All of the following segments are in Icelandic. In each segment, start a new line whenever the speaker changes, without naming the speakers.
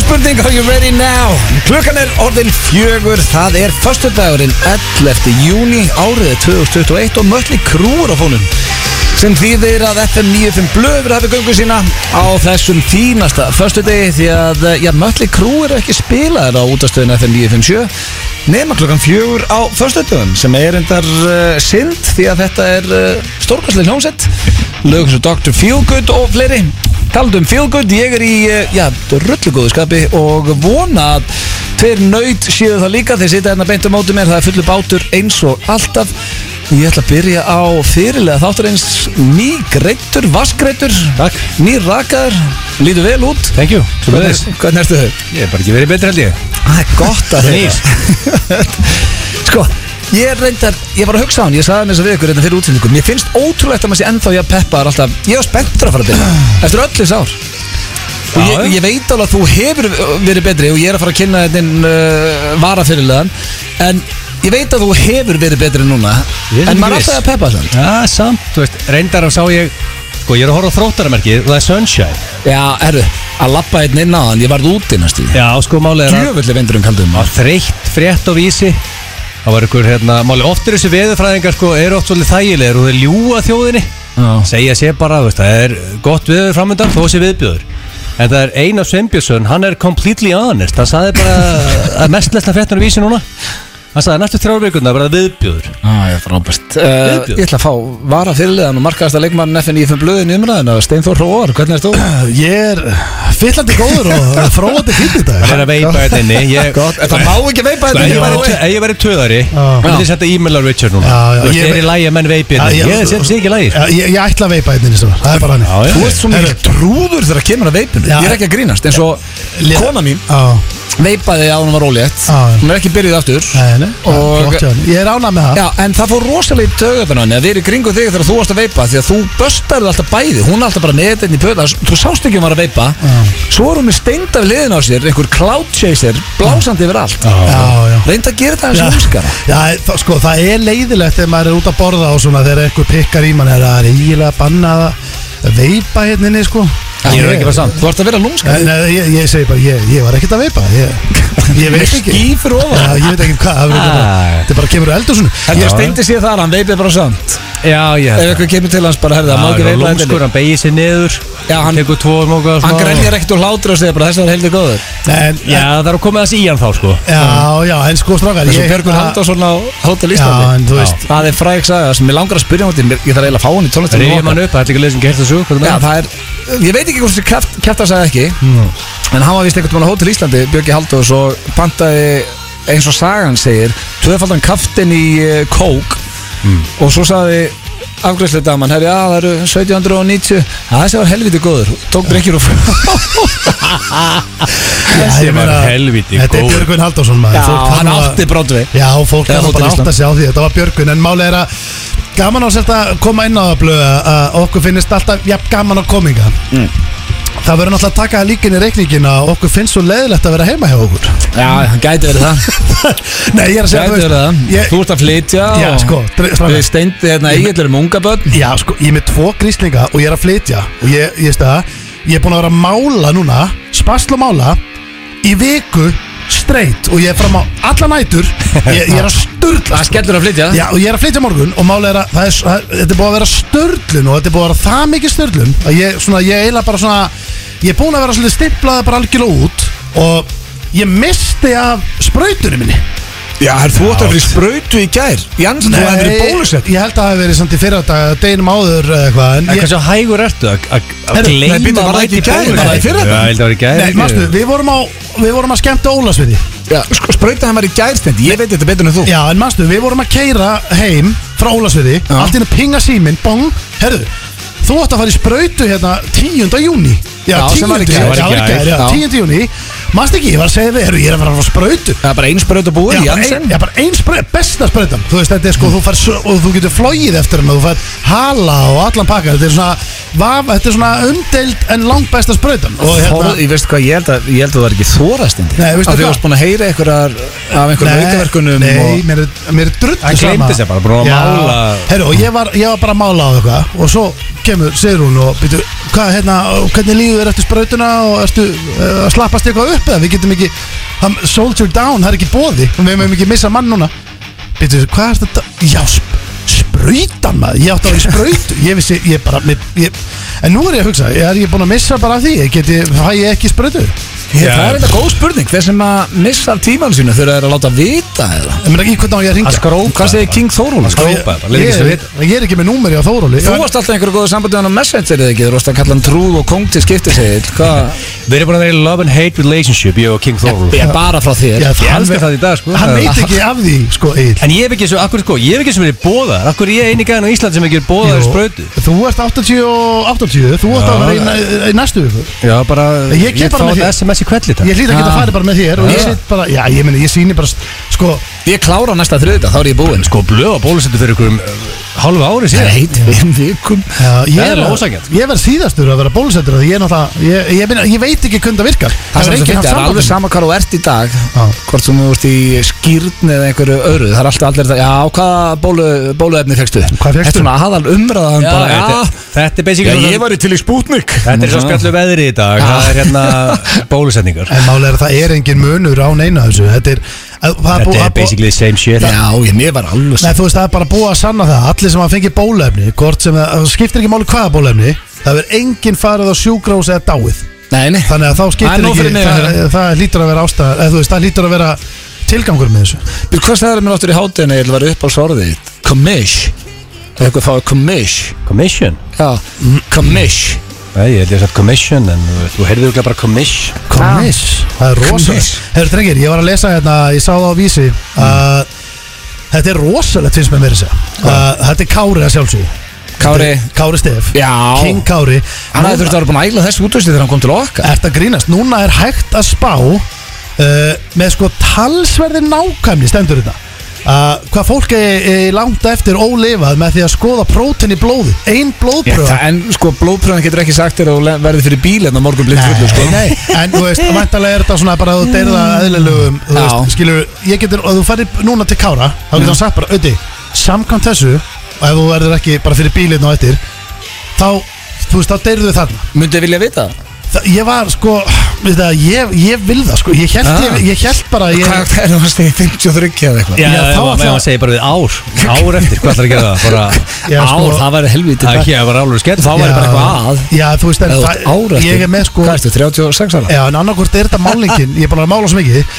spurning, are you ready now? Klukkan er orðin fjögur, það er Föstudagurinn 11. júni árið 2021 og mölli krúur á fónum sem þýðir að FM 95 blöfur hafi göngu sína á þessum fínasta Föstudegi því að eh, já, mölli krúur er ekki spilaðar á útastöðin FM 957 nema klukkan fjögur á Föstudagum sem er endar uh, synd því að þetta er uh, stórkastlega hljómsett lögum sem Dr. Feelgood og fleiri Taldum félgöld, ég er í eh, já, rullugóðu skapi og vona að tveir nöyt séu það líka þeir sita hérna beint á móti mér, það er fullu bátur eins og alltaf Ég ætla að byrja á fyrirlega þáttur eins nýgreittur, vaskreittur
Takk.
nýrakaður, lítur vel út
Thank you
Hvernig, hvernig ertu þau?
Ég hef bara ekki verið betri held ég
Það er gott að
Nýr.
heyra Sko, ég reyndar Ég var að hugsa á hann, ég sagði hann þess að við ykkur reynda fyrir útsendingum Mér finnst ótrúlegt að maður sé ennþá ég að peppa er alltaf, Ég var spenntur að fara að byrja Eftir öll þess ár Og
Já,
ég,
já.
ég veit alveg að þú hefur verið betri Og ég er að fara að kynna þinn uh, vara fyrirlegan En ég veit að þú hefur verið betri núna
Ég
En
er ekki
maður er
viss.
alltaf að peppa þann
Já, samt, þú veist, reyndar og sá ég Sko, ég er að horfa á þróttaramerkið og það er Sunshine
Já, herru, að lappa einn inn á hann Ég varð út í næstu
Já, sko, málið er að
Gjöfulli vindurum kaldum
að þreytt frétt á vísi Það var ykkur, hérna, málið Oft eru þessi veðurfræðingar, sko, eru oft svolítið þægilegir og þeir ljúga þjóðinni
Já,
Segja sér bara, þú veist, það er gott veður framöndan þó sé viðbjöður En það er Einar Sveinbjörnsson, hann er completely honest Hann sagði bara að mest lesna fréttan á vísi núna Hann sagði næstu þrjár vikundar verða viðbjöður
Ah, Já, frábært uh,
Viðbjóður.
Ég ætla að fá vara fyrirliðan og markaðasta leikmann FN í fimm blöðin umræðina Steinþór Róar, hvernig er þú?
Ég er fyllandi góður og fróðandi fín í dag
Það er að veipa
Sko.
þetta inni ég-
Gott, það má ekki veipa
Sko,
þetta
ef ég
í
væri
bara
tö- ef ég væri töðari Þá myndi ég senda e-mail á Richard núna
Já, já,
Þú veist,
ég-
Er í lagi að menn veipi
Já,
hérna
já,
Ég seti sér ekki í sko. lagi
Já, ég, ég ætla að veipa einnig Það er bara hann
Já, já.
Þú ert svo mikið trúður þegar kemur að veipinu
Já.
Ég er ekki að grínast, eins og
Lena-
kona mín
Já,
veipaði að hún var ólétt
Já, já.
Hún er ekki byrjuð aftur
nei, nei
Og-
Flott hjá hann Ég er ánað með það
Já, en það fór rosalega í tögöfinu henni að vera í kringu þig þegar þú varst að veipa því að þú böstarði alltaf bæði, hún er alltaf bara með þetta í pöta, þú sást ekki um að veipa
Já.
svo er hún með steinda við liðin á sér einhver cloud chaser, blásandi yfir allt
Já, já
reynda að gera þetta eins og húskara
Já, það, sko, það er leiðilegt þegar maður er út að borða og svona þegar einhver pikkar í mann er að eiginlega banna að veipa hérna inni, sko
Ég er ekki bara samt
Þú ert að vera lúmska
Nei, nei, ég, ég segi bara, ég, ég var ekkert að veipa Ég, ég veit ekki
Ský fyrir
Já,
ofan
ég veit ekki hvað, það verður ekki bara-
Ah.
þetta bara kemur á eldursunum
Þetta steindi sér þar, hann veipið bara samt
Já,
Ef
ég
eitthvað kemur til hans bara, herði, það má ekki veipa þetta
Lómskur,
líka.
hann beigir sér niður
Já, hann-
Tekur tvo móka
Hann grænjar ekkert og hlátur og segir bara, þess að það er heldur góður
En,
Já, það þarf að koma þess í hann þá sko
Já, já, en sko strákar
Þessu
ég-
Björgun Haldarsson á Hotel Íslandi
Já, en þú veist-
Það er fræg saga sem ég langar að spyrja á þetta Ég þarf eiginlega að fá hann í tónlistunum
Rýfum hann upp, það er líka leið sem um gert þessu hvað er
Já,
það?
það er, ég veit ekki hvort þessi kæft, kæftar sagði ekki En hann var vist einhvern veginn á Hotel Íslandi Björki Halldórs og pantaði eins og sagan segir Tvöfaldan kaftin í eh, kók Og svo sagði afgreiðslega daman Herri, já, það eru 1790 Það þessi var helviti góður Tók drikkjur og fyrir
Já, ég
var
meina,
helvíti
Þetta er
góður.
Björgun Haldarsson maður
Já,
Fólk þarf
hann
nú að-
átti Broadway
Já, fólk
Eða
kann
Hótel
bara að átta
Ísland.
sig á því Þetta var Björgun, en máli er að Gaman á sérst að koma inn á það blöð að okkur finnist alltaf jafn gaman á kominga mm. Það verður náttúrulega að taka það líkin í reikningin að okkur finnst svo leiðilegt að vera heima hjá okkur
Já, hann gæti verið það
Nei, ég er að segja
Gæti verið það
ég,
Þú ert að flytja
Já,
og
sko, dre- strákar.
Við steindi hérna eiginlega um unga börn
Já, sko, ég er með tvo gríslinga og ég er að flytja og ég, ég veist það, ég er búin að vera að mála núna, spasla og mála í viku streitt og ég er fram á alla nætur ég, ég er að sturla
Það
sko.
skellur að flytja
Já, og ég er að flytja morgun og mála er að, það er, s- það, þetta er búin að vera störlun og þetta er búin að vera það mikið störlun að ég, svona, ég eiginlega bara svona ég er búin að vera svolítið stimplaði bara algjörlega út og ég misti af sprautunum minni
Já, herr, þú ætti að fyrir sprautu í gær Jansson,
ég held að það hef verið samt í fyrra dag, deginum áður eða eitthvað en
En
ég-
Hversu hægur ertu að- að að
Herru, nei,
gleyma
býttu, var það
mæti
ekki í gær?
bólunni?
Var það í
fyrradag?
Já, ég held að það var í gæri
Nei, mástu, við vorum á, við vorum að skemmta Ólasviði
Já, sko, sprauta hann var í gær steindi Ég veit þetta betur en þú
Já, en mástu, við vorum að keira heim frá Ólasviði
Já.
Allt inn að pinga síminn, bong Herðu, þú átt að fara í sprautu hérna 10. júni
Já, sem var í gær.
Já, var í gær, já,
Já.
10. júni Mástu ekki, ég var að segja við, herru, ég er að fara að fara á sprautu
Það er bara einn spraut að búa
Já,
í
bara
Jansson
ein, já, bara ein spraut, besta sprautan Þú veist, þetta er sko, þú fær, svo- og þú getur flogið eftir hann Þú fær hala og allan pakka Þetta er svona, vaf, þetta er svona umdeild en langt besta sprautan Og
Þorð,
hérna,
ég veist hvað, ég held að, ég held að það er ekki þórast Nei,
Nei, veistu
Að þú
hvað?
varst búin að heyra einhverjar af einhverjum aukaverkunum
nei,
og...
mér er, mér er drullu
Hann gleymdi sér bara, búin að mála
Herru, og ég var, ég var bara að mála á eitthvað og svo kemur Sigrún og byrju, hvað, hérna, hvernig líður þér eftir sprautuna og ertu eh, að slappast eitthvað upp eða við getum ekki hann, Soldier down, það er ekki bóði og við mögum ekki missa mann núna Býtu, hvað er þetta? Já, sp sprautan maður, ég átti að vera í sprautu ég vissi, ég bara mér, ég, en nú er ég að hugsa, er ég búin að missa bara af því Ég geti, fæ ég ekki sprautu ég
Ég, það er þetta góð spurning, þeir sem að missa tíman sínu þurfa þeir að láta vita eða
meina ekki hvernig á ég að ringja
Að sko skrópa
Hvað segir King Þórún?
Að skrópa bara, leyfið
ég,
þessu að
ég,
vita.
ég er ekki með númeri á Þóróli
Þú varst alltaf einhverju góðu sambandi við hann á Messenger eða ekki, þú varst að kalla hann trúð og kóng til skiptisegil Hvað?
Við erum búin að vera í love and hate relationship Ég og King Thorvald
Ég er bara frá þér
Já,
Ég
hann
elska
ve-
það í dag sko
hann
Það-
veit ekki af því, sko, Egil
En ég hef ekki svo, akkur sko, ég hef ekki svo verið bóðar Akkur er ég eini gæðan á Ísland sem ekki er bóðar í sprautu
Þú ert 80 og 80 Þú ert
Já.
að vera í, í næstu viku.
Já, bara,
Ég
ég
kem bara
fá
með
þetta
þér.
SMS í kvelli þetta
Ég hlýt að geta
Ah.
að fara bara með þér Og ég
Já.
sit bara, já ég meni, ég sýni bara Sko,
Ég klára næsta þriðdag, þá er ég búinn
Sko, blöð og bólusettu fyrir ykkur um halva ári
Það
síðan
er heit fimm vikum
já, ég
Það er
er að-
ósanngjarnt.
Ég verð síðastur að vera bólusettur af Því ég er náttúrulega, ég, ég, meni, ég veit ekki hvernig það virkar
Það sem
hefur
þú
enginn
finnst, það er
haft samband
alveg
við mig.
sama hvað þú ert í dag
Já.
Hvort sem þú ert í skýrn eða einhverju öðru Það er alltaf allir það, já, hvaða bólu, bóluefni fegstu?
Hvað fékkstu?
Þetta er svona aðal umræðan
Já,
bara,
þetta,
já,
þetta er basically svona-
var í til í spútnik
Þetta er svo spjallu veðri í dag Það er hérna bólusetningar
En málega er að það er engin munur á neina þessu Þetta er, að- það er búið
Þetta er
að búið
basically the same shit
Já, ég, mér var alveg
Nei, þú veist, það er bara búið að sanna það Allir sem hafa fengið bólefni, hvort sem það það skiptir ekki máli hvaða bólefni Það er enginn farið á sjúkrós eða dáið
Nei, nei,
Þannig að þá
Það er
skiptir
nóg fyrir
ekki
mig að
það,
heyra.
það lítur að vera ástæða eða þú veist, það lítur að vera tilgangur með þessu
Býr, hvað sagður mér áttur í hátinu eða var upp á svarðið þitt? Commish Það er eitthvað fáið commish Mm.
Commission
Já, commish
Nei, ég held ég að sagt commission En þú veist, þú heyrðu ekki bara commish
Kommiss, það er
Kommiss.
rosalegt Herru drengir, ég var að lesa hérna, ég sá það á vísi að þetta er rosalegt finnst mér mér þessu uh, Þetta er Kári að sjálfsögðu
Kári
Kári Stef
Já.
King Kári
Hann hafði þurft að vera búin að ægla þessu útvösti þegar hann kom til okkar
Ert að grínast, núna er hægt að spá uh, með sko talsverði nákvæmni stendur þetta uh, hvað fólk er, er langt eftir ólifað með því að skoða prótin í blóði ein blóðpröfa
En sko, blóðpröðan getur ekki sagt þér að þú le- verði fyrir bíl en á morgun blitt fullu sko.
Nei, nei, en þú veist, væntalega er þetta svona bara að þú deyrða eðlilegum, þú
Já. Mm.
veist, skilur ég getur, og þú farir núna til Kára þá getur hann sagt bara, auði, samkvæmt þessu og ef þú verður ekki bara fyrir bílinn og eftir þá, þú veist, þá deyrðu þarna
Myndið vilja vita það?
Þa, ég var, sko, við það, ég, ég vil það, sko, ég held,
Ah.
ég, ég held bara ég,
Hvað er það að stegja 53 eða eitthvað?
Já,
Já,
já
þá
þá
ætla-
ætla að segja bara við ár Ár eftir, hvað ætlar að gera það? Bara,
Já, sko-
Ár, það væri helvítið
það ekki, það var alveg skell Þá væri bara eitthvað að
já, þú veist, en
Eða
það,
ár eftir
ég er með, sko
Hvað ertu, 36 ára?
Já, en annarkvort er þetta málingin Ég er búin að mála svo mikið Ég,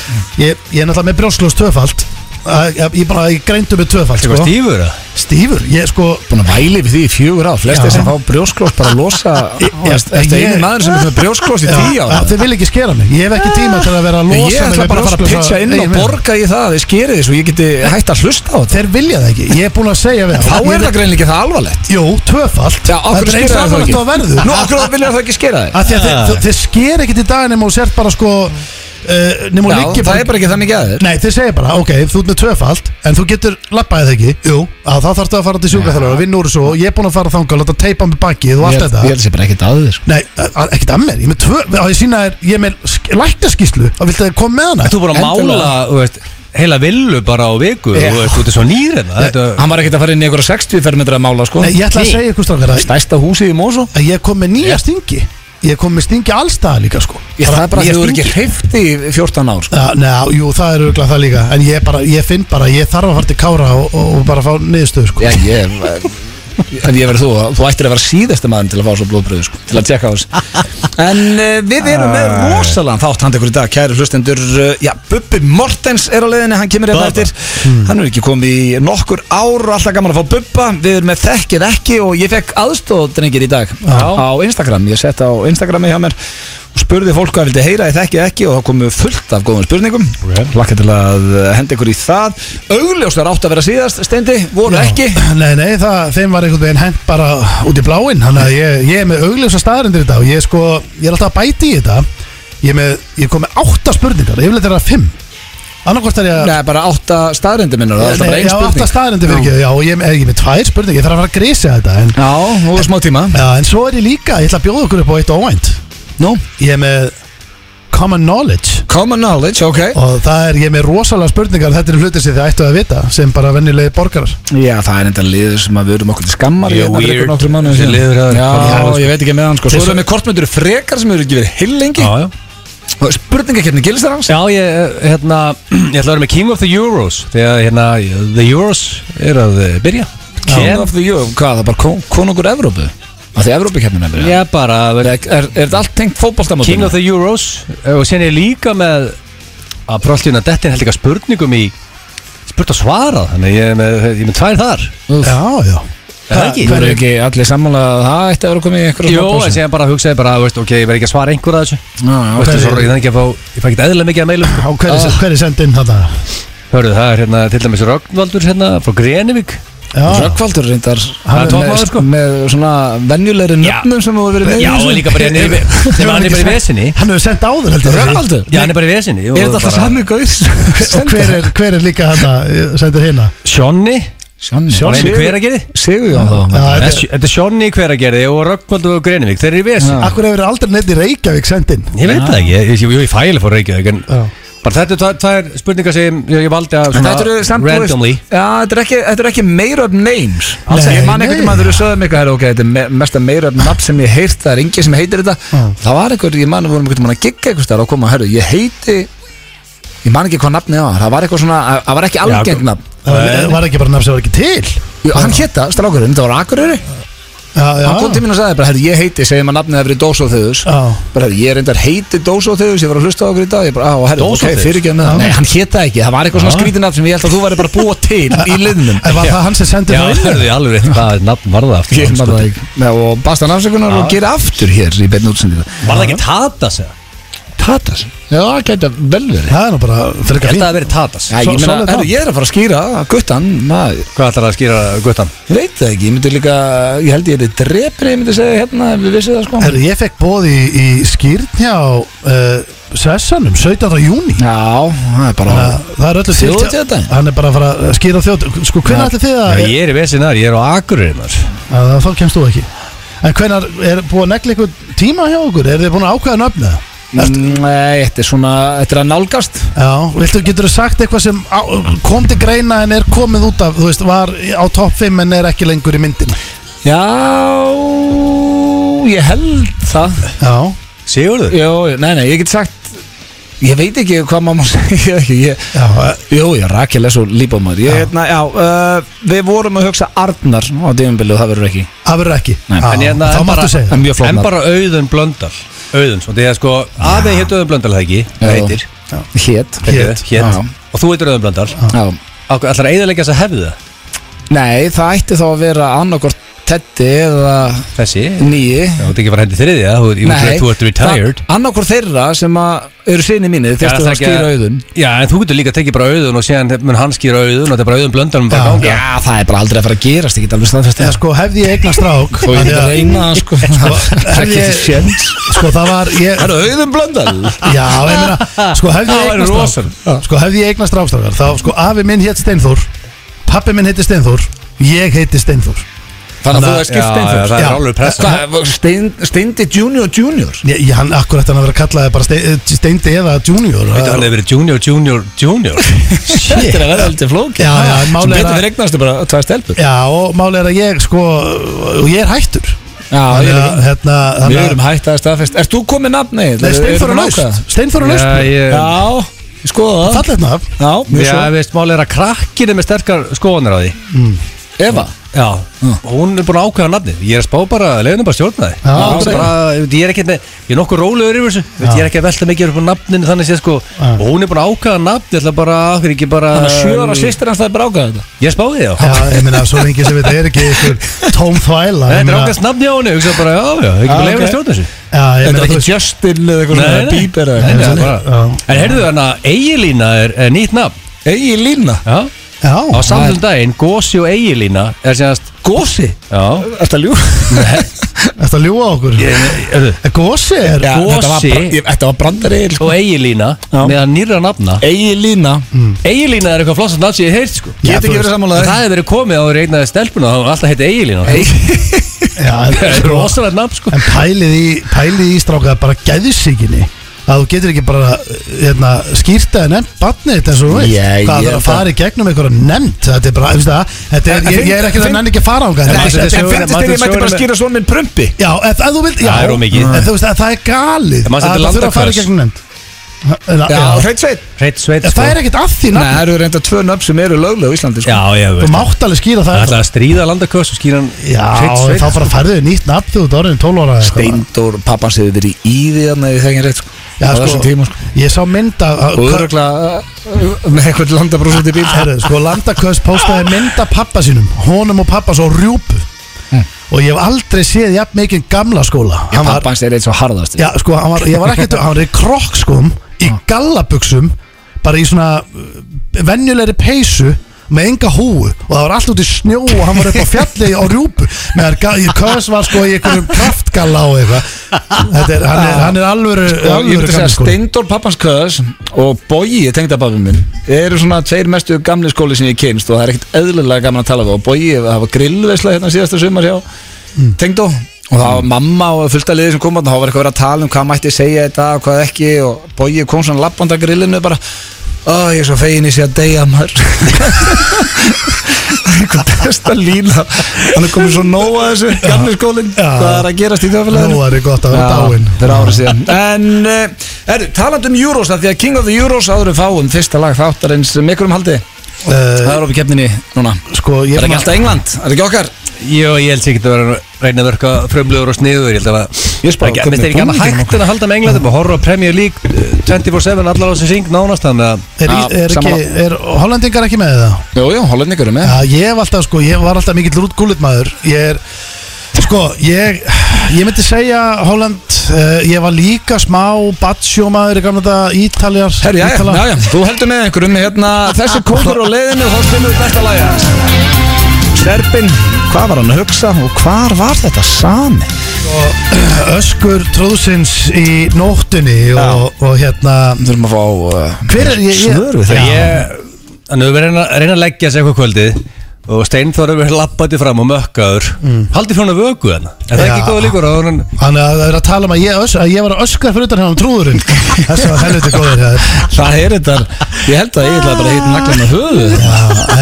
ég er náttúrulega með brjósljós tvöfald Æ, Ég ég bara, ég greindu með tvöfald
Þetta var
sko.
stífur það
Stífur, ég sko
Búin að væli við því í fjögur ár Flestir
Já.
sem fá brjósklós bara að losa
Já,
Þetta
ég-
einu maður sem er með brjósklós í 10 ára Ah.
Já, Þið vil ekki skera mig, ég hef ekki tíma til að vera að
Nei,
losa
Ég
mig
ætla
við
bara að fara að
brjósklos
pitcha inn
Nei,
og
ég meina,
borga í það að þið skerið þið svo ég geti hægt að hlusta á þetta
Þeir vilja það ekki, ég er búin að segja við
Þá
þá
er það greinlega það alvarlegt
Jú, tvöfald
Já, okkur
Þetta er eins
skera það
alvarlegt
ekki
og það verður
Nú, okkur vilja það ekki skera þið
Af því að þið- þið- Þið sker ekkit í dag nema og sért bara sko uh, Nema og
Já,
liggi
það er bara ekki þannig að þér
Nei, þið segir bara, ok, þú ert með tvöfald En þú getur lappaðið það ekki Jú, að þá þarftu að fara til sjúkaþjálfara Vinn úr þessu og ég er búin að fara þangað Láta teipa með bakið og allt þetta
Ég held sér bara ekkert að sko. þér
Nei, að- að- ekkert að mér, ég er með tvö Á ég sína þér, ég er með sk- læknaskýrslu Að viltu að koma með hana?
Þú búin að mála,
Endilega.
þú veist Heila villu bara á viku
Já.
Þú veist, þú ert svo nýr hérna Þetta
Hann var ekkert að fara inn í einhverja 60 fermetra að mála sko
Nei, ég ætla að segja ykkur strafgar að
Stærsta húsið í Mósó
að ég kom með nýja stingi Ég kom með stingi allstaðar líka sko
Ég það er bara því
nýja
þú eru
stingi.
ekki hreift í 14 ár sko
Já, neða, jú, það er auðvitað það líka En ég, bara, ég finn bara, ég þarf að fara til Kára og, og, og bara fá niðurstöð sko.
Já, ég En ég verð þú, þú ættir að vera síðasta maður til að fá svo blóðbröðu sko, til að tjekka á þessu En uh, við erum með rosalega þátt handa ykkur í dag, kæru hlustendur uh, Já, Bubbi Mortens er á leiðinni, hann kemur hérna
Bubba. Hmm.
eftir Hann er ekki komið í nokkur ár og alltaf gaman að fá Bubba Við erum með þekkið ekki og ég fekk aðstóðdrengir í dag á Instagram Ég sett á Instagrami hjá mér og spurði fólk hvað vildi heyra í þekkið ekki og þá komu fullt af góðum spurningum
Ok.
Lakka til að uh, henda ykkur í það Augljóstar átt að vera síðast, Steindi, voru ekki
Nei, nei, það, þeim var einhvern veginn hent bara út í bláinn Þannig að ég, ég er með augljósa staðarindir í dag og ég, er sko, ég er alltaf að bæti í þetta Ég, er með, ég kom með átta spurningar, yfirleitt er það fimm Annarkvort er ég að
Nei, bara átta staðrindir minnar Það er alltaf bara
Nei,
einn spurning
Já, átta staðarindir fyrir ekki Já, og ég er ekki með tvær spurningar, ég þarf að fara að grísa þetta en,
Já, nú er smá tíma
já, en svo er ég líka, ég ætla að bjóða okkur upp á eitt óvænt
Nú,
Ég er með common knowledge
Common knowledge, ok
og það er ég er með rosalega spurningar þetta er hluti sem þið ættu að vita sem bara vennilegi borgarar
Já, það er enda liður sem að við erum okkur til skammar
Ég
hérna fyrir
weird.
einhvern nokkrum mánuðum
Þessi
síðan.
liður að-
Já,
Já,
ég veit ekki með hann sko Svo
Þessi-
erum við kortmyndur frekar sem eru ekki verið heil lengi
Já, já
Og spurningakefni gilist þar hans
Já, ég, hérna, ég ætla að vera með King of the Euros Þegar, hérna, the Euros er að eh, byrja
King of the Euro, hvað, það er bara kon- konungur Evrópu Af því Evrópukefnin er byrjað
Já, bara
Er, er, er þetta allt tengt fótboltamótum?
King of the Euros eh, Og sen er ég líka með að próllina dettin held ekki að spurningum í spurt að svara þannig ég er með, ég er með tvær þar
já, já
Það ekki?
Þú eru Eh, ekki allir sammála að það ætti að vera komið í einhverjum
Jó, en síðan bara hugsaði bara, veist, ok, ég verð ekki að svara einhverja þessu Veistu,
síðan
svo ég þannig ekki að fá, ég fæ ekki eðla mikið að meilum
á hverju
Ah.
oh. hver sendi inn þetta
Hörðu, það er hérna til dæmis Rögnvaldur hérna frá Grenivík
já,
Rökkvaldur reyndar
er
með-
toppmaður, sko.
Með svona venjulegri
Já.
nöfnum sem þú hefur verið með í
Já,
þessu.
og líka bara hérna í- nema hann er bara í vesinni
hann hefur sendt áður heldur
Rökkvaldur?
Já, hann er bara í vesinni
Er þetta alltaf sami gauð?
og hver er, hver er líka hann sendir hérna
Sjonni,
Sjonni
hann er í
Sjonni
hveragerði
Sigurjón þá
Já, þetta
Þetta
er-
er- þetta er Sjonni í hveragerði og Rögnvaldur og Grenivík, þeir eru í vesinni
Já.
akkur hefur aldrei neitt í Reykjavík sendt inn
Ég veit það ekki, ég, ég, ég, ég fæli fór Reykjavík en
Já.
bara þetta er tvær- tvær spurningar sem ég, ég valdi að
En þetta eru
svona
samt þú veist-
randomly
Já, þetta er ekki, þetta er ekki meira up names Alls
Nei,
ekki, ég man einhvern
nei.
veginn að þú sögðum eitthvað herra, ok, Þetta er me mesta meira up nafn sem ég heirt Það er engin sem heitir þetta
Mm.
Það var einhver, ég man að vorum einhvern veginn að gigga einhvers staðar og koma, herru, ég heiti Ég man ekki hvað nafnið var Það var eitthvað svona, það var ekki algengt nafn
það var- var ekki bara nafn sem var ekki til
Jú, Hann hétt það, strákurinn, þetta var Akureyri
já, já
Hann kom til mín og sagði bara, herru, ég heiti, segjum að nafnið hefur í Dósóþöðus
já,
bara, herru, ég reyndar heiti Dósóþeus, ég var að hlusta á okkur í dag ég bara, á, herru, ok,
Dósóþeus?
fyrir ekki með það nei, hann hétta ekki, það var eitthvað svona
Já.
skrítinafn sem ég held að þú væri bara að búa til í liðnum
en var það hann sem sendi
Já,
það inn
hörðu ég alveg rétt hvað nafn var það aftur
Ég maður það
Var
ekki. Nei, og basta hann afsökunar og gera aftur hér í beinu útsendingu
það ekki Tatas eða?
Tatas? Já, það gæti vel verið
það er nú bara
Ég held
frekar
að
fínt
það verið Tatas
Já, ég,
Svo-
meina,
solid
herru,
nafn.
ég er að fara að skýra að guttan, maður,
Hvað ætlar að skýra guttan?
ég veit það ekki, ég myndi líka, ég held ég er drepin, ég myndi segja hérna, ef við vissið það sko.
Herru, ég fekk bóð í, í skýrn hjá uh, Sessanum 17. júni
Já, það er bara,
Það er öllu
Þjóðhátíð
til-
þetta?
Hann er bara að fara að skýra þjóð Sko,
Já.
hvernig ætli þið að,
Já, ég er í vesinnar, ég er á Akureyri maður
að Þá kemst þú ekki En hvernig er búið að negla ykkur tíma hjá okkur? Er þið búin að ákvæða nöfna?
nei, þetta er svona, þetta er að nálgast.
Já, viltu getur þú sagt eitthvað sem á, kom til greina en er komið út af Þú veist, var á topp 5 en er ekki lengur í myndin
Já, ég held það
Já,
Sigurður?
Jó, nei, nei, ég get sagt Ég veit ekki hvað maður má segja ekki, ég,
já, eh,
Jó, já, Rakel er svo líbámaður Ég, hérna, já, uh, við vorum að hugsa Arnar á dýmbilið og það verður ekki
það verður ekki
Nei,
Já,
En hérna
Þá
en bara-
máttu segja
En mjög flott
En
nafn.
bara Auðun Blöndal Auðun, svona því að sko Aðein hétt Auðun Blöndal það ekki Það
Já.
heitir
Hét
Hét
Já.
Hét Og þú heitir Auðun Blöndal
Já.
Ákveð, ætlar að eiðalega þess að hefði það?
Nei, það ætti þá að vera annarkort Teddy eða
Þessi?
nýi
Já, Þú ert ekki bara hendi þriðja Þú ert-
Nei,
þú ert retired
Annarkort þeirra sem að eru sinni mínir
Já,
Þeirstu
það
það að
ekki að-
skýra auðun
Já, en þú getur líka að tekja bara auðun og séðan mun hann skýra auðun og þetta er bara auðun blöndan um bara
Já.
ganga
Já, það er bara aldrei að fara að gerast Ég get alveg staðfest
En sko, hefði ég eigna strák
Og ég
af því
get
að-
að reyna það, sko Það er ekki
ég-
þessi sjens
Sko, það var ég,
Það eru auðum blöndal
Já, ég meina, sko hefði
Það væri rosalegt.
ég eignast strák Sko hefði ég eignast strákstrákar Þá, sko, afi minn hétt Steinþór Pappi minn heiti Steinþór Ég heiti Steinþór
Þannig að þú
Já,
er skipt
já, það
Steinþór
er
Já.
alveg pressa
Hvað, Stein- Steindi Junior Junior?
Ég, ég hann, akkur ætti hann að vera kallaði bara Stein- eh, Steindi eða Junior
Þetta hann
Já,
hefur verið junior, junior, junior
Þetta er að vera aldrei flókið
Já, já, en
Sem
málið er
betur
að-
fyrir eignastu bara tvær stelpur
já og máli er að ég, sko Og ég er hættur
Já, ég
Þannig
er
að,
ekki
hérna,
Við
þannig
erum
að
hægt að staðfest Erst þú komið nafni?
Nei, Steinþór er laust Steinþór er laust
Já,
Já, ég skoða það
Fallet nafn
Já, mjög
Já,
svo
veist, mál er að krakkinu með sterkar skoðanir á því
Eva
Já, hún er búin að ákveða nafni Ég er að spá bara, leiðinu bara að stjórna því
Já,
Ég
bara-
bara, Ég er ekki, ég er nokkuð rólegur yfir þessu Veit, Ég er ekki að velta mikið upp á nafninu þannig sé sko
Já.
Og hún er búin að ákveða nafni, ég ætla bara, okkur ekki bara
Þannig að sjö
Um,
ára sýstir hans það er bara ágæða þetta
Ég spáði því á
Já, ég meina, svo lengi sem þetta er ekki ykkur tóm þvæla ég
Þetta er
meina-
ákveðast nafni á henni, hugsa bara, já, já, ekki
Já,
bara leiðinu
ok.
að stjórna þessu
Já, ég
Þetta
meina,
er
þú
ekki
veist-
Justin eða eitthvað
Nei,
svona
nei.
Bieber eða
Nei, nei,
eitthvað
það er bara-
Já.
En heyrðu þannig að Egilína er, er nýtt nafn
Egi Lína
Já,
Já,
á samtum daginn, Gósi og Egilína er séðast
Gósi
Já,
Þetta ljú
þetta ljúa okkur
erðu
Gósi er
Já. Gosi.
Þetta var brandar Egil
Og Egilína,
Já.
með að nýra nafna
Egi Lína
Mm.
Egilína er eitthvað flossast nafn sem ég heilt sko
Já,
Get
þú
ekki verið
veist.
sammálaði
Það hefur verið komið á reynaði stelpuna og það var alltaf heiti Egilína sko.
Já,
Það
en-
er rosalegt nafn sko
En pælið í, pælið í strákað bara gæðsíkinni að þú getur ekki bara hérna, skýrta en nefnt barnið þetta eins og þú veist
Já, ég
hvað það er
held
að fara í gegnum einhverja nefnt þetta er bara, þú veist það þetta er,
En-
ég, ég er ekki
en-
að nenni ekki að fara á
En en
maður þetta sögur-
finnst þér
maður
ég
þetta
mætti bara
sögur-
skýra svona minn prumpi
já, ef, ef þú vilt, já
Það er of mikið.
en þú veist að það er galið
En maður þetta
að það þurfa að fara í
landakvöss.
gegnum nefnt já,
Já,
já.
hreitt sveit
Hreitt sveit
En
sko
það er ekkert að því
Nei,
nafn
það eru reynda tvö nöfn sem eru löglega á Íslandi sko.
Já, ég
þú
veit Það
mátt alveg skýra það
ætlaði að stríða landaköss og skýra hann
já,
hreitt
þá
sveit
bara færðu þig nýtt nafn þú ert orðin 12 ára eða eitthvað.
Steindór, pappans hefur verið í því þannig að ég þekki rétt sko.
já,
á
sko,
þessum tíma sko.
ég sá mynd að að-
og öruglega uh, með eitthvað landabrúsund í bíl
Herru, sko, Landaköst postaði mynda pappa sínum Honum og pappa svo rjúpu
Hm.
Og ég hef aldrei séð jafn mikið gamla skóla Hann var,
pappans er eitt svo harðast
já, sko, hann var, ég var ekki Hann var í krokkskóm,
Ah.
í gallabuxum Bara í svona uh, Venjulegri peysu með enga húu og það var allt út í snjó og hann var upp á fjalli á rjúpu meðan ga- Kös var sko í einhverjum kraftgalla og eitthvað Þetta er, hann er, hann er alvöru,
og Sko, ég
alvöru
myndi að segja
gamli
að
skóli.
Steindór pappans köðs og Bogi, tengdababin minn eru svona tveir mestu gamli skóli sem ég kynst og það er ekkert eðlilega gaman að tala við og Bogi, það var grillveisla hérna síðasta sumar hjá tengdó og það var mamma og fullta liði sem kom og það var eitthvað verið að tala um hvað mætti segja í dag og hvað ekki og Bogi kom svona lappanda grillinu bara Ó, ég er svo fegin í sig að deyja maður einhver besta lína hann er komið svo nóg að þessu gamli skólinn,
Já.
hvað er að gerast í þjóðfélaginu
Nú er þið gott að vera dáinn
Já, fyrir árið síðan En, uh, er, taland um Euros að Því að King of the Euros áður við fáum Fyrsta lag þáttarins með einhverjum haldi
Eh,
Það er opið keppninni núna
Sko, ég
Er ekki
fann að-
alltaf England? Er ekki okkar?
Jó, ég held sér ekki að vera að reyna að verka frumlegur og sniður Ég held að
Ég spá að
Ekki-
koma
Mér
með
er ekki annað
búninginn
hægt en að halda með Englandum og horfa á Premier League eh, 24-7 allar á sem syng nánast þannig að
Er,
Já,
er, ekki,
sammála.
er hollendingar ekki með það?
Jú, jú, hollendingur er með
Já, ég hef alltaf, sko, ég var alltaf mikill rútgúlit maður Ég er, sko, ég, ég myndi segja Holland uh, Ég var líka smá batsjómaður í gamla þetta Ítaljar
Herri, já,
Ítala.
já, já, þú heldur með einhverjum hérna, Þessi kókur á leiðinu, þá spinnum við besta lagi Sterbin, hvað var hann að hugsa og hvar var þetta sami?
Öskur tróðsins í nóttunni og, og hérna
Við þurfum að fá uh,
Hver er ég? ég
svör við
Þegar
þeim
ég, þannig að við reyna, reyna að leggja sér eitthvað kvöldið og Steinþór hefur lappandi fram og mökkaður mm. haldið frá hann að vöku hann er það
Já.
ekki góða líkur á hann
Þannig að það er að tala um að ég, ös, að ég var að öskar fyrir utan hérna um trúðurinn Þess að helviti góðir hér
Það er þetta, ég held að ég ætla bara að hitta naglan á höfuð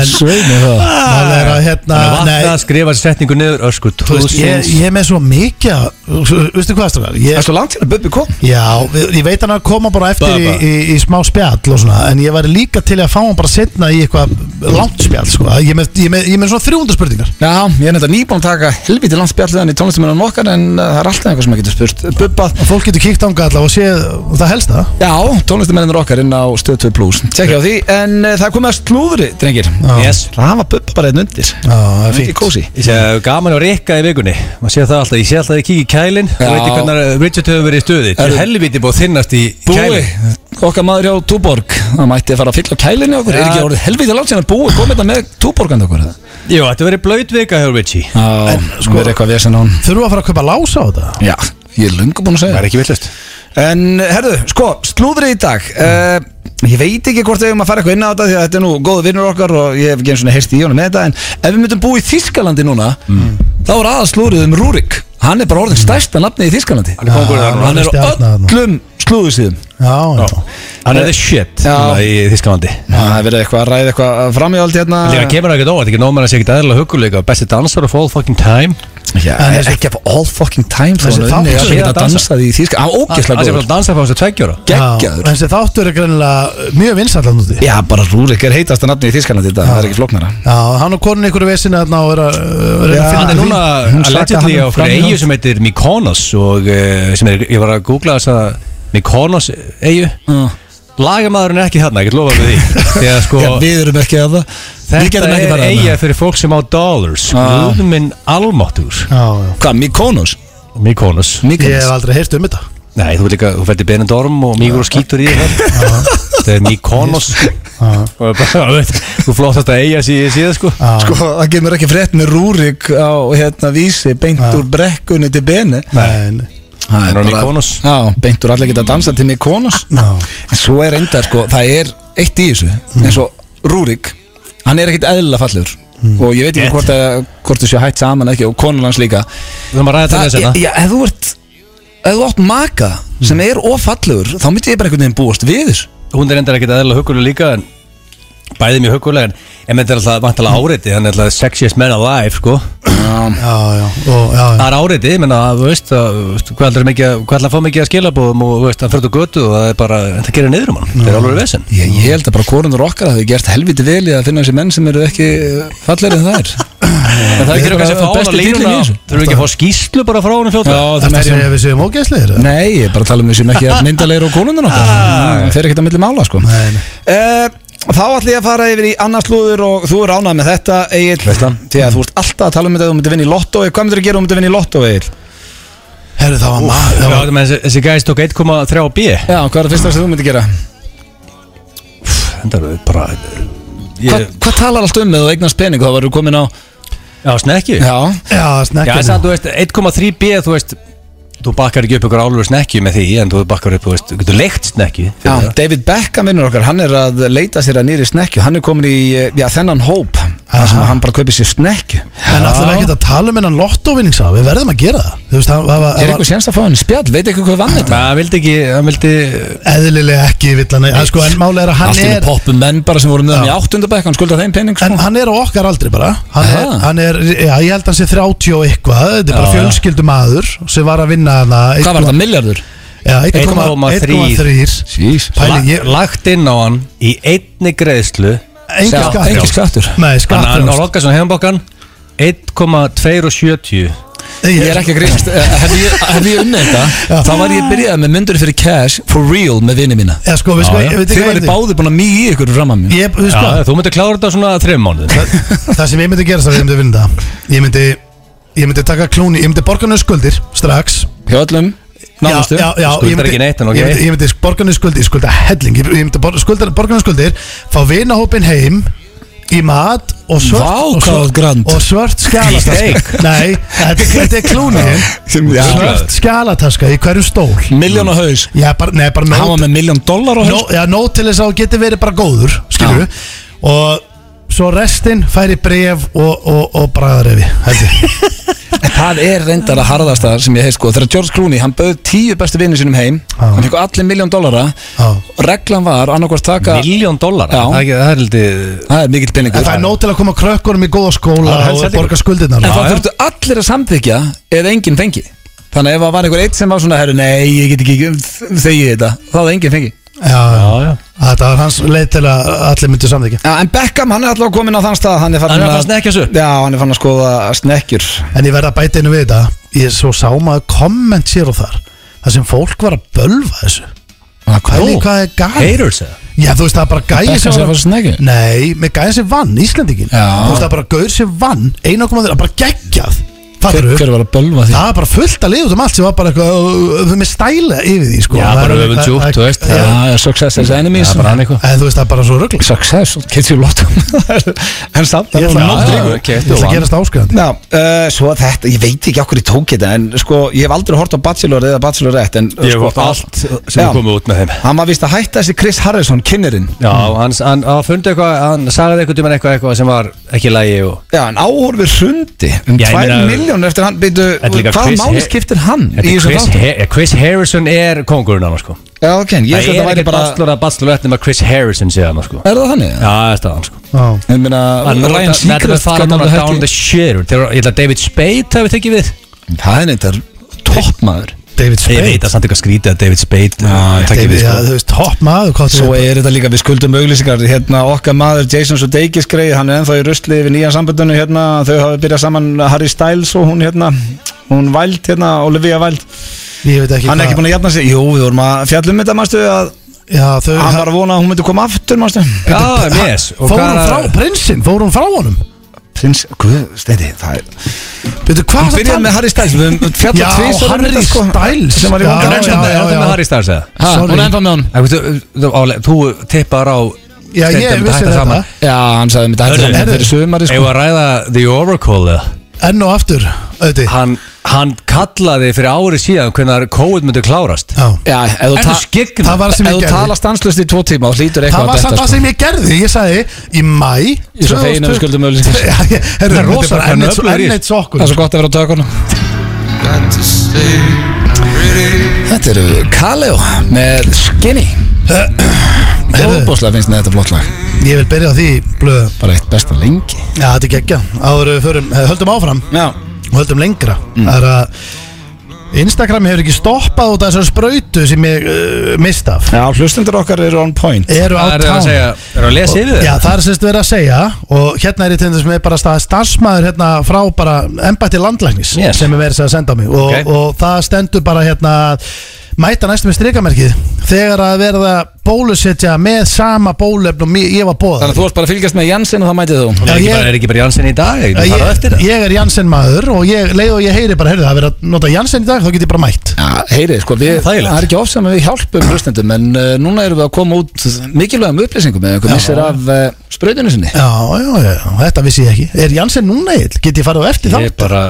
Sveinu það
Það er að hérna
að
nei,
vatna að skrifa sér setningu niður ösku
Þú veist, ég,
trúðsins
ég er með svo mikið að- þú- Veistu hvað strákar? Ég,
Það er svo langt hérna, Bubbi kom
já, við- ég veit hann að koma bara eftir í,
Bubba.
í, í smá spjall og svona En ég væri líka til að fá hann bara setna í eitthvað langt spjall sko. Ég er með, ég er með, ég er með svona 300 spurningar
Já, ég er nefnda nýbúin að taka helviti langt spjalliðan í tónlistumennan okkar en uh, það er alltaf eitthvað sem maður getur spurt Bubbað,
Og fólk getur kíkt ánga allavega og séð það helst það
já, tónlistumennanur okkar inn á Stöð 2 Plus Tjekkja á því, en uh, það er komið að slúðri, drengir
yes.
Það var Bubba bara einn undir
Já, það er
Mikið
fínt
kósi
Ég sé að gaman að rikka í vikunni maður sé það alltaf, ég sé alltaf að ég kík í kælin þú
Já.
veit ekki hvernig Richard hefur verið í stöði til
Herru.
helviti búið að þinnast í
Búi,
kælin
okkar maður hjá Túborg Það mætti að fara að fylla á kælinni okkur Er
Já.
ekki orðið helviti langt síðan að búi komið þetta með Túborgand okkur eða?
Jú, þetta verið blöyt vika hjá Richie
Já, sko, það er eitthvað vesen á hún
Þurfa að fara að kaupa lása á þetta?
Já, ég er löngu búin að segja
Það er ekki villust
En herðu, sko, slúðrið í dag uh, Ég veit ekki hvort við eigum að fara eitthvað inn á þetta Því að þetta er nú góðu vinnur okkar Og ég hef ekki eins og heyrst í honum með þetta En ef við myndum búa í Þískalandi núna Þá er aða slúðrið um Rúrik Hann er bara orðin stærsta nafni í Þískalandi
Hann er kóngurinn þarna.
Hann er á
Stjarna þarna.
öllum slúðusíðum
Já, já
hann er the shit
Já.
svona í Þískalandi
Það er verið eitthvað að ræða eitthvað framjáldi hérna
Líka kemur það ekkert óvænt, ekki nómar að sé ekkert aðeinslega huguleika Besti dansar of all fucking time
Já, e-
En þessi-
Ekki af all fucking time þó
Þessi
hann unni,
þáttur
hann geta
sem
ég dansa.
dansað í Þískalandi
Hann sé
Ágæslega
bara
góður
að dansa frá þessu tveggjóra
Geggjaður.
Já, En þessi þáttur er greinilega mjög vinsall hann úti
Já, bara Rúrik er heitasta nafni í Þískalandi þetta Það er ekki flóknara
Já, hann og konin ykkur vesinni þarna og er að, er að
Já,
Hann
finna
er
því.
núna
hún sakaði
allegedly
hann
á
um
fyrir
framhjáhald.
eigu sem heitir Mykonos og eh, sem er, ég var að googla þessa Mykonos eigu
Já.
Lagamæðurinn er ekki þarna, ég get lofað við því Þegar sko,
Já, við erum ekki að það Við
þetta
getum ekki
er
farið að
eiga fyrir fólk sem á dollars
Ah.
Guðminn almáttur
Já, já
Hvað, Mykonos?
Mykonos
Ég
Mykonos
hef aldrei heyrt um þetta
Nei, þú veit líka, þú fætti Benidorm og Mígur og skítur í það Þetta er Mykonos Og bara, veit, Þú flottast að eiga sér síðan sko
Sko, það kemur ekki frétt með Rúrik á hérna vísi beint úr brekkunni til beni
Nei, nei.
Það
Hann er Mykonos.
Já, beint úr allir geta dansa til Mykonos
Já.
En svo er enda, sko, það er eitt í þessu
Mm.
eins og Rúrik, hann er ekkit eðlilega fallegur
Mm.
og ég veit ekki hvort, að, hvort þessu hætt saman ekki og konul hans líka
Við höfum að ræða hérna til þess
já,
að
já, ef þú ert ef þú átt maka sem
Mm.
er ofallegur þá myndi ég bara einhvern veginn búast við þessu.
Hún er endar ekkert aðeinslega huggulega líka en bæði mjög huggulega en en þetta er alltaf vantilega áreiti hann er alltaf sexiest man alive sko
Já, já, og, já, já.
Það er áreiti, menna, þú veist, að, þú veist, hvað ætlar mikið að- hvað ætlar að fá mikið að skilabóðum og þú veist, hann fyrir út á götu og það er bara, það gerir niður um hann, það er alveg vesinn
Ég, ég held að bara korunar okkar hafi gert helviti vel í að finna þessi menn sem eru ekki fallegri en það er
En það er ekki kannski að fá hann
Besti
að línuna
díllinn í þessu.
Þurfum við ekki að fá skýslu bara frá hann fljóta
Já,
Þetta
það
er
er
að við séum ógeðslegir eða?
Nei, ég er bara að tala um þessum ekki að myndalegir og konunar okkar Þeir eru ekkert að milli mála sko
Nei, nei.
Eh, Þá ætlum ég að fara yfir í annars slúður og þú er ánað með þetta, Egil
Veistlan.
Því að þú ert alltaf að tala um þetta að þú myndir vinna í lottói Hvað myndir að gera að þú myndir vinna í lottói, Egil?
Herru, það var maður það
Já,
var-
menn, þessi- þessi gæst tók 1,3 á B
Já, hvað er það fyrsta sem þú myndir gera?
Þetta er bara
Hvað,
ég-
hvað talar allt um með þú eignast pening og það verður komin á
Já, snekki Já,
Já,
Já, snekkja
þess að þú veist, 1,3 B, þú veist Þú bakkar ekki upp ykkur álfur snekki með því En þú bakkar upp, þú veist, þú getur leikt snekki fyrir
já
það.
David Beckham vinnur okkar, hann er að leita sér að nýri snekju Hann er komin í, eh, já, þennan hóp Það sem að hann bara kaupir sér snekju
En alltaf við ekki að tala um hennan lottóvinningsa Við verðum að gera það Þú veist, það það var,
Er
það
eitthvað
var
sénst að fá henni spjall, veit ekki hvað vann
Nei,
þetta?
Hann vildi ekki, hann vildi
eðlilega ekki villan En sko, en máli er að hann
Allt í með
er
poppum menn bara sem voru með hann í áttundabæk Hann skulda þeim pening
En
sko.
hann er á okkar aldrei bara Hann er,
Aha.
hann er já, ég held að hann sé 30 og eitthvað Þetta er bara
Já, já.
fjölskyldum aður sem var að vinna hana
Hvað var það, miljardur?
Já, 1,3
Jís
Pæli, ég-
lagt inn á hann í einni greiðslu
Engin
Sjá,
skattur.
engin skattur.
Nei,
Þannig að
skattur
hann lokkar sem heimbokkan 1,270
Ég er ekki að grínast Eh, Hefði ég, hef ég unnið þetta Þá var ég byrjað með myndur fyrir cash For real með vini mína
Já, sko, við sko,
Já, já.
ég veit
Þið
ekki
væri báði búin að mýja í ykkur fram að mér
Ég, þú veist
Já,
hvað,
þú myndir klára þetta á svona þreim mánuð
það- það sem ég myndi gera það sem ég myndi vinna það Ég myndi, ég myndi taka klóni, ég myndi borga nöðu skuldir strax
Hjá öllum Náðustu
já, já, já,
Skuldar
ég myndi-
ekki neitt, en ok.
Ég myndi, ég myndi borga nöðu skuldir, ég skulda helling Ég, ég myndi bor- skuldar, borga nöðu skuldir, fá vinahópin heim Í mat og svört
Vá,
og
hvað
svört-
þú ert grand.
Og svört skjálataska Nei, þetta, er- þetta er klóni
já.
Svört skjálataska í hverju stól
Miljón á haus
Já, bara, nei, bara
Hann
nót
var með miljón dólar á haus
Nó, já, nóg til þess að þú geti verið bara góður skilur við og svo restin færi bref og, og, og bræðarefi held ég
Það er reyndar að harðasta sem ég hef sko Þegar George Clooney, hann bauð tíu bestu vinnu sínum heim
Já.
Hann fekk allir miljón dólara
Já.
Reglan var annarkvort taka
Miljón dólar
Já.
Það er ekki- það er lítið
Það er mikill
en
peningur
það er nóg til að koma krökkunum í góða skóla
Það er helst
og
hellingur.
borga skuldirnar
En
já,
það þurftu allir að samþykja eða enginn fengi Þannig að ef það var einhver eitt sem var svona herru, Nei, ég get ekki þegið þetta Þá það enginn fengi
já.
já
þetta var hans leið til að allir myndu samþykja
ja, En Beckham, hann er alltaf komin á þann stað Hann er
Hann
farin
er að fara að snekkja þessu.
Já, hann er farin að skoða snekkjur
en ég verða að bæta einu við þetta ég svo sá maður komment sér og þar þar sem fólk var að bölva þessu Pæli,
Nú,
hvað er gæði?
Haters eða?
Já, þú veist, það er bara gæði
Beckham sem var að snekkja
Nei, með gæði sem vann, Íslandingin
Já.
Þú veist, það er bara gaur sem vann 1,3, bara geggjað Fattarðu?
Hver var að bölva því
Það var bara fullt að liða út um allt sem var bara eitthvað ö, ö, með stæla yfir því sko.
Já,
Það
bara
er-
öfund djúpt,
það-
þú veist.
Já.
Já, success is enemies
Það er bara hann eitthvað
En þú veist, það er bara svo ruggl
Success, get you lot En samt
Ég
Já,
ætla að-
já,
Ég ætla að gerast áskrifandi
Já, uh, svo þetta, ég veit ekki okkur ég tók þetta En sko, ég hef aldrei hort á Bachelor eða Bachelorette en,
Ég
sko,
hef allt sem
Já.
er komið út með þeim
Hann var vist að hætta þessi Chris Harrison, kynnerinn
Já, hann, hann, hann fundi eitthvað, hann sagði eitthvað tíma eitthvað, eitthvað sem var ekki lægi og
Já, en áhorfið hrundi um
Já,
2
ég meina-
miljónur eftir hann byrju,
Þetta er líka
hvað
Chris
máli
He-
skiptir hann í
Þetta er
þessu
Chris,
þáttum?
Har- Chris Harrison er kongurinn hann sko
Já, ok, en ég
Það
sko þetta
er
væri
ekkert
bara
bachelor að bachelorette nema Chris Harrison sé hann sko Já,
Er það þannig?
það er staðan sko
Já.
Ég meina,
Hann er
Ryan
þetta er
Seacrest
farað
hvernig
núna
hann
down the
hætti-
shitter Þegar- Ég held að David Spade hafi tekið við
Það er neitt, toppmaður
David
Ég veit
Spade
að samt eitthvað skrítið að David Spade
Já,
uh, taki
David,
við,
já,
sko.
þú veist, topp maður hvað
Svo
þú-
er þetta líka, við skuldum auglýsingar Hérna, okkar maður Jason Sudeikis greið Hann er ennþá í rusli við nýja samböndunum hérna Þau hafa byrjað saman Harry Styles og hún hérna Hún væld hérna, Olivia væld
Ég veit ekki
Hann er ekki búin að jafna sig Jú, við vorum að fjallum þetta, mástu að
Já, þau
Hann var að vona að hún myndi koma aftur, mástu
Já, yes og
Fór hún
hvað-
frá, prinsinn, fór hún frá honum
Prins, guð, stendi, það er
Veitu, hvað
Hún
það
byrjaði með Harry Styles Við höfum
um? Já,
fjallað tvisvar um
Harry
þetta, sko.
Styles.
Sem var í
En
Já,
er
vandræðum hérna.
þetta er
já,
þetta
já.
með Harry Styles eða?
Ha, Hún
Sorry.
er ennþá með hún
Þú, þú, álega, þú tippar á
Já, ég
Steindór,
vissi
hætta
þetta.
saman.
Já, hann sagði mér
Hörðu,
þetta
hörðu.
fyrir sumari
Eigum
sko.
við að ræða The Oracle eða?
Enn og aftur, auðviti
hann, hann kallaði fyrir ári síðan hvernig COVID myndi klárast
Já
Já, ef þú
Er
ta-
þú skegg
Það var sem
ef
ég
þú
gerði
tala stanslust í tvo tíma þá hlýtur
Það
eitthvað
var
að
samt
detta
það
sko.
sem ég gerði, ég sagði í mæ
Ég er svo fegin að við skuldum auglýsingar.
Já, ég-
Það
herru,
er
þetta er
rosa
bara
hvernig
enn eitt-
öflugir í
enn
þessu.
eitt sokkur
Það er svo gott að vera á tökunum
got to stay.
Þetta eru Kaleo með Skinny Óbúslega finnst mér þetta flott lag
Ég vil byrja á því blöðu
Bara eitt besta lengi
Já, þetta er geggja Áður en við förum, eh, höldum áfram
Já
og höldum lengra
Mm.
Það er að Instagram hefur ekki stoppað út af þessar sprautu sem ég uh, mist af
Já, hlustendur okkar eru on point
Eru á
Það er að
tán
segja, er að lesa yfir
Já,
þér?
það er semst verið að segja og hérna er ég til þess með bara stað starfsmæður hérna frá bara embætti landlæknis
Yes.
sem er verið að segja að senda á mig og,
Ok.
og það stendur bara hérna að mæta næstum með strikamerkið þegar að verða bólusetja með sama bólefn og mér- ég var bóða
Þannig að þú varst bara að fylgjast með Janssen og það mætið þú
Er ekki bara- Er ekki bara Janssen í dag? Er ekki
ég,
bara eftir það?
ég er Janssen maður og ég, leið og ég heyri bara, heyrðu það er verið að nota Janssen í dag þá get ég bara mætt
Já, heyri, sko, við, það
Þægilegt.
er ekki ofsam að við hjálpum hlustendum en uh, núna erum við að koma út mikilvægum upplýsingum eða einhver missir af uh, sprautinu sinni
Já, já, já, þetta vissi ég ekki Er Janssen núna eill? Get ég farið á eftir
Ég
þátt?
bara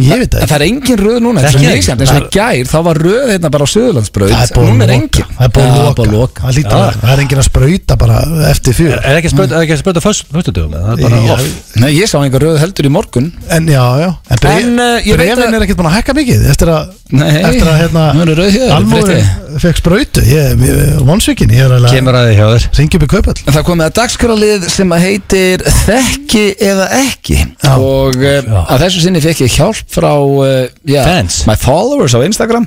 Ég veit
En
það
það er engin röð núna, þetta
Þekki
er
ég
mikilvægt eins og í gær, þá var röð hérna bara á Suðurlandsbraut
Það er búin
Núna er
að loka
engin
Það er búin
Já,
að
búið
loka.
loka
Það
Já.
hlýtur að vera. Það er engin að sprauta bara eftir fjör
Er ekki að spöta- er ekki að spöta föstutum? Það er bara
Já.
off
Nei, ég sá einhver röð heldur í morgun
En já, já En, bre
En, eh, ég veit
brefin
að-
er ekkert búin að hækka mikið Eftir að,
Nei,
eftir að hérna
nú eru rauð hér,
Almúri fekk sprautu Ég er vonsvikin Ég er alveg
Kemur að því hjá þér
Ringi upp í kaupall
En það komið að dagskrálið sem að heitir Þekki eða ekki
Já.
Og uh, að þessu sinni fekk ég hjálp frá uh, já,
Fans.
My followers á Instagram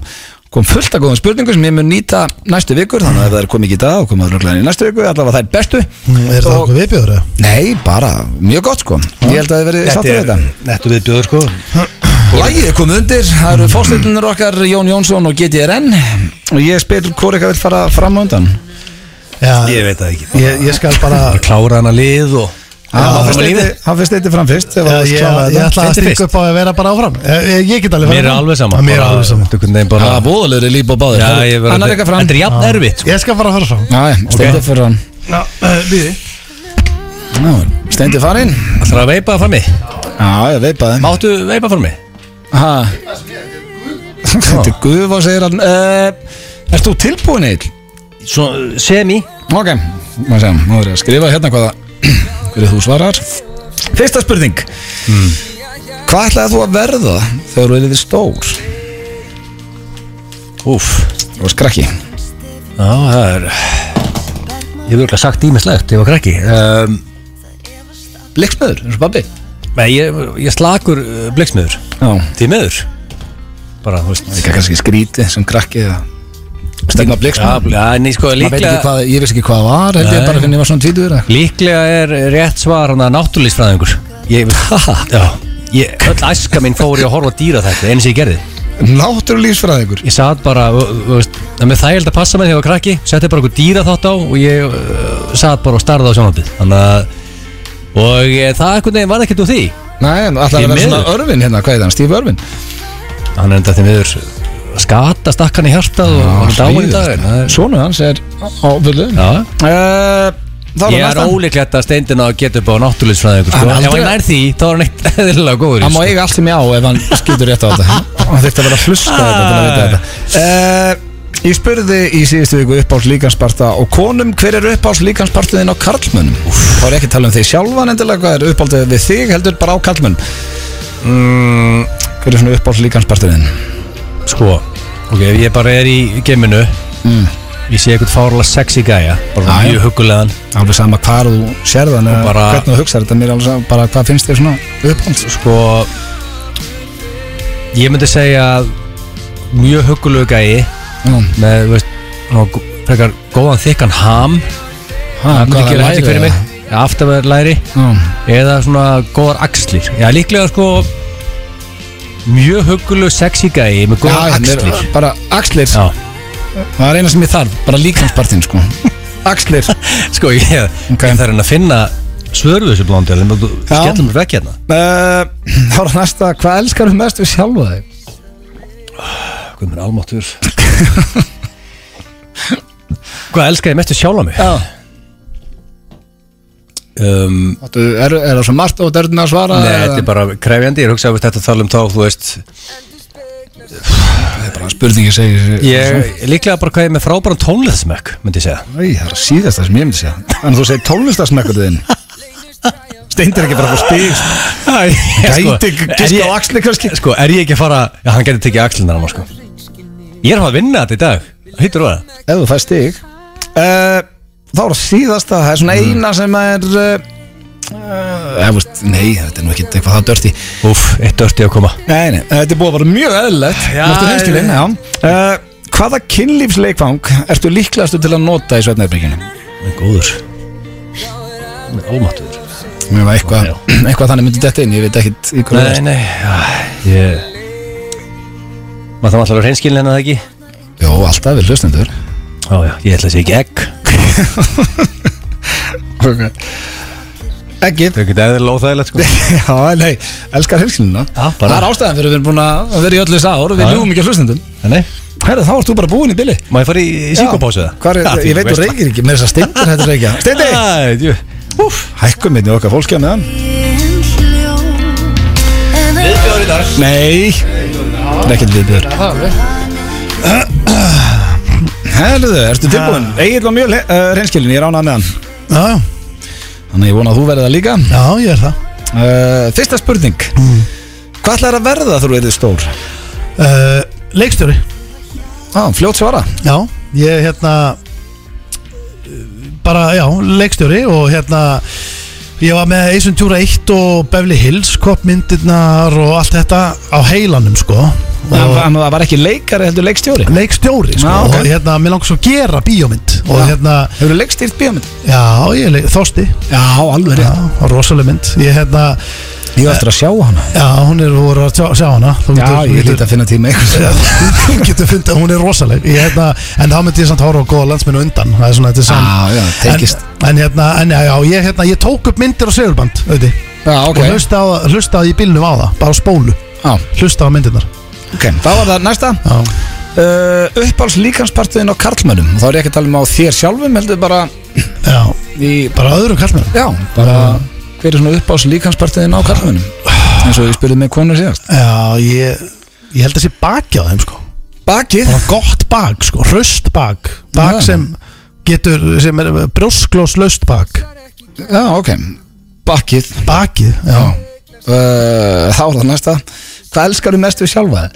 Kom fullt að góðum spurningum sem ég mun nýta næstu vikur Þannig að ef það er komið ekki í dag og komið að röglega í næstu viku Allavega það er bestu
Er Mm, það okkur viðbjóður? eða?
Nei, bara mjög gott sko Ég held að þið verið satt við þetta
nettu viðbjóður sko
Lægið er komið undir, það eru fórstættunir okkar Jón Jónsson og GTRN og ég spyr hvort eitthvað vil fara fram á undan
Já,
Ég veit það ekki
ég, ég skal bara
Klára hana lið og
Hann
Áfram að lífi.
fyrst eitthvað fram fyrst ef
Já,
hann vill
ég,
klára
ég
þetta.
ætla að
Finnst þér
stinga upp á að vera bara áfram Ég, ég- ég get alveg farið
Mér er
fram.
alveg sama
Já, Mér er
bara-
alveg sama
Þetta er einhvern veginn bara
Það er voðalegur líf og báðir
Já, ég verður
Annar eitthvað fram
Þetta er jafn erfitt sko.
Ég skal bara fara fram
Já, stendur fyrir hann
Já,
eh,
uh, líði
Já, Stendur farinn
Það er að veipa frammi
Já, ég veipaði
Máttu veipa frammi?
Ha. Þetta er gufa, segir hann uh, Ert þú tilbúin eill?
Svo, semi
Ok, maður segja, nú er ég að skrifa hérna hvaða hverju þú svarar Fyrsta spurning
Hmm.
Hvað ætlaði þú að verða þegar þú erið stór?
Úf
Þú var skrakki
Já, það er Ég hef örugglega sagt ímislegt, ég var krakki um,
Blikksmöður, eins og babbi
Nei, ég, ég slakur uh, bleiksmiður
Já, það
Því miður Bara, þú veist
er kannski skrítið sem krakki að stegna
Já,
blikksmöður
já, nei, sko,
Ég veit ekki
líklega,
hvað, ég veist ekki hvað það var held ég
Nei.
bara hvernig ég var svona tvítur
líklega er rétt svar hann að náttúrlýsfræðingur Ég, já ég, Öll æska mín fór ég að horfa á dýra þetta eins og ég gerði
Náttúrulífsfræðingur
Ég satt bara, þú- þú veist, það með þægild að passa með því að ég var krakki Setti bara okkur dýra þátt á og ég uh, satt bara og starði á sjónandið Þannig að, og ég, það einhvern veginn var ekkert úr því
Nei, en ætlaði
Því
að vera
miður.
svona örvin hérna, hvað er það, Steve Örvin
Hann er enda því miður skata stakkan í hjartað og hann dáin í dag en það er-
Sónu hans er á fullu
Já,
Eh, þá
Ég er
næsta.
ólíklegt að steindin á að geta upp á náttúrlýsfræðingur sko.
Hann
Ef
aldrei-
hann nær því, þá er hann eitt eðlilega góður í,
Hann má
sko.
eiga allt sem ég á ef hann skýtur rétt á þetta Hann þurfti að vera að hlusta á þetta til að
Ah.
vita þetta uh, Ég spurði í síðustu viku uppáhalds líkansparta og konum hver er uppáhalds líkanspartuðin á karlmönnum Þá er ég ekki að tala um þig sjálfan endilega hvað er uppáhaldið við þig heldur bara á karlmönn
Mm.
Hver er svona uppáhalds líkanspartuðin? e-
Sko, ok, ef ég bara er í geminu Ég sé eitthvað fárlega sexy gæja Bara
Mm. Já, já.
mjög huggulegan
Alveg sama hvar þú sér þann
bara-
hvernig þú hugsar þetta mér er alveg sama bara hvað finnst þér svona uppáhalds
Sko Ég myndi segja að Mjög huggulegu gæji
Já,
Með, veist, ná, gó- frekar góðan þykkan ham
ha,
Það myndi
hvaða
gera hætti
læri
fyrir mig
eða?
Aftarverð læri
Já.
Eða svona góðar axlir Já, líklega sko Mjög huggulegu sexy gæji
Já,
Með góðar
mér-
axlir
bara axlir
Já,
það er eina sem ég þarf, bara líkanspartin sko axlir
sko ég,
Ok.
ég þarf að finna svöru þessu blóndi
Já.
Skellum við vekk hérna
Uh, þá er næsta, hvað elskar þú mest við sjálfa þig?
Guð minn almáttur Hvað elskar ég mest við sjálfa mig?
Já
Um,
Er, er það svo margt og dörðin að svara?
nei,
eða-
þetta er bara krefjandi Ég hugsa að við þetta tala um þá, þú veist
Það er bara spurningi segir
Ég líklega bara hvað ég er með frábæran tónliðsmekk myndi ég segja
Æ, það er síðast það sem ég myndi segja Þannig að þú segir tónlistasmekkur þinn Steindir ekki bara að fá stíg
Æ,
Gæti giska á
axli kannski Sko, er ég ekki að fara Já, hann getur tekið axlinar hann, sko Ég er að fara að vinna þetta í dag Hittur þú það?
ef þú fær stig uh, þá er það síðasta það er
Mm.
svona eina sem er uh, uh, veist, nei, þetta er nú ekkert eitthvað það dörti
Úf, eitt dörti að koma
nei, nei, þetta er búið að vera mjög eðlilegt
Já,
Máttu hreinskilinn, já. uh, hvaða kynlífsleikfang ertu líklegastu til að nota í svefnaðurbygginu
Hann er Góður Hann er Ómáttuður
eitthvað, eitthvað þannig myndi þetta inn ég veit ekkert í hverju
Nei, nei já, Ég Maður þarf alltaf að vera hreinskilin hennar það ekki
það er. jó, alltaf við hlustendur
Já, já, ég ætla að segja ekki egg
okay. ekkert
Það er ekki eðlilega óþægilegt sko
já, nei, elskar hreinskilina
Já, bara.
það er ástæðan fyrir við erum búin að vera í öllu þess ár við
Já.
ljúum ekki að hlustendum
Nei,
Herra, þá ert þú bara búin í billi
má ég fara í, í Ah, síkopásu það?
Hvar er, ég veit þú reykir ekki, með þess að Steindir hættir reykja Steindi,
Steindi
hækkum einnig okkar hérna. fólkja með hann
Viðbjóður í dag
Nei, það er ekkert viðbjör Herðu, ertu tilbúin? Egil var mjög le- uh, reynskilin, ég ránað með hann
Já, já,
Þannig ég vona að þú verði það líka
já, ég er það
uh, Fyrsta spurning Hvað ætlar að verða þegar þú verður stór?
uh, Leikstjóri
Á, fljótt svara
Já, ég hérna uh, Bara, já, leikstjóri Og hérna Ég var með Ace Ventura 1 og Beverly Hills Kopmyndirnar og allt þetta Á heilanum, sko
Það
og
var- það var ekki leikari heldur leikstjóri
Leikstjóri, sko
Já, ok.
Og hérna, mér langar svo að gera bíómynd Og
Já.
hérna,
Hefur leikstýrt bíómynd?
já, ég er leik, Þorsti
Já, alveg
Já, rosaleg mynd Ég hérna,
Ég var eftir að sjá hana
já, hún er voru að sjá, sjá hana Þú
Já,
getur- þú
ég
getur-
hlýt að finna tíma eitthvað
Þú getur fundið að hún er rosaleg ég, hérna, En þá myndi ég samt horfa á góða landsminu undan Það er svona þetta er sam
Já, já, tengist.
En, en, hérna, en já, já, ég, hérna, ég tók upp myndir og segulband auði,
Já, ok
Og hlusta á, hlusta í bílnum á það Bara á spólu,
Já,
hlusta á myndirnar
ok, þá var það næsta
Já,
uh, uppáhalds líkanspartiðin á karlmönnum og þá er ég ekki að tala um á þér sjálfum heldur bara
já
í
bara öðrum kallmenn
já, bara hver er svona uppáhalds líkanspartiðin á karlmönnum eins og ég spurði með konur síðast
Já, ég, ég held að sé baki á þeim sko
bakið
Bara gott bak, sko, hraust bak Bak
Já.
sem getur, sem er brjósklóslaust bak
já, ok, bakið
Bakið, já,
já, uh, þá er það næsta hvað elskar þú mest við sjálfa þig?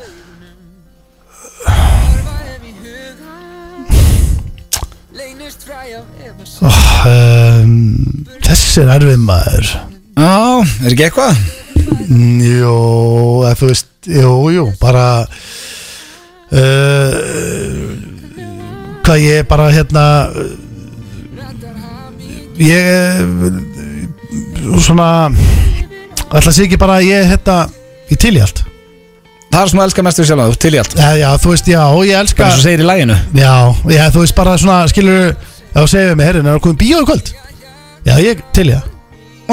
Um, Þessi er erfið maður
já, er ekki eitthvað?
Mm, Jú, eða þú veist, jú, jú, bara uh, Hvað ég bara, hérna uh, Ég eh, Svona Ætla að sé ekki bara að ég, hérna Ég til í allt
það er svona elskar mest við sjálfa þig, til í allt
Já, já, þú veist, já, ég elska
bara eins og segir í læginu
Já, já, þú veist bara svona, skilur Ef þú segir við mig, herrin, er það komið bíó í kvöld? Já, ég til í það,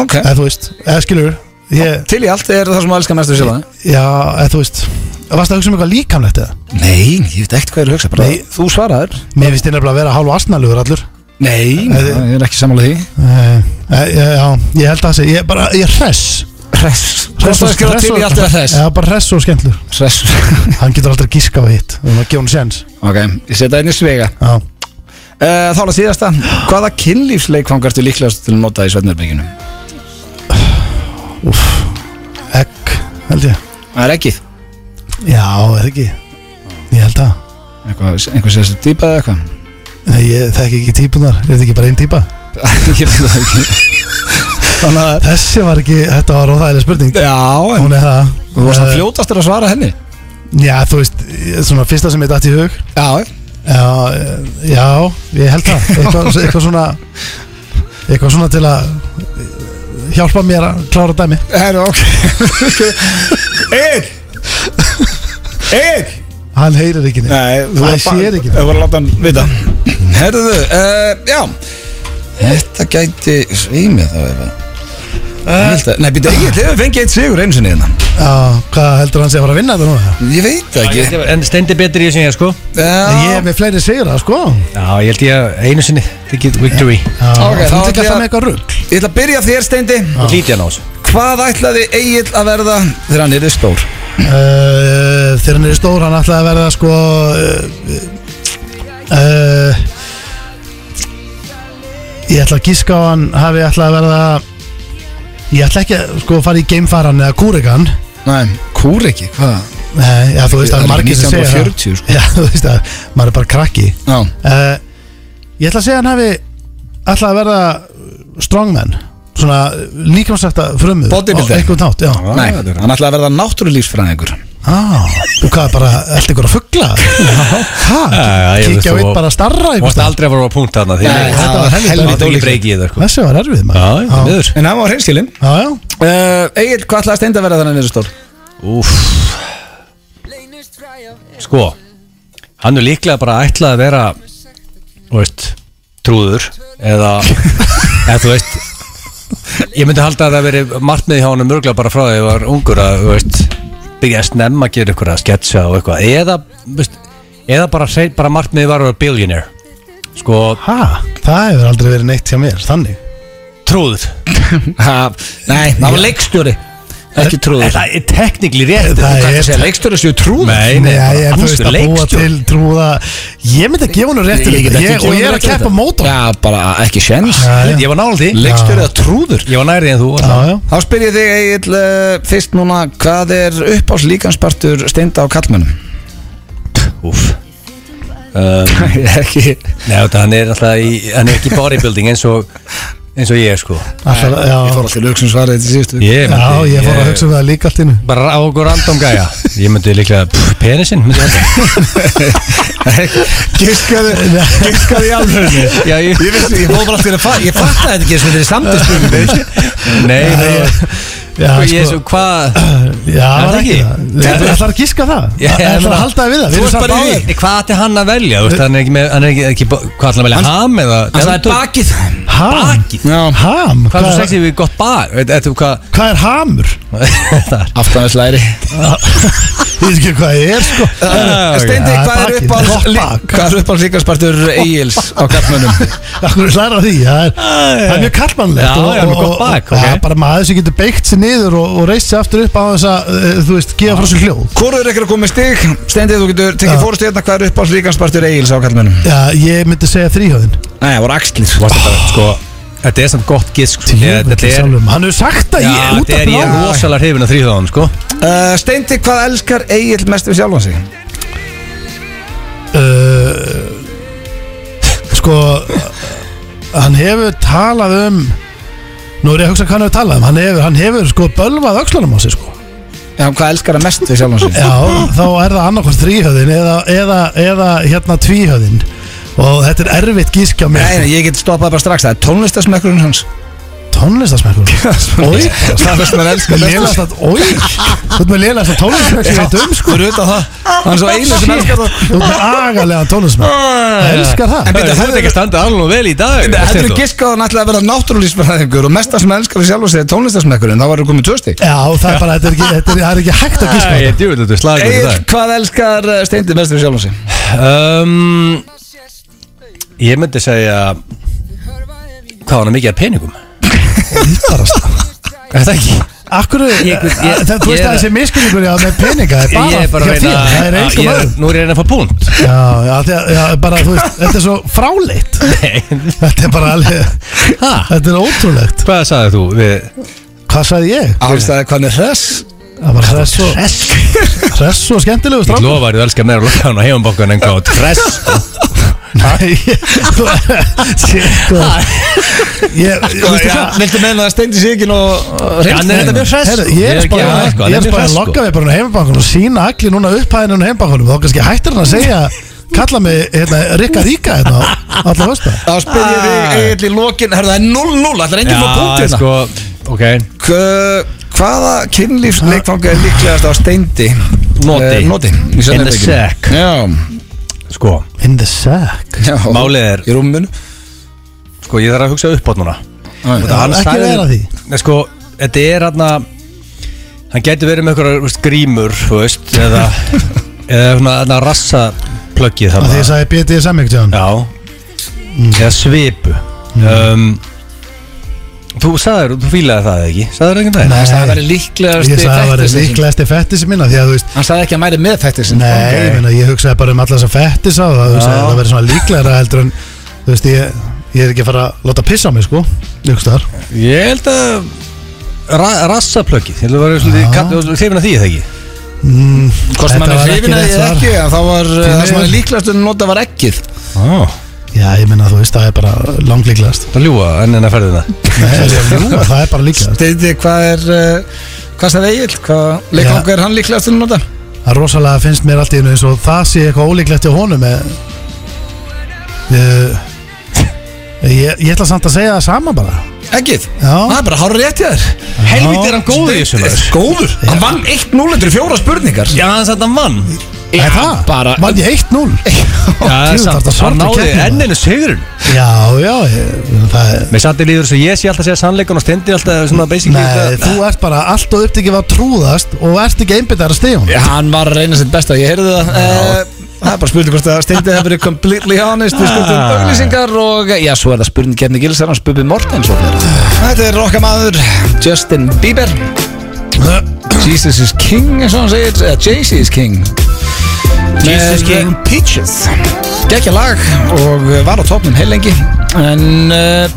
ok,
eða þú veist, eða skilur Ég,
til í allt er það sem þú elskar mest við sjálfa þig?
Já, eða þú veist Varst það að hugsa um eitthvað líkamlegt eða?
nei, ég veit ekkert hvað ég er að hugsa bara,
Nei.
þú svaraður
Mér finnst ég nefnilega að vera hálf asnalugur allur
nei, ég er ekki samanlega því
Nei, e- e- Já, ég held að það sé Ég er bara, ég er hress
Hress Hress og skrifa til í allt eða hress
Já, bara hress og skemmtlur
Hress
Hann getur aldrei giska á hitt Við erum að gefa hann séns
Ok, ég setja einn í svega
Já
uh, Þá er það síðasta Hvaða kynlífsleikfang ertu líklegast til að nota í Sveinurbygginu?
Egg, held ég
Það er ekkið
Já, eða ekki Ég held að
Eitthvað, einhver sér þessi dýpa eða eitthvað
Nei, ég þekki ekki típunar Er þetta ekki bara einn típa?
Ég veit það ekki Þannig að
Þessi var ekki, þetta var óþægileg spurning
Já, en
Hún er það
þú varst að
Eh,
fljótastur að svara henni
Já, þú veist, svona fyrsta sem ég dætt í hug
Já,
Já, eh, já, ég held það eitthvað, eitthvað svona eitthvað svona til að eh, hjálpa mér að klára dæmi
herru, ok Egil Egil
hann heyrir ekki neitt
Nei, þú
Æ,
var bara-
sér ekki.
Þú var að láta hann vita Herðu, uh, já Þetta gæti svýmið þá ef að Ég held að- Nei, býta, ég hefur fengið eitt sigur einu sinni hérna
Já, hvað heldur hann sé að fara að vinna þetta núna?
Ég veit það ekki
En stendi betri í þessu en ég sko
Ég
Já,
er með fleiri sigra, sko
Já, ég held ég að einu sinni Ticket victory
Já,
Ok,
okay,
þá
Þú ert
ætla
ekki
ég
alltaf
að-
með eitthvað rugg
Ég ætla að byrja þér, Steindi
Lítið hann á þessu
Hvað ætlaði Egil að verða þegar hann er stór?
uh, Þegar hann er stór, hann ætlaði að verða sko uh, uh, Ég ætla að gíska á hann hafi ætlaði að verða Ég ætla ekki að sko, fara í geimfaran eða kúrikan
Nei, kúr ekki, hvað?
Nei, já, þú veist,
Það
það
er
er margir sem segja
1940 sko.
Já, þú veist að maður er bara krakki
Já,
uh, Ég ætla að segja hann hafi ætla að verða eh, strongman Svona líkamsækta frumur
Bodybuilder.
Á einhvern nátt, já
nei, hann ætlaði að verða náttúrulífsfræðingur
ah, Þú hvað, bara allt ykkur að fuggla
Já,
Hæ,
já, ég veist,
kíkja á
þú-
eitt bara að starra
Þú varst aldrei að fara á punkt þarna því
Nei,
ég-
það var
þetta var helvítið
Ég
helvítið
veit ekki
ólíkt.
breykið þetta sko
Þessi var erfið
Já,
maður
já, miður
En hann var hreinskilin
já, já.
uh, Egil, hvað ætlaði að steinda að verða þannig niður stór?
Úf Sko Hann er líklega bara ætlað að vera Þú veist Trúður Eða Eða þú veist Ég myndi halda að það veri markmið hjá hann Mörglega bara frá því að ég var ungur að Þú veist Byrja að snemma að gera ykkur að sketsa og eitthvað Eða þú veist, Eða bara, hrein- bara markmiði var að vera billionaire Sko
Ha, það hefur aldrei verið neitt hjá mér, þannig
Trúður
Ha, Nei, hann var leikstjóri Ekki
En
trúður
Það er teknikli rétt
Það
Hvað
er-
er að segja, leikstjóri séu trúður?
Nei,
Nei,
nei,
ég
bara
er þú veist að búa
leikstjóri.
til trúða Ég myndi að gefa hún réttu
Ég get
réttir
ekki
ég,
gefið
Og ég er
honum
að
rétt
keppa
þetta.
mót honum.
Já, bara ekki sjens
Já, já.
Ég var nála því
Leikstjóri eða trúður
Ég var nærið en þú
Já, já
Þá spyr ég þig Egil uh, fyrst núna hvað er uppás líkanspartur steinda á kallmönnum?
Úf um,
ekki
Nei, þetta, hann er alltaf í, hann er ekki í bodybuilding eins og, eins og ég sko
Alltaf, já,
Ég fór alltaf lögsum svarið til síðustu
Ég
já, ég fór að hugsa um það líka allt innu
Bara á okkur random gæja Ég myndi líklega, pff, penisinn myndi ég halda.
Giskaði, giskaði í alvörni
Já, ég
Ég vissi, ég fór bara alltaf að fatta Ég fattaði þetta ekki sem þetta er samtispurning
Nei, nei,
Já,
sko, ég er
sko,
svo, hvað Er
já, var
það
ekki
ekki?
Það Það ætlar að gíska það
Já, ég
Það ætlar
meina-
að halda það við það
Þú
Við
ert
erum samt
bara í
báðir
því.
Hvað ætti hann að velja, þú veist, hann er ekki með, hann er ekki, ekki hvað ætla að velja, ham eða
Hann sagði bakið
Ham
Bakið
Já
Ham
Hvað er
Hvað
svo
er-
sexið við gott bak, veit, veit, hvað
hvað er hamur?
Það er
Aftanislæri
Ég veit ekki hvað það er sko
Steindi,
Já,
hvað er
bakið,
uppáhalds
gott
lí-
bak.
Hvað er uppáhalds líkanspartur Egil's á kallmönnum?
Akkur slæra því Það er, það er mjög kallmannlegt
Já,
og-
já, með
og-
gott bak,
og-
ok.
Já, bara maður sem getur beigt sér niður og, og reist sér aftur upp á þess að eh, þú veist, gefa frá sér hljóð
Hvor er ekki að koma með stig? Steindi, þú getur tekið
Já.
fórstu hérna Hvað er uppáhalds líkanspartur Egil's á kallmönnum?
Já, ég myndi segja þríhjóðin
Nei, það voru axlir
Varstu bara, sko, þetta er samt gott gisk sko. Ég- Þetta er,
Hann hefur sagt að
já,
ég út
þetta
af
er ég
bláðu
rosalega hrifin að þrýðaðan, sko
Uh, Steindi, hvað elskar Egil mest við sjálfan sig?
uh, Sko Hann hefur talað um Nú er ég að hugsa hvað hann hefur talað um Hann hefur, hann hefur sko bölvað öxlanum á sig sko
Já, hvað elskar hann mest við sjálfan sig?
Já, þá er það annarkvæmst þríhöðin eða, eða, eða hérna tvíhöðin Og þetta er erfitt gísk á mér
Nei, nei, ég get stoppað bara strax, það er tónlistasmekkurinn hans
Tónlistasmekkur Ói
Það er það sem hann elskar mest
Lélast að, ói Þú ert með lélast að tónlistasmekkur sem ég veit um sko
Fyrir utan það, hann er svo einu sem elskar það
Þú ert með agalega tónlistasmekkur Það elskar það
En býta,
Það er ekki að standa alveg vel í dag
Þetta er
Steindór.
giskað hann ætlaði að vera náttúrulísfræðingur og mesta sem hann elskar við sjálfan sig er tónlistasmekkurinn þá varum við komið tjóðstík
Já, það er bara, þetta er ekki, þetta er, það er ekki hægt að gíska á
Æ,
þetta.
ég djúvel þetta er slagur í
Egil,
dag
hvað elskar eh, Steindi mest við sjálfan sig?
um, Ég myndi segja Hvað hann er mikið af peningum Er það ekki?
Akkur,
Ég- ég-
það, þú
ég
veist
er-
að þessi miskunningur já, með peninga er bara,
Ég er bara
hjá
að
þér,
reyna
það er
ég
einhver
er-
maður
Nú er ég að reyna að fá punkt
Já, já, því að, já, bara, þú veist, þetta er svo fráleitt
Nei.
Þetta er bara alveg,
Ha?
þetta er ótrúlegt
Hvað sagði þú? Við,
Hvað sagði ég?
Ástæði hvað hann er hress
Það var hress og, hress og skemmtilegu
ég
strafn
lofa að þú elskar meira lukkan og hefumbokkan en hvað Tress
Nei, ég, þú, sko Ég,
Sko,
þú veist það
Viltu meina að Steindi sé ekki nú eh,
Hann er þetta mjög hress
Herru, ég er
ekki að-
bara
hann
ég er
mjög hress,
bara að
sko.
logga við bara hún heimabankunum og sína allir núna upphæðinu hún heimabankunum þá kannski hættir hann að segja kalla mig hérna, Rikka Ríka hérna á- alla hösta
Þá spyr ég þig Egil í lokin, herru það er 0-0, ætlar enginn fór
Ah. Já,
hérna.
punktina
sko, ok
hérna? Hva- Hvaða kynlífsleikfanga er líklegast á steindi?
Noti.
Eh, Noti í
In the
seinni leikinn?
sack.
Já,
Sko,
In the sack
já
Málið er-
Í rúmunu
sko, ég þarf að hugsa upp á núna
Já,
hann
ekki
sagði-
vera því.
Nei, sko, þetta er hann hann getur verið með einhverjar þú veist, grímur þú veist, eða eða svona þarna rassaplöggið
að því ég
þarna
sagði Mm. BDSM ekkert hjá hann
já eða svipu
Mm.
um, þú sagður, þú fílaði það ekki sagður ekki það?
Nei.
Það sagði að vera líklegast
ég sagði að það var líklegast í fettis minna því að þú veist
Hann sagði ekki að mæri með þetta
nei, ég, meina, ég hugsaði bara um alla þess að fettis á það þú veist
Já.
að það verið svona líklegra heldur en þú veist ég ég er ekki að fara að láta pissa á mig sko, ykkur staðar
ég held að ra rassaplöggið Ég ætla að vera svolítið kall- og hrifin af því, eða ekki?
Hvort
Þetta
mann er
var ekki
hrifin að
rétt
því eða
svar.
ekki En það var eh,
Því
það sem
miður.
var líklegast að nota var ekkið
Á,
Já, ég minna þú veist, það er bara langlíklegast
það ljúa enn en að ferðina
Nei, jú, það er bara líklegast
Steiti, hvað er eh, Hvað sagði Egil? Hvað leikang er hann líklegast um að nota?
Það er rosalega finnst mér allt í hennu eins og það sé eitthvað ólíklegt hjá honum eh, ég, ég, ég, ég ætla samt að segja það sama bara
Ekkið?
Já.
Það er bara hár rétt hjá þér
Helviti er hann góður í þessu maður.
Góður, hann vann 1-0 eftir fjóra spurningar
Já, þannig að hann vann
Er það?
bara-
Vann ég 1-0?
Já,
djú,
samt,
þarna
hann
svarta
náði
keppnin, maður.
enninu sigurinn
Já, já, ég, það er
Mér satt í líður þess að ég sé alltaf að segja sannleikan og stendi alltaf svona basically
Nei,
þetta-
þú ert bara allt og upptikið að trúðast og ert ekki einbyttar að stíðum
Hann var að reyna sitt besta, ég heyrði það Eh, Það er bara spurning hvort að Steindi hefur verið completely honest Við skuldum
Ah.
auglýsingar og eh, Já, svo er það spurning kemni gilsar hans Bubi Mortens og fleira. Þetta er okkar maður Justin Bieber Jesus is king, eins og hann segir Eða JC is king eh,
Jesus King
Peaches Gekja lag og eh, var á topnum heil lengi En uh,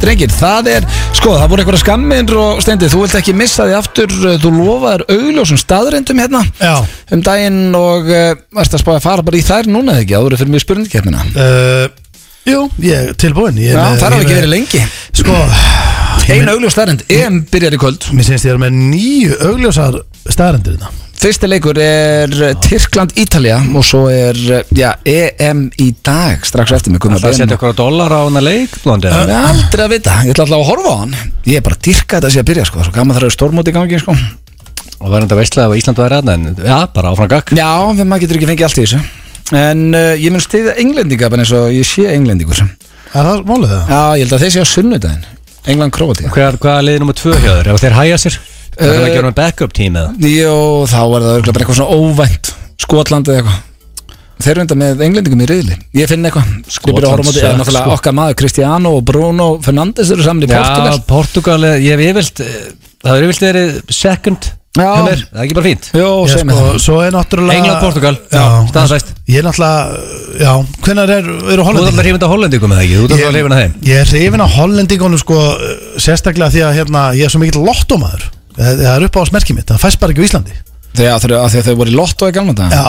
drengir, það er, sko, það voru einhverja skammir og Steindi, þú vilt ekki missa því aftur eh, þú lofaðir augljósum staðrindum hérna
Já,
um daginn og uh, varst að spá að fara bara í þær núna eða ekki áður en fyrir mjög spurningkeppnina
Eh,
uh, jú, ég er tilbúin
Já,
ég, er með-
það hafa
ég er
ekki
með-
verið lengi
Sko,
Einu augljós starrend, EM byrjar í kvöld
mér syns ég er með nýju augljósar hérna. staðarendur þetta
Fyrsti leikur er uh, Tyrkland-Ítalja og svo er uh, já, EM í dag strax eftir mig
Það setja
Aldrei
okkur á dólar á hana leik blóndi, eða?
að vita, ég ætla alltaf að horfa á hann Ég er bara að dyrka þetta sé að byrja sko, svo gaman það eru stórmóti í gangi sko
Og verðan þetta veistlega að Ísland var aðna En já, bara áfram gakk
Já, við maður getur ekki fengið allt í þessu En uh, ég mun stiða englendinga bara eins og ég sé englendingur Já,
Er það málið það?
ég held að þeir sé á sunnudaginn England-Króatíð
Hver, hvað er liðið nummer 2 hjá þér? Ef þeir hæja sér? Það er ekki verið með backup team eða?
Jó, þá er það örgulega bara eitthvað svona óvænt Skotland eða eitthvað Þeir eru enda með englendingum í riðli Ég finn eitthvað Ég byrja að horfa á móti
Skotland,
eða náttúrulega
sko.
okkar maður Cristiano og Bruno Fernandes eru saman í Portugal
Já, Portugal, eh, ég hef yfirlt eh, Það er yfirlt verið second
Já.
hjá mér. Það er ekki bara fínt
Jó,
Ég,
segir mér
sko,
það
Svo er náttúrulega
England, Portugal,
Já,
staðfæst
Ég er náttúrulega, já, hvenær er, eru
Þú ert alltaf
hollendingar?
hrifin að hollendingum eða ekki? Þú ert alltaf hrifin að þeim?
Ég er hrifin að hollendingunum sko uh, sérstaklega því að hérna, ég er svo mikill lottómaður það það er upp á smerkið mitt, það fæst bara ekki á Íslandi
Þegar þeir, af því að þau voru í lotto í gamla dag
Já,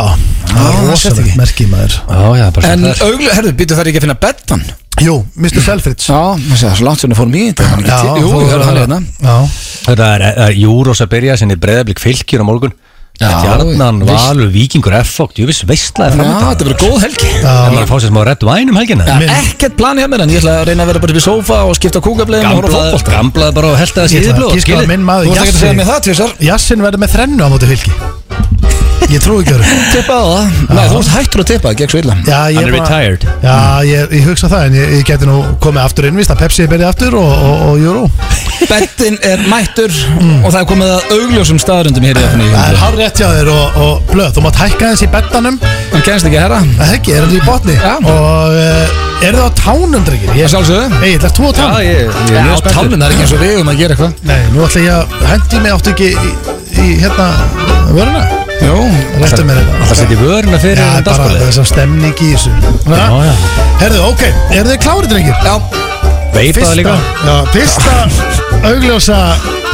það
það
er
sést
rosalegt
ekki.
merkið maður
Já, já,
En
bara sem það er
auglega, herðu, býtu þær ekki að finna bettan
Jú, Mr. Selfridge
Já, það sé það svo langt sem þau fórum í þetta hann er ekki til- Jú,
þú-
það er hann hérna
Já,
Þetta er, er Júros að byrja sinni breyðablík fylgjur á morgun Tjarnan,
veist.
Valur, Víkingur, F-fólk Jú veist, veistlega
Já,
framöndan
þetta verður góð helgi
Það maður að fá sér smá redd væn um helgina
Minn-
Ekkert plan hjá mér en ég ætla að reyna að vera bara upp í sófa og skipta kúkablegin og horfa á
Gamblað,
fótbolta.
gamblað bara og held að það
Ég ætla að
síðblóð
giska að minn
Þú
maður
ert ekki að segja mér
Jassin
það, Tvísar
Jassin verður með þrennu á móti fylki Ég trúi ekki öðru
Tippa á það Nei, þú ert hættur að tippa, gegn svo illa
Já, ég
Hann er
bara-
retired.
Já, ég, ég hugsa það en ég, ég geti nú komið aftur inn víst að Pepsi byrja aftur og, og, og Euro
Bettin er mættur og það er komið að augljósum staðarundum hér í FNI
Það er hár hjá þér og, og blöð, þú mátt hækka þess í bettanum
Hann kennst ekki að herra
Það er ekki, er þetta í botni
Já.
Og uh, er það á tánum, drengir?
Ég
Ég
sjálfsögðu
Hey, ætlar þú á tánum?
Já, ég, ég er
Já,
mjög spenntur
tálmin, það er ekki eins og við um að gera eitthvað
Nei, nú ætla ég að hendi mig áttu ekki í, í hérna vöruna
Jó
Réttu mér þetta
Það setja vöruna
Já,
fyrir
bara
dagskólið
þess að stemning í þessu
Já,
Ha?
já.
Herðu, ok, er þið klárið, drengir?
Já
Veipaði líka
já, fyrsta augljósa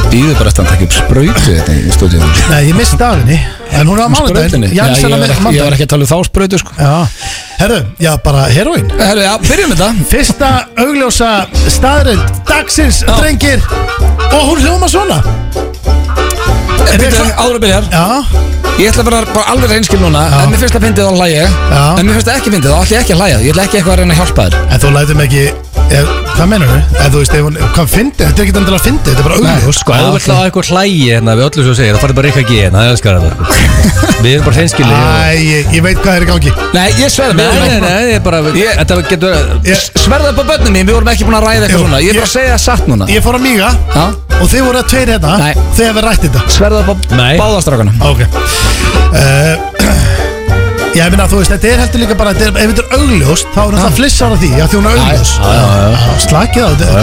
Býður bara eftir að hann takk upp sprautu þetta í stúdíu
Nei, ég misti af henni En hún er á mánudaginn
Sprautinni Já, ég
Jansen á
var ekki- ég var
mánudaginn
ekki að tala um þá sprautu sko
Já, herðu, já, bara heroin
Herru, já, byrjum þetta
Fyrsta augljósa staðrind dagsins, drengir Og hún hljóma svona Er þið
Býttu,
klá-
áður að byrja hér
Já,
Ég ætla bara, bara alveg reynskil núna
Já.
En mér finnst að fyndið þá hlæja
Já.
En mér finnst að ekki fyndið þá ætla ég ekki að hlæja Ég ætla ekki eitthvað að reyna að hjálpa þér
en þú lætum ekki ef, Hvað menur þau? En þú veist, ef hún, hvað fyndi, þetta er ekki endilega fyndi Þetta er bara augljós
Sko, ef þú vilt að eitthvað hlægi hérna við öllu svo segir, það farið bara ekki að geða hérna, það elskar það sko. Við erum bara hreinskilni
Æ, ég, ég veit hvað er í gangi
Nei, ég sverða
Nei, nei, nei, ég er bara,
Ég-
þetta getur verið
Ég,
Sverða upp á börnum mín, við vorum ekki búin að ræða eitthvað
Jú,
svona Ég er bara
ég-
að segja satt núna
ég fór að míga
Já.
Og þið voru að tveir hérna
Nei.
Þegar við rætt þetta
Sverða upp á
Nei.
báðastrákana
Ok uh, Ég meina, þú veist, þetta er heldur líka bara þetta er, Ef þetta er augljóst, þá er þetta flissar af því Já, því hún er augljós Já, Slakið á þetta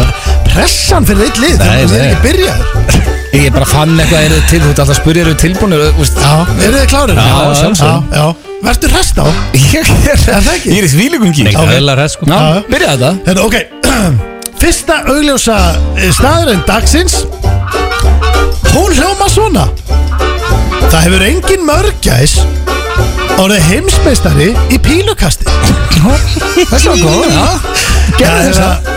Pressan fyrir eitt lið
Nei,
Það er
nei.
ekki byrjaður
Ég bara fann eitthvað, eru þið til, þú ert alltaf að spyrja, eru þið tilbúinir
Já, eru þið klárir?
Já,
já,
sjálfsögðu.
já Vertu rest á
Ég er
það ekki?
Ég er í þvílíkum gír
Ekki
Ok.
aðeinslega hress sko
Já,
Já.
byrja þetta
Hérna, ok Fyrsta augljósa staðurinn dagsins eh, hún hljóma svona Það hefur engin mörgæs orðið heimsmeistari í pílukasti
Þessi var góð, já Gerðu þess að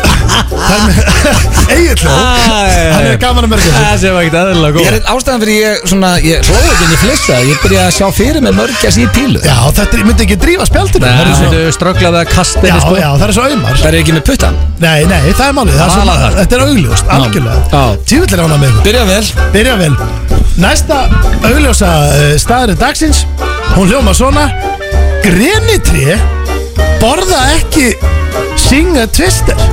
Egil hló Hann er gaman að mörgæs
Þessi var ekkert aðeinslega
Ég
góð
er einn ástæðan fyrir ég, svona, ég hlóði ekki en ég flissa Ég byrja að sjá fyrir með mörgjast í pílu
Já, þetta er- myndi ekki drífa spjaldinu
Það
Það
er
eru svo-
svona strögglaði að kasta
Já,
henni sko
já, það er svo aumar
Það er ekki með puttan
Nei, nei, það er málið það
Það
er
er
svo,
alveg.
Þetta er augljóst, algjörlega
Já.
Tjúvill er hana með ykkur
Byrja vel
Byrja vel Næsta augljósa uh, staðurinn dagsins Hún hljóma svona Grenitri Borða ekki Singa tvister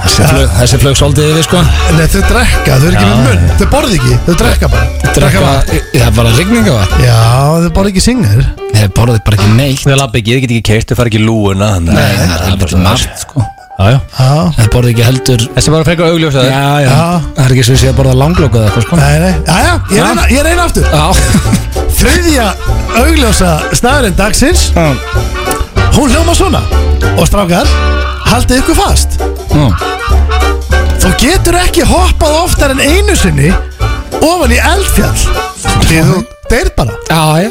Þessi flög, þessi flög svolítið yfir sko
Nei, þau drekka, þau eru ekki með munn Þau borða ekki, þau drekka bara
Drekka, það er bara rigninga var
Já, þau borða ekki singar
Nei, borðið bara ekki neitt
Það lappa ekki, þið get ekki keirt, þau fara ekki í lúuna þannig að-
Nei, það er bara margt sko
Já, já.
Já,
Það borðið ekki heldur
Þessi var að frekar augljósa
Já, já
Já.
Það er ekki svo sé að borða langlokku eða eitthvað sko
nei, nei, já, já, ég reyna, ég reyna aftur
Já
Þriðja augljósa staðurinn dagsins Hún hljóma svona Og strákar, haldið ykkur fast
Nú.
Þú getur ekki hoppað oftar en einu sinni Ofan í eldfjall Því þú deyr bara
Já, já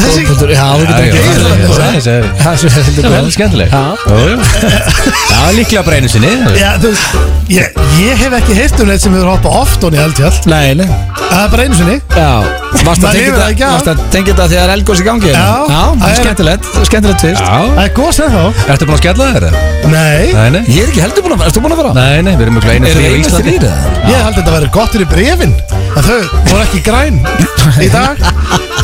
Þessi,
Þetta- Já, þú getur ekki
já, já.
Þessi er
Það er heldur
Það er
góð
vel skemmtileg
Já.
Jú, jú. Já, líklega bara einu sinni
já, þú, veist, ég, ég hef ekki heyrt um neitt sem hefur hoppað oft ofan í eldfjall
Nei, nei
Það er bara einu sinni
Já, varst
Maður
að tengja
lifir það ekki
þetta
af.
varstu að tengja þetta þegar elgós í gangi
Já.
já það
Það
er
er-
skemmtilegt, skemmtilegt tvist
Já
Það er góð sem þá
Ertu búin að skella þér? eða?
Nei,
Nei, nei
Ég er ekki heldur búin að vera, erstu búin að vera?
Nei, nei, við erum mjög einu
Eru
þrý á
einu
Íslandi
þrír eða?
ég held að þetta væri gott fyrir brefin En þau voru ekki græn í dag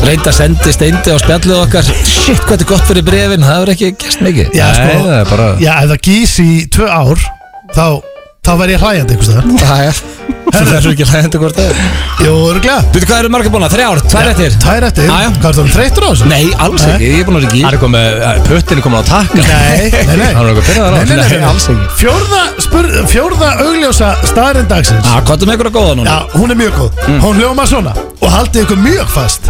Reynda sendi steindi á spjallið okkar Shit, hvað þetta er gott fyrir brefin, það verður ekki gæst mikið
Já,
Nei,
sko,
það er bara
já, ef það gís í tvö ár Þá, þá væri ég hlæjandi einhvers staðar
Það er, þú verður ekki hlæðandi hvort það er
Jú, örgulega
Veitu hvað eru marga búin að, þrjár, tvær eftir?
Tvær eftir,
Já, já.
hvað er það þreytur á þessu?
Nei, alls ekki, ég er búin að vera
Það er komið, pöttin eh, er komin á takka
Nei, nei, nei.
Hann er okkur pyrraðar á
Nei, nei, nei,
Nei, alls
nei.
ekki.
Fjórða, spur, fjórða augljósa staðarinn
Ah.
dagsins
ekki Kottum ykkur að góða
Já,
núna
hún er mjög góð
Mm.
Hún hljóma svona Og haldið ykkur mjög fast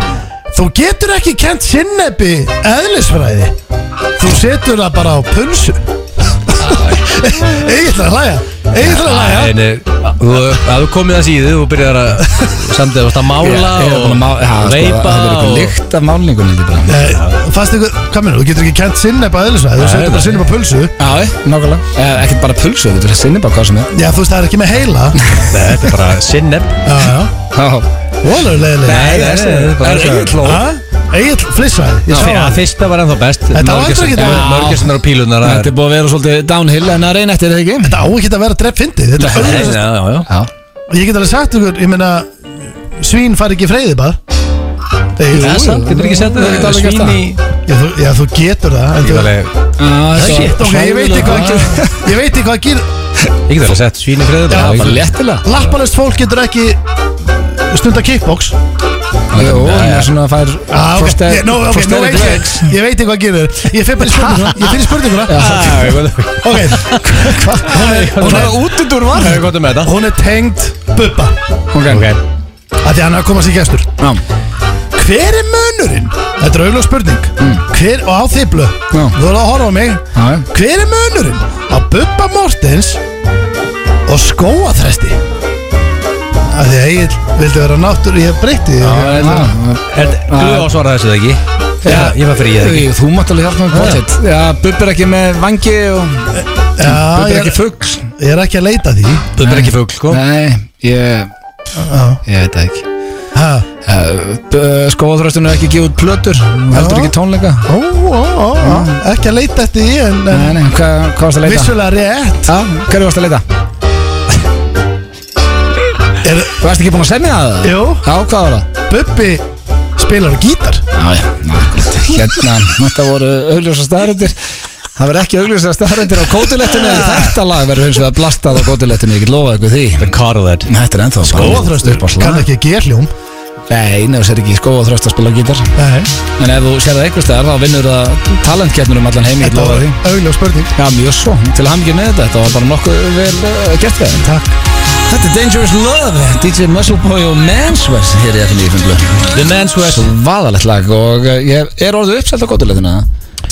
Þú getur ekki kent sinnebi eðlisfræði Þú setur það bara á punsu Egil að hlæja Egil að hlæja
Nei, nei, þú, að þú komið að síðu Þú byrjar að samt að þú varst að mála
Ég er
og
búin að má- já, sko,
veipa
Það er
og
eitthvað lykt af málningunni held ég bara.
Nei, Eh, Fast ykkur, hvað minnur, þú getur ekki kent sinnebi eðlisfræði Þú
Nei,
setur bara
nei.
sinnebi á pulsu
Já, nákvæmlega Eh, Ekkert bara pulsu, þetta er sinni bara hvað sem er
Já, þú veist, það er ekki með heila Já,
Nei, Þetta er bara sinneb
já
Já.
Volarlega
Nei,
það er
nei,
sinnepp, bara
er
svo.
Egill hló.
Egil flissaði Ég sá
Já,
það
Fyrsta var ennþá best
Þetta var aldrei ekki það.
Mörgjössunar og pílunar það
Þetta
er-
er búið að vera svolítið downhill en að reyna eftir þetta ekki
Þetta á ekki að vera drepp fyndið Þetta er
Nei,
augljósa
Já, já, já
Já
Ég get alveg sagt ykkur, ég meina Svín fari ekki í freyðibað Þegar
Það er sant,
Getur ekki sett
Þú getur alveg gert
svín
það.
í
Já, þú, já, þú getur það en
Ég get
þú-
alveg-
Shit, ok, ég veit ekki hvað að gera Ég veit ekki hvað að gera
ég get alveg sett svín í freðu
Já,
Bara léttilega
Lappalest fólk getur ekki stunda kickbox Já,
Jó, það er svona að fær
ok
forstæð-
Ég- Nú, ok, nú
forstæðri
veit ég
legs.
Ég veit ekki hvað að gera Ég fyrir bara í spurninguna Ég fyrir í spurninguna
Það
Ok, hvað Hún er, hún
Það
er,
er útundur var
er gott um þetta
hún er tengd Bubba
Ok
að Því hann er að koma sér gestur
Já,
Hver er munurinn? Þetta er auðvitað spurning Hver, og á þiblu Þú
Mm. Já.
voru að horfa á mig
já, já.
Hver er munurinn á Bubba Mortens og skóaþresti? Af því að ég vildi vera náttúr ég breytti því
Já,
Já,
Er- Þú ásvaraði þessu það ekki? Já, ég var fyrir ég það ekki
Þú- Þú mátt alveg hjálpa með bóttið Já, Bubbi er ekki með vangi og Bubbi
ég,
er
er,
ekki fugg
ég er ekki að leita því
Bubbi er ekki fugl, sko
Nei, ég
Já.
Ég veit það ekki Eh,
Ha,
Skóðröstun er ekki gefið út plötur Heldur ekki tónleika
ó, ó, ó, ó, ekki að leita eftir því en, en
Nei, nei, hvað hvað varst að Mm. leita?
vissulega rétt
Já, hverju varst að leita?
er,
Þú varst ekki búin að semja það?
Jú.
Já, hvað var það?
Bubbi spilar á gítar
Já, já, nákvæmt Hérna, þetta voru augljósa staðröndir Það verður ekki augljósa staðröndir á kótilettinu Þetta lag verður hins vegar blastað á kótilettinu Ég get lofað ykkur því
The car of that
Þetta er ennþá
Skóaþröstur,
upp á slag
kann ekki að gera hljóm
Nei, nefnir sér ekki skóaþröst að spila á gítar
Nei,
En ef þú sér það einhver staðar þá vinnur það talentkeppnur um allan heim Ég get
þetta
lofað
var
því
augljós spurning
Já, mjög svo, til hamingju með þetta Þetta var bara nokkuð vel uh, gert við Takk Þetta er Dangerous Love, DJ Muscleboy og Manswear hér í FM 95
The man's who has
eh, Svo vaðalegt lag og uh, ég er orðið uppselt á góttuleitina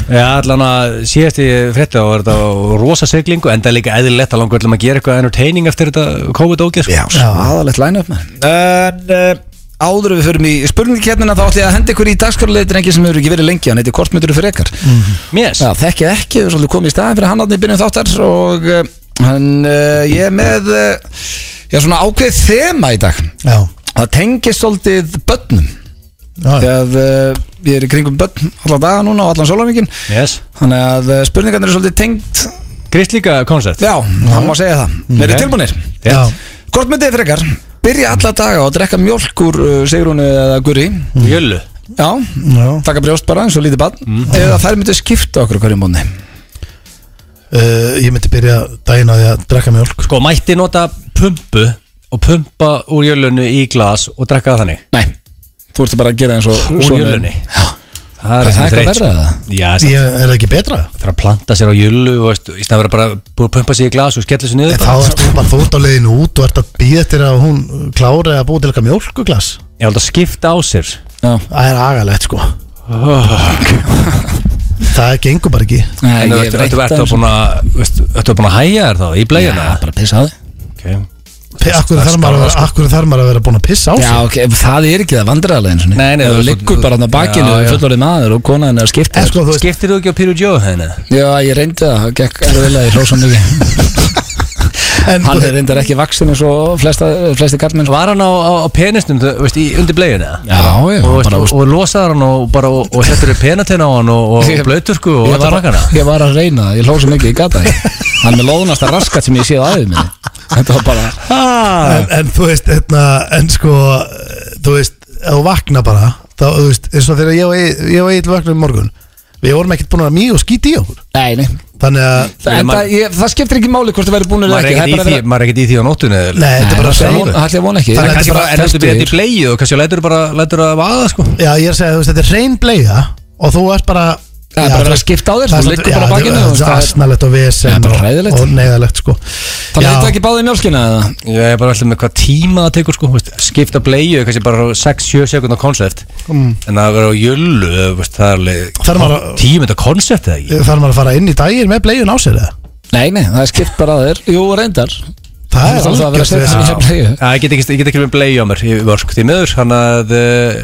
Já, allan að síðast í frétta var þetta rosa seglingu en það er líka eðlilegt að langa öllum að gera eitthvað entertaining eftir þetta COVID-ógeð sko.
Já, aðalegt line-up maður. En uh, áður en við förum í spurningkjarnina þá ætti ég að henda ykkur í dagskorleitin engin sem hefur ekki verið lengi, hann heiti Kortmyndur fyrir ekkar
Yes.
Já, þekkja ekki, við erum svolítið komið í staðin fyrir hann átni í byrjun þáttar og uh, hann, uh, ég er með uh, já, svona ákveð þema í dag
Já,
það tengist svolítið börnum
já,
þegar uh, ég er í kringum börn allan daga núna og allan sólarvíkin
Yes.
þannig að uh, spurningarnir eru svolítið tengt
Kristlíka koncert
já, hann má segja það
Mm-hmm.
mm. Verið tilbúinir?
já,
Hvort myndið þið frekar byrja alla daga og drekka mjólk úr uh, Sigrúnu eða Guri
Jölu
Já,
já.
taka brjóst bara eins og lítið barn
Mhm.
eða þær myndið skipta okkur hverju mónni
Uh, Ég myndi byrja daginn á því að drekka mjólk
Sko, mætti nota pumpu og pumpa úr jölunu í glas og drekka það þannig
Nei, þú ert bara að gera eins og
úr
svona-
jölunni Það
Það er
samt
eitthvað
reitt,
verra,
sko.
eða?
Já, það
Ég er það ekki betra
þarf að planta sér á jölu og veist, í stæðan vera bara búið að pumpa sér í glas og skella sér
En
niður
þá ert þú bara þú ert á leiðinu út og ert að býða eftir að hún klári að búa til eitthvað mjólkuglas
Ég held að skipta á sér
Það er agalegt sko
Ah.
Það gengur bara ekki
Nei,
En þú
ég
ert
hef reynt
að
það
búin að veist, Ertu búin að hæja þér þá í blæjana
Já, bara pissa á þig
okay.
Pe-
Það
Akkur
er
þarf maður að
skárra,
vera-
sko.
af hverju þarf maður að vera búin að pissa á sig
Já, ok, ef það er ekki það vandræðarlega eins og
Nei, nei,
þú
þú-
liggur
þú-
bara hann á bakinu
Já, já.
fullorðið maður og konaðin er að skipta
En
þér.
sko þú veist
Skiptir þú ekki á Píru Jó henni?
Já, ég reyndi það, það gekk erfiðlega í hrósa mikið
en,
Hann er reyndar ekki vaksin eins og flesta, flesti karlmenn sko.
Var hann á, á, á penisnum, þú veist, í, undir bleiðina?
Já, já,
og, veist,
bara,
og, og losaði hann og, bara, og, og settur upp penatina á hann og, og
Ég-
blöyturku og
ég,
alltaf
var,
rakkana
ég var að reyna það, ég hlósa mikið, ég gata það Hann er með loðnasta raskat sem ég séð aðeins minni Þetta var bara
en, en þú veist etna, En sko Þú veist Ef þú vakna bara Þá þú veist eins og þegar ég og Egill- ég og Egil vaknaði um morgun Við vorum ekkert búin að mýja og skýti í okkur
Nei, nei,
Þannig að
það, en, það, ég, það skiptir ekki máli hvort þú væri búin að
Maður er
ekki
ekkert í því- maður er ekkert í því á nóttunni eða-
Nei, þetta er bara að
Það
segja
ætla ég að vona ekki
Þannig
En
að
kannski
þetta
bara, en þú byrjar þetta í bleið og kannski lætur bara, lætur að vaða sko
Já, ég er að segja, þú veist, þetta er hrein bleiða og þú ert bara
Það er bara verið að skipta á þér, þú liggur bara á bakinu, þú veist,
Það
það
er
er-
asnalegt og
Það er
vesen
bara
og-
hræðilegt.
og neyðalegt, sko
Það
Já,
leita ekki báði mjölkina eða?
Ég er bara alltaf með hvað tíma það tekur sko veist, Skipta bleið, kannski bara 6-7 sekundar koncept En að vera á jöllu, eða, veist, það er alveg
Mm. Þarf maður að-
Tímynda koncept eða ekki
Þarf maður að fara inn í daginn með bleiðun á sér eða?
Nei, nei, það er skipt bara að þér Jú, reyndar
Það er
alltaf að vera
algjört
að setja
vesen.
sig í bleið
Já, ég get ekki, ég get ekki verið bleið á mér í vörsk Því miður, hann að eh,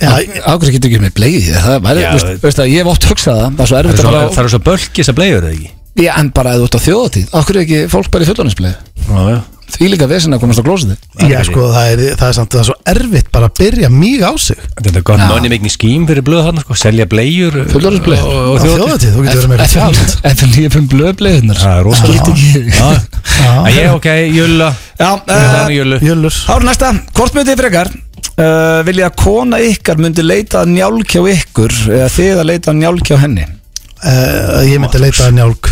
Já,
Ákveð getur ekki með bleið Það væri,
Já,
veist,
við-
veist að ég hef oft hugsað það Það er svo
það
erfitt
er
að
svo-
bara
það eru svo bölkis að bleiður eða ekki
Já, en bara eða út á þjóðatíð Ákveð ekki fólk bara í fullaninsbleið
Já, já
Því líka vesen að komast á glósið
já, sko, það er, það er samt það er svo erfitt bara að byrja mýg á sig
Þetta er gott money making scheme fyrir blöð hann sko, selja bleiur
Fullorðinsbleiur.
og,
á
og þjóðatíð
þjóðatíð, þú getur verið meira sjálf
Eftir líka um blöðbleiðunar
Það er rosalega.
Skipt ekki
Já,
Já.
Æ, ég, ok, jölla
Já,
Það er jölu
Jölur
Þá er næsta, hvort myndið þið frekar uh, vilja að kona ykkar myndi leita að njálkjá ykkur eða þið að leita að njálkjá henni
uh, Ég myndi leita að njálk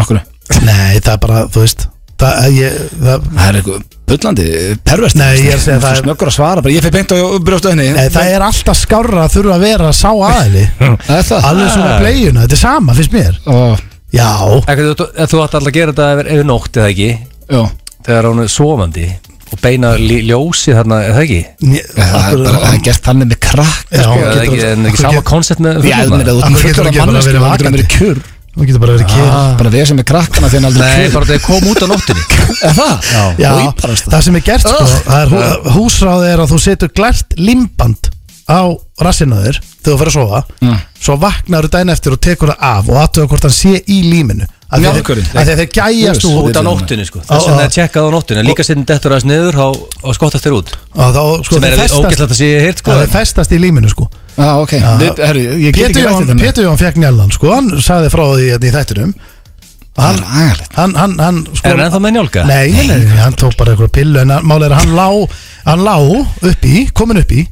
Okkur
Nei, það er bara, þú veist Það, ég, það,
Það er eitthvað bullandi, perverst
Nei, ég er að segja það
það
er-
Snöggur að svara, bara ég fyrir beint og brjóstu henni
nei, það er alltaf skárra að þurfa að vera sá aðili
Það er það
Alveg svona bleiðuna, þetta er sama, finnst mér
Ó,
Já,
Ekkert, þú, þú ætti alltaf að gera þetta ef, ef nótt eða ekki
Já,
Þegar hún er sofandi Og beina lí, ljósi þarna, eða ekki
Né-
það er
akkur-
bara, það er gert þannig með krakk
Já,
Eða
getur-
ekki, En
akkur
ekki sama
get-
koncept með
Já,
fullorðna?
það er út
Akkur getur
fullur
ekki
af
bara
mannesku
verið
Það er
vakandi?
verið kjur Ah,
Hún getur bara verið kýr
Bara vesen með krakkana þegar hann aldrei
Nei, bara þetta kom út á nóttinni
Er það?
Já,
Og íbarast það
það sem er gert sko, það er hú, húsráði er að þú setur glært limband á rassinaður þegar þú fyrir að sofa svo vaknar þú dæn eftir og tekur það af og aðtöða hvort hann sé í líminu af því að þeir-
Mjálkurinn.
af því að þeir gæjast
Jú,
út
Út á nóttinni sko Þess að það er tjekkað á nóttinni en Líka setjum dettur aðeins niður og, og skottast þér út
og þá sko
Sem er
þeir
ógæslegt
festast
að sé hirt sko
það er festast í líminu sko
Já, ok Við- Herru, ég get
Pétur
ekki rætt
Jón,
þetta með-
Pétur Jón fekk njallan sko hann sagði frá því hérna í þættinum
Það er agalegt
hann, hann, hann sko
Er hann ennþá með njálka?
Nei, nei, nei, hann tók bara eitthvað pillu en málið er að hann lá, hann lá upp í, komin upp í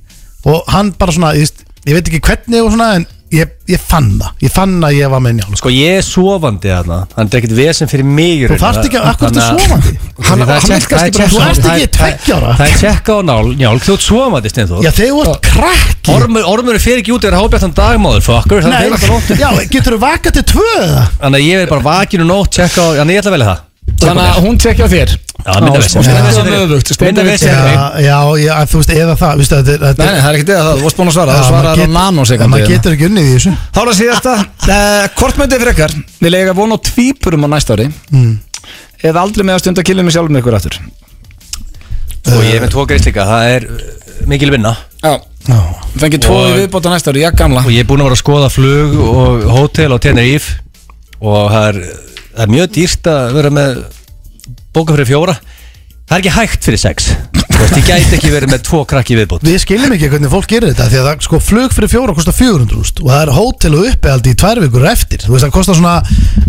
og hann bara svona, ég, veist, ég veit ekki hvernig og svona en ég, ég fann það, ég fann að ég var með njál
Sko ég er sofandi þarna Þannig er ekkert vesen fyrir mig í
Þú
raun.
þarft ekki að- af hverju ertu
Þannig að-
sofandi?
Hann-
Það er
hann er
tjekk- það er
kannski bara-
tjekk-
þú ert
það er-
ekki
það er-
tveggja ára.
það
Það er tjekka á nál, njálk, þú ert svomandi Steinþór
Já, þegar þú ert krakki
Ormur, ormur fer ekki út eða hábjartan dagmáður Fucker, þannig að það er
Nei,
nóttu
já, getur þú vakað til tvö eða?
um Þannig að ég er bara vakinu nótt, tjekka á Þannig að ég ætla að velja það
Þannig að hún tekja þér
Já, minna vesen.
Og stundum
Minna vesen fyrir-
öfugt, stundum
minna vesen
Já,
fyrir-
já, já, þú veist, eða það Vistu, þetta, er- þetta,
Nei, nei, það er ekkert eða það, þú varst búin að svara, það svaraði á
en
nanosekundi
maður
hérna.
getur ekki unnið í þessu
Þá er það síðasta, uh, hvort myndið frekar Við lega von á tvípurum á næsta ári Eða aldrei með að stunda killinu sjálf með ykkur aftur
Og ég er með tvo greist líka, það er uh, mikil vinna
Já,
Já.
fengið tvo
Og-
í viðbóta næsta ári, ég gamla
Og ég er búinn að vera að skoða flug og hótel á Tenerife Og það er, það er mjög dýrt að vera með bóka fyrir fjóra Það er ekki hægt fyrir sex Þú veist, ég gæti ekki verið með tvo krakki í viðbót
Við skiljum ekki hvernig fólk gerir þetta Því að það, sko, flug fyrir fjóra kostar 400 úst, Og það er hótel og uppehaldi í tvær vikur eftir Þú veist, það kostar svona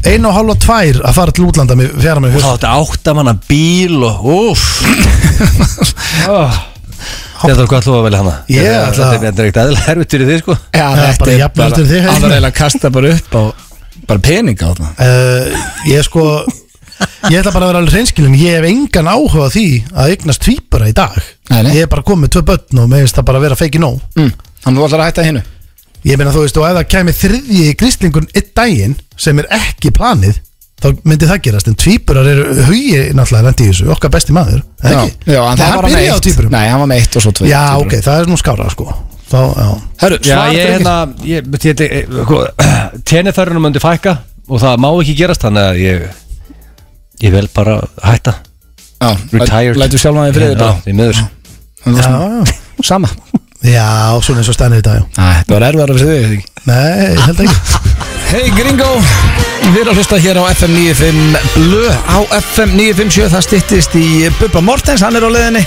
einu og hálfa tvær Að fara til útlanda með fjara
Og
með
þá
fjóra
þetta áttamanna bíl og úf Þetta er hvað þú að velja hana Þetta
Ég
er-
ætla-
Þetta er- þetta er ekkert aðeins herfitt fyrir þig sko
Já,
Já, bara
þetta er
jafnast
bara,
fyrir þig,
hann
hérna.
var eiginlega að kasta bara upp á, bara peninga á það
uh, Ég sko Ég ætla bara að vera alveg reynskilin Ég hef engan áhuga á því að eignast tvíbara í dag
Nei, nei.
Ég er bara komið með tvö börn og meðist það bara vera feiki nóg
mm. Hann var alltaf að hætta hinnu
Ég meina þú veist, og ef það kæmi þriðji gríslingun einn daginn sem er ekki planið þá myndi það gerast, en tvíburar eru hugi náttúrulega lendi í þessu, okkar besti maður eða
Já,
ekki?
já, en
Nei,
það
hann
var hann
byrjaði á
eitt
tvíburum
Nei, hann var með eitt og svo tvö
Já,
tvíburum.
ok, það er nú skára sko þá, já,
Herru,
Já,
svar
ég
drengir.
hérna ég- ég- ég- sko, Tenniferðunum myndi fækka og það má ekki gerast þannig að ég ég vel bara hætta
Já,
retired
Lætu sjálfan þig friðið
Já,
bara
því miður
Hann var
já,
svona-
já,
Sama
já, svona eins og stænir í dag já.
Æ, Þetta var erfðar að friðið þig
Nei, ég held ekki
Hey Gringo Við erum að hlusta hér á FM 95 Blö á FM 957 Það styttist í Bubba Mortens Hann er á leiðinni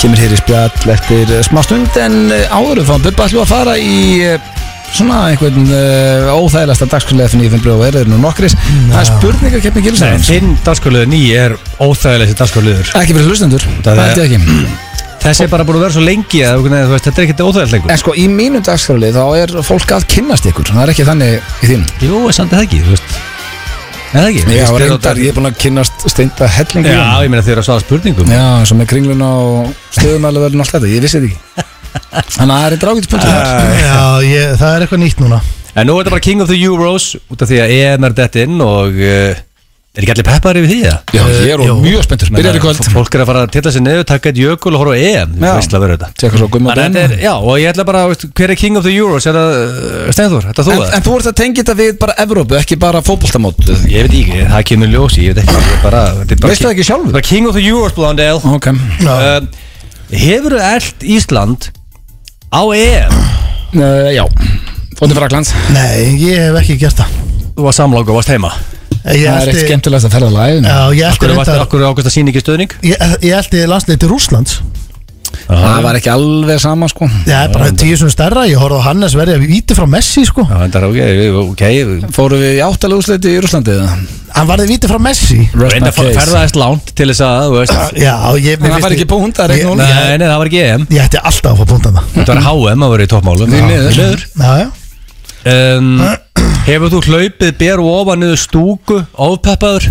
Kemur hér í spjall eftir eh, smá stund En eh, áður fann Bubba ætlum við að fara í eh, Svona einhvern uh, óþægilegasta dagskulega FM 95 Blö og er þeir nú nokkris Það er spurningakeppni
Nei,
gilsarans
Þinn dagskáliður ný er óþægilegsi dagskáliður
Ekki fyrir hlustendur
Það
Það
er-
held ég ekki
Þessi er bara búin að vera svo lengi að einhvern veginn, þú veist, þetta er ekkert óþægilegt lengur
En sko í mínu dagskrali þá er fólk að kynnast ykkur Það er ekki þannig í þínum
Jú, samt er það ekki, þú veist Er það ekki? Þú
Já,
veist, þeir-
reyndar, ég er búin að kynnast steinda hellingu
Já, ég meina þeir eru að svara spurningum
Já, eins og með kringluna og stöðumæluverðin og allt þetta, ég vissi þetta ekki Þannig að það er einn drágitspunktur þar
Já, ég, það er eitthvað nýtt núna
En nú er þetta bara King of the Euros út af því að E EM er dett inn og uh, er ekki allir peppar yfir því að?
Já, ég er
Jó.
orðinn mjög spenntur, Eh, byrjar í kvöld
Fólk er að fara að tilla sér niður, taka eitt jökul og horfa á EM
Já.
Þú veist að vera þetta
Tjekka svo Gumma
Þannig að
Ben
þetta er,
en,
já, og ég ætla bara, veist, hver er King of the Euros, er það uh, Steinþór, er það þú það?
en þú ert að tengja þetta við bara Evrópu, ekki bara fótboltamót Veistu
Ég veit ekki, það kemur ljósi, ég veit ekki, ég er bara, þetta er bara
það ekki sjálfur?
Bara King of the Euros, Blondale
Ok, Eh,
Já.
uh, Hefur þú eld Ísland á EM?
uh, já, fótið Fraklands
Nei, ég hef ekki gert það
Þú var samlóku og varst heima
Það
Ég
er
elti-
eitt skemmtilegt að ferða lægin
Já, ég
Akkur
ætti
varst,
reyndar
akkur ákvæmst að sína ekki stöðning?
Ég, ég ætti landsleiti Rússlands
Það var ekki alveg sama sko
Já, bara tíu svona stærra, ég horfði á Hannes verið að víti frá Messi sko
Já, þetta er ok, ok,
Fóru við í áttalega úrsleiti í Úrúslandi eða?
Hann varði víti frá Messi
reynda að ferða þess langt til þess að, þú veist
Já,
En
ég mér
það
finnst
fær ekki
ég-
punkt, það er ekki
Ég-
núll.
Nei, nei, það var ekki EM
Ég ætti alltaf að fá búndana
Þetta var HM að vera í toppmálum
Því miður.
Því miður.
Já, já
um, Hefur þú hlaupið bér og ofan niður stúku ofpeppaður?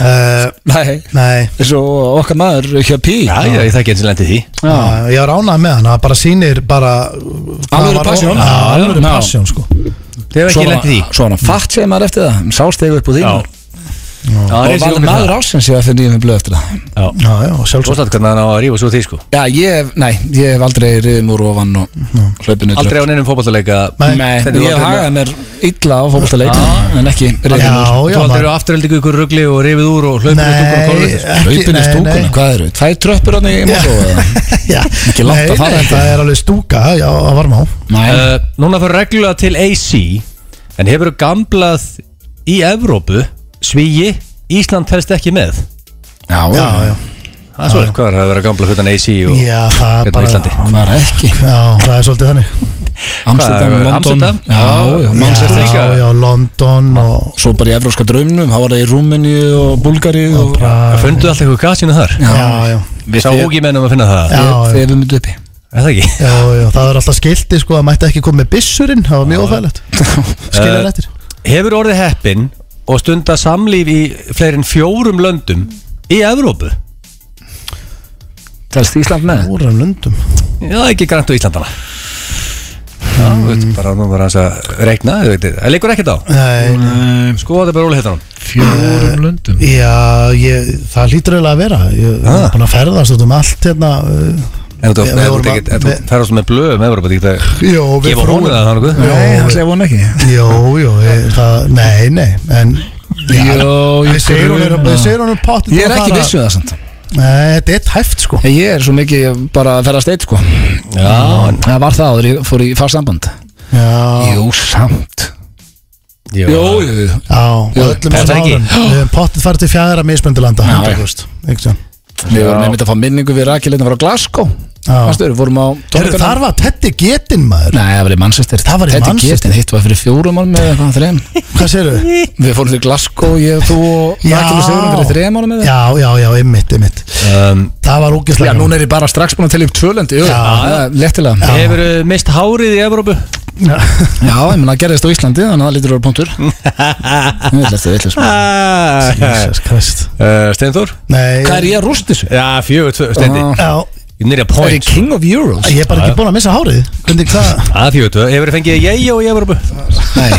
uh,
Nei,
Nei
eins og okkar maður hjá Pí
Já, já, ég þekki eins og lendi því
Já.
Já, Ég var ánað með hann, það bara sýnir bara hvað var-
passion.
Já,
Já,
alvöru
já.
passion sko
Þið hefur ekki lendi því
Svo hann fatt segir maður eftir það, sástegu upp úr
Já,
þínu
Já,
Og
það er
maður, maður
maður á
ásins ég að finna ég með blöð eftir það
Já,
Já, já, og
svo
sjálfsagt
stætt hvernig hann á að rífa svo því sko
Já, ég hef, nei, ég hef aldrei riðum úr ofan og hlaupinu
Aldrei á neinum fótballleika
Nei.
Nei,
Þetta
ég
er
hef
aldrei-
hagaði mér illa á fókbaltaleik En ekki
Já,
riðum úr
Þú
já,
aldrei
maður
eru afturöldingu ykkur rugli og rifið úr og hlaupið stúkur og kólur
Nei. Ekki-
Hlaupinu
nei,
stúkuna,
nei.
hvað eru? Tvær tröppur hann í Moskóa
Já,
Ekki langt að
Nei,
fara
nei,
eftir.
Það er alveg stúka, já, að varma á
Nei,
uh, Núna fyrir reglulega til AC En hefur þú gamblað í Evrópu Svíi, Ísland helst ekki með
já,
Já, já,
Það er svo hvað er að vera gamblað hlutan AC og
já,
hérna á
það er bara
Íslandi
Hann var ekki
Já, það er svolítið þannig
Amsterdam,
Hvað,
London
Amsterdam?
Já, já,
Manchester
Já,
Manchester
líka.
já, London og
Svo bara í Evróska draumnum, þá var það í Rúmeni og Búlgari og
Bra-
Fundu alltaf ykkur gasinu þar
Já, já,
Við sá ógi mennum að finna það
Já, já.
Þegar við myndum uppi
Er það ekki?
já, já, það er alltaf skildi sko að mætti ekki koma með byssurinn, það var mjög óþægilegt Skilja
Eh,
eftir
Hefur orðið heppin og stunda samlíf í fleirin fjórum löndum í Evrópu?
Telst Ísland með?
Úr af löndum
Já, ekki grænt á Íslandana Já,
Mm.
þú veit, bara nú var hans að reikna, þú veit, það leikur ekkert á
Nei,
Sko, það er bara ólega hittan
fjórum löndum
Já, ég, það hlýtur eiginlega að vera Ég ég er
Ah.
búin að ferðast út um allt hérna uh,
En þú
Við- við vorum að- við-
ferðast með blöðum Evrópa, þú getur
Jó,
að gefa hún það hann okkur
Nei, hann segja vona ekki
Jó, jó, ég, það, nei, nei En
Jó, ég
Ég segir hún
hérna.
er, ég segir hún er potið
Ég er ekki um- vissu það samt
Nei, þetta er tæft sko
Ég er svo mikið bara að ferðast eitt sko
Já, en-
Það var það áður ég fór í farsamband
Já,
Jú, samt
jú,
jú
já, og öllum
þetta
þessum
ekki.
árum Við hefum potið farið til fjæðra mismöndulanda
já.
Þar
Við vorum einmitt að fá minningu við Rakilinn að fara á Glasgow
Já.
Vastu, við vorum á tónleikana-
var Teddy Getin maður
Nei, það var í Manchester
Það var í
Þetta
Manchester.
getið, hitt var fyrir fjórum álum eða eitthvað þreim
Hvað sérðu?
Við fórum til Glasgow, ég, þú og
Já.
Rakel og Sigurðum fyrir þreim álum eða
Já, já, já, ymmit, ymmit
um,
Það var
Já,
ógislega
núna er ég bara strax búin að telja upp tvölendi
Já. Ah.
Lettilega
Hefur mist hárið í Evrópu
Já, ég menna að gerðist á Íslandi þannig að það lítur að vera punktur Villast, villast
Ah,
Jesus Christ
eh, Steinþór
Nei,
Hvað er ég að rúst þessu?
Já, fjögur, tvö, stendi
Ah.
já,
Ég
Er
nýrja
ég
point
king of euros?
ég er bara ekki búin að missa hárið Hvernig hvað?
Það fjögur, tvö Hefur fengið ég og ég Evrópu
Nei,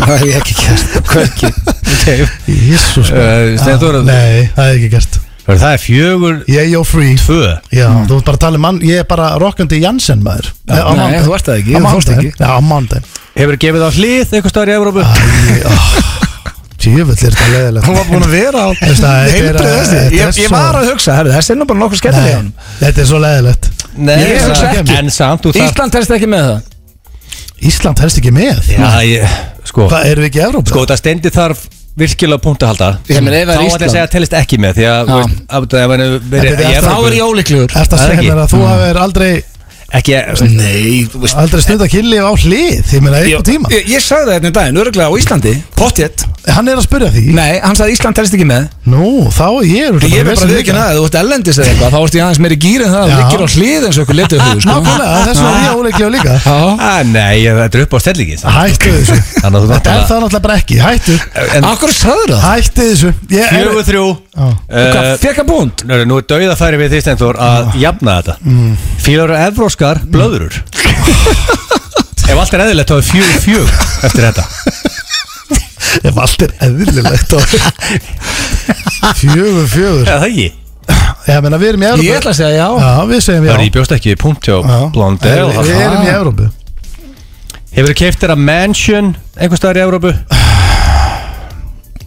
það hef ég ekki gert Hverki
Ok,
Jésús
Eh, Steinþór
Nei, það er ekki gert
Það er fjögur,
Ég er free
tvö
Já, þú ert bara að tala um mann Ég er bara rokkandi Jansen maður Nei, á
nei,
mánudaginn.
þú ert það ekki,
Á
þú fórst
mánudaginn.
ekki. Ah.
Já, á mándaginn
Hefur gefið á hlið eitthvað stöðar í Evrópu
Tjöfull ah. er þetta leðilegt
Hún var búin að vera á
Þú veist það, þetta er-
heilbrigðasti.
þetta er
Ég ég
svo-
var að hugsa, herri, þessi er nú bara nokkuð skemmtileg hjá honum.
Þetta er svo leðilegt
Nei,
Ég
það-
hugsa ekki.
En samt, þú þarf
Ísland helst ekki með það
Ísland helst ekki með
Já, ég, sko
Hvað, erum við ekki í Evrópu?
Sko, það stendi þarf virkilega punkt að halda
Ég meina, ef það er
Þá ætla ég
Ísland.
að segja að telist ekki með Því að,
Já.
þú veist, að það er verið
Þetta
í
er
Þá
Evrópu
er Mm. ég óleiklur
Ertu að
Það er
segja
ekki.
mér að þú hefur aldrei
Ekki, sko,
Nei, þú veist
Aldrei stund að killi á hlið Ég meina
Ég,
eitthvað tíma
ég, ég sagði það hérna í daginn, örgulega á Íslandi Pottjett
Hann er að spyrja því
Nei, hann sagði Ísland helst ekki með
Nú, þá er ég örugglega
Ég er
vesen
bara við ekki
líka.
næða, þú ert ellendis eða eitthvað Þá ert ég aðeins meiri gýr en það
Já.
Það liggir á hlið eins og okkur letur höfu sko.
Nákvæmlega, þess vegna er ég óleiklega líka
Já.
að, ah, nei, ég- þetta er upp á stellingi samt.
Hættu þessu
Þannig að þú
Þetta er
náttúrulega-
það náttúrulega bara ekki Hættu
En
Akkur sagði það
Hættu þessu Ég er
fjögur, þrjú
Já.
Og Hvað,
eh,
fekk að búnd?
Nú, nú er dauðafæri við því stendur að
Ah.
jafna þetta mm. Fjögur evróskar
Mm.
blöðurur Ef allt er eðlilegt þá er fjögur fjög eftir þetta
Ef allt er eðlilegt og- Fjögur, fjögur
Eða það ekki?
Ég meina við erum í Evrópu
Ég ætla að segja já
Já, við segjum
Það
já
er ég bjóst ekki í punkt hjá
Já.
Blondel
Við- Við erum í Evrópu
Hefur þú keift þér að mansion einhvers staðar í Evrópu?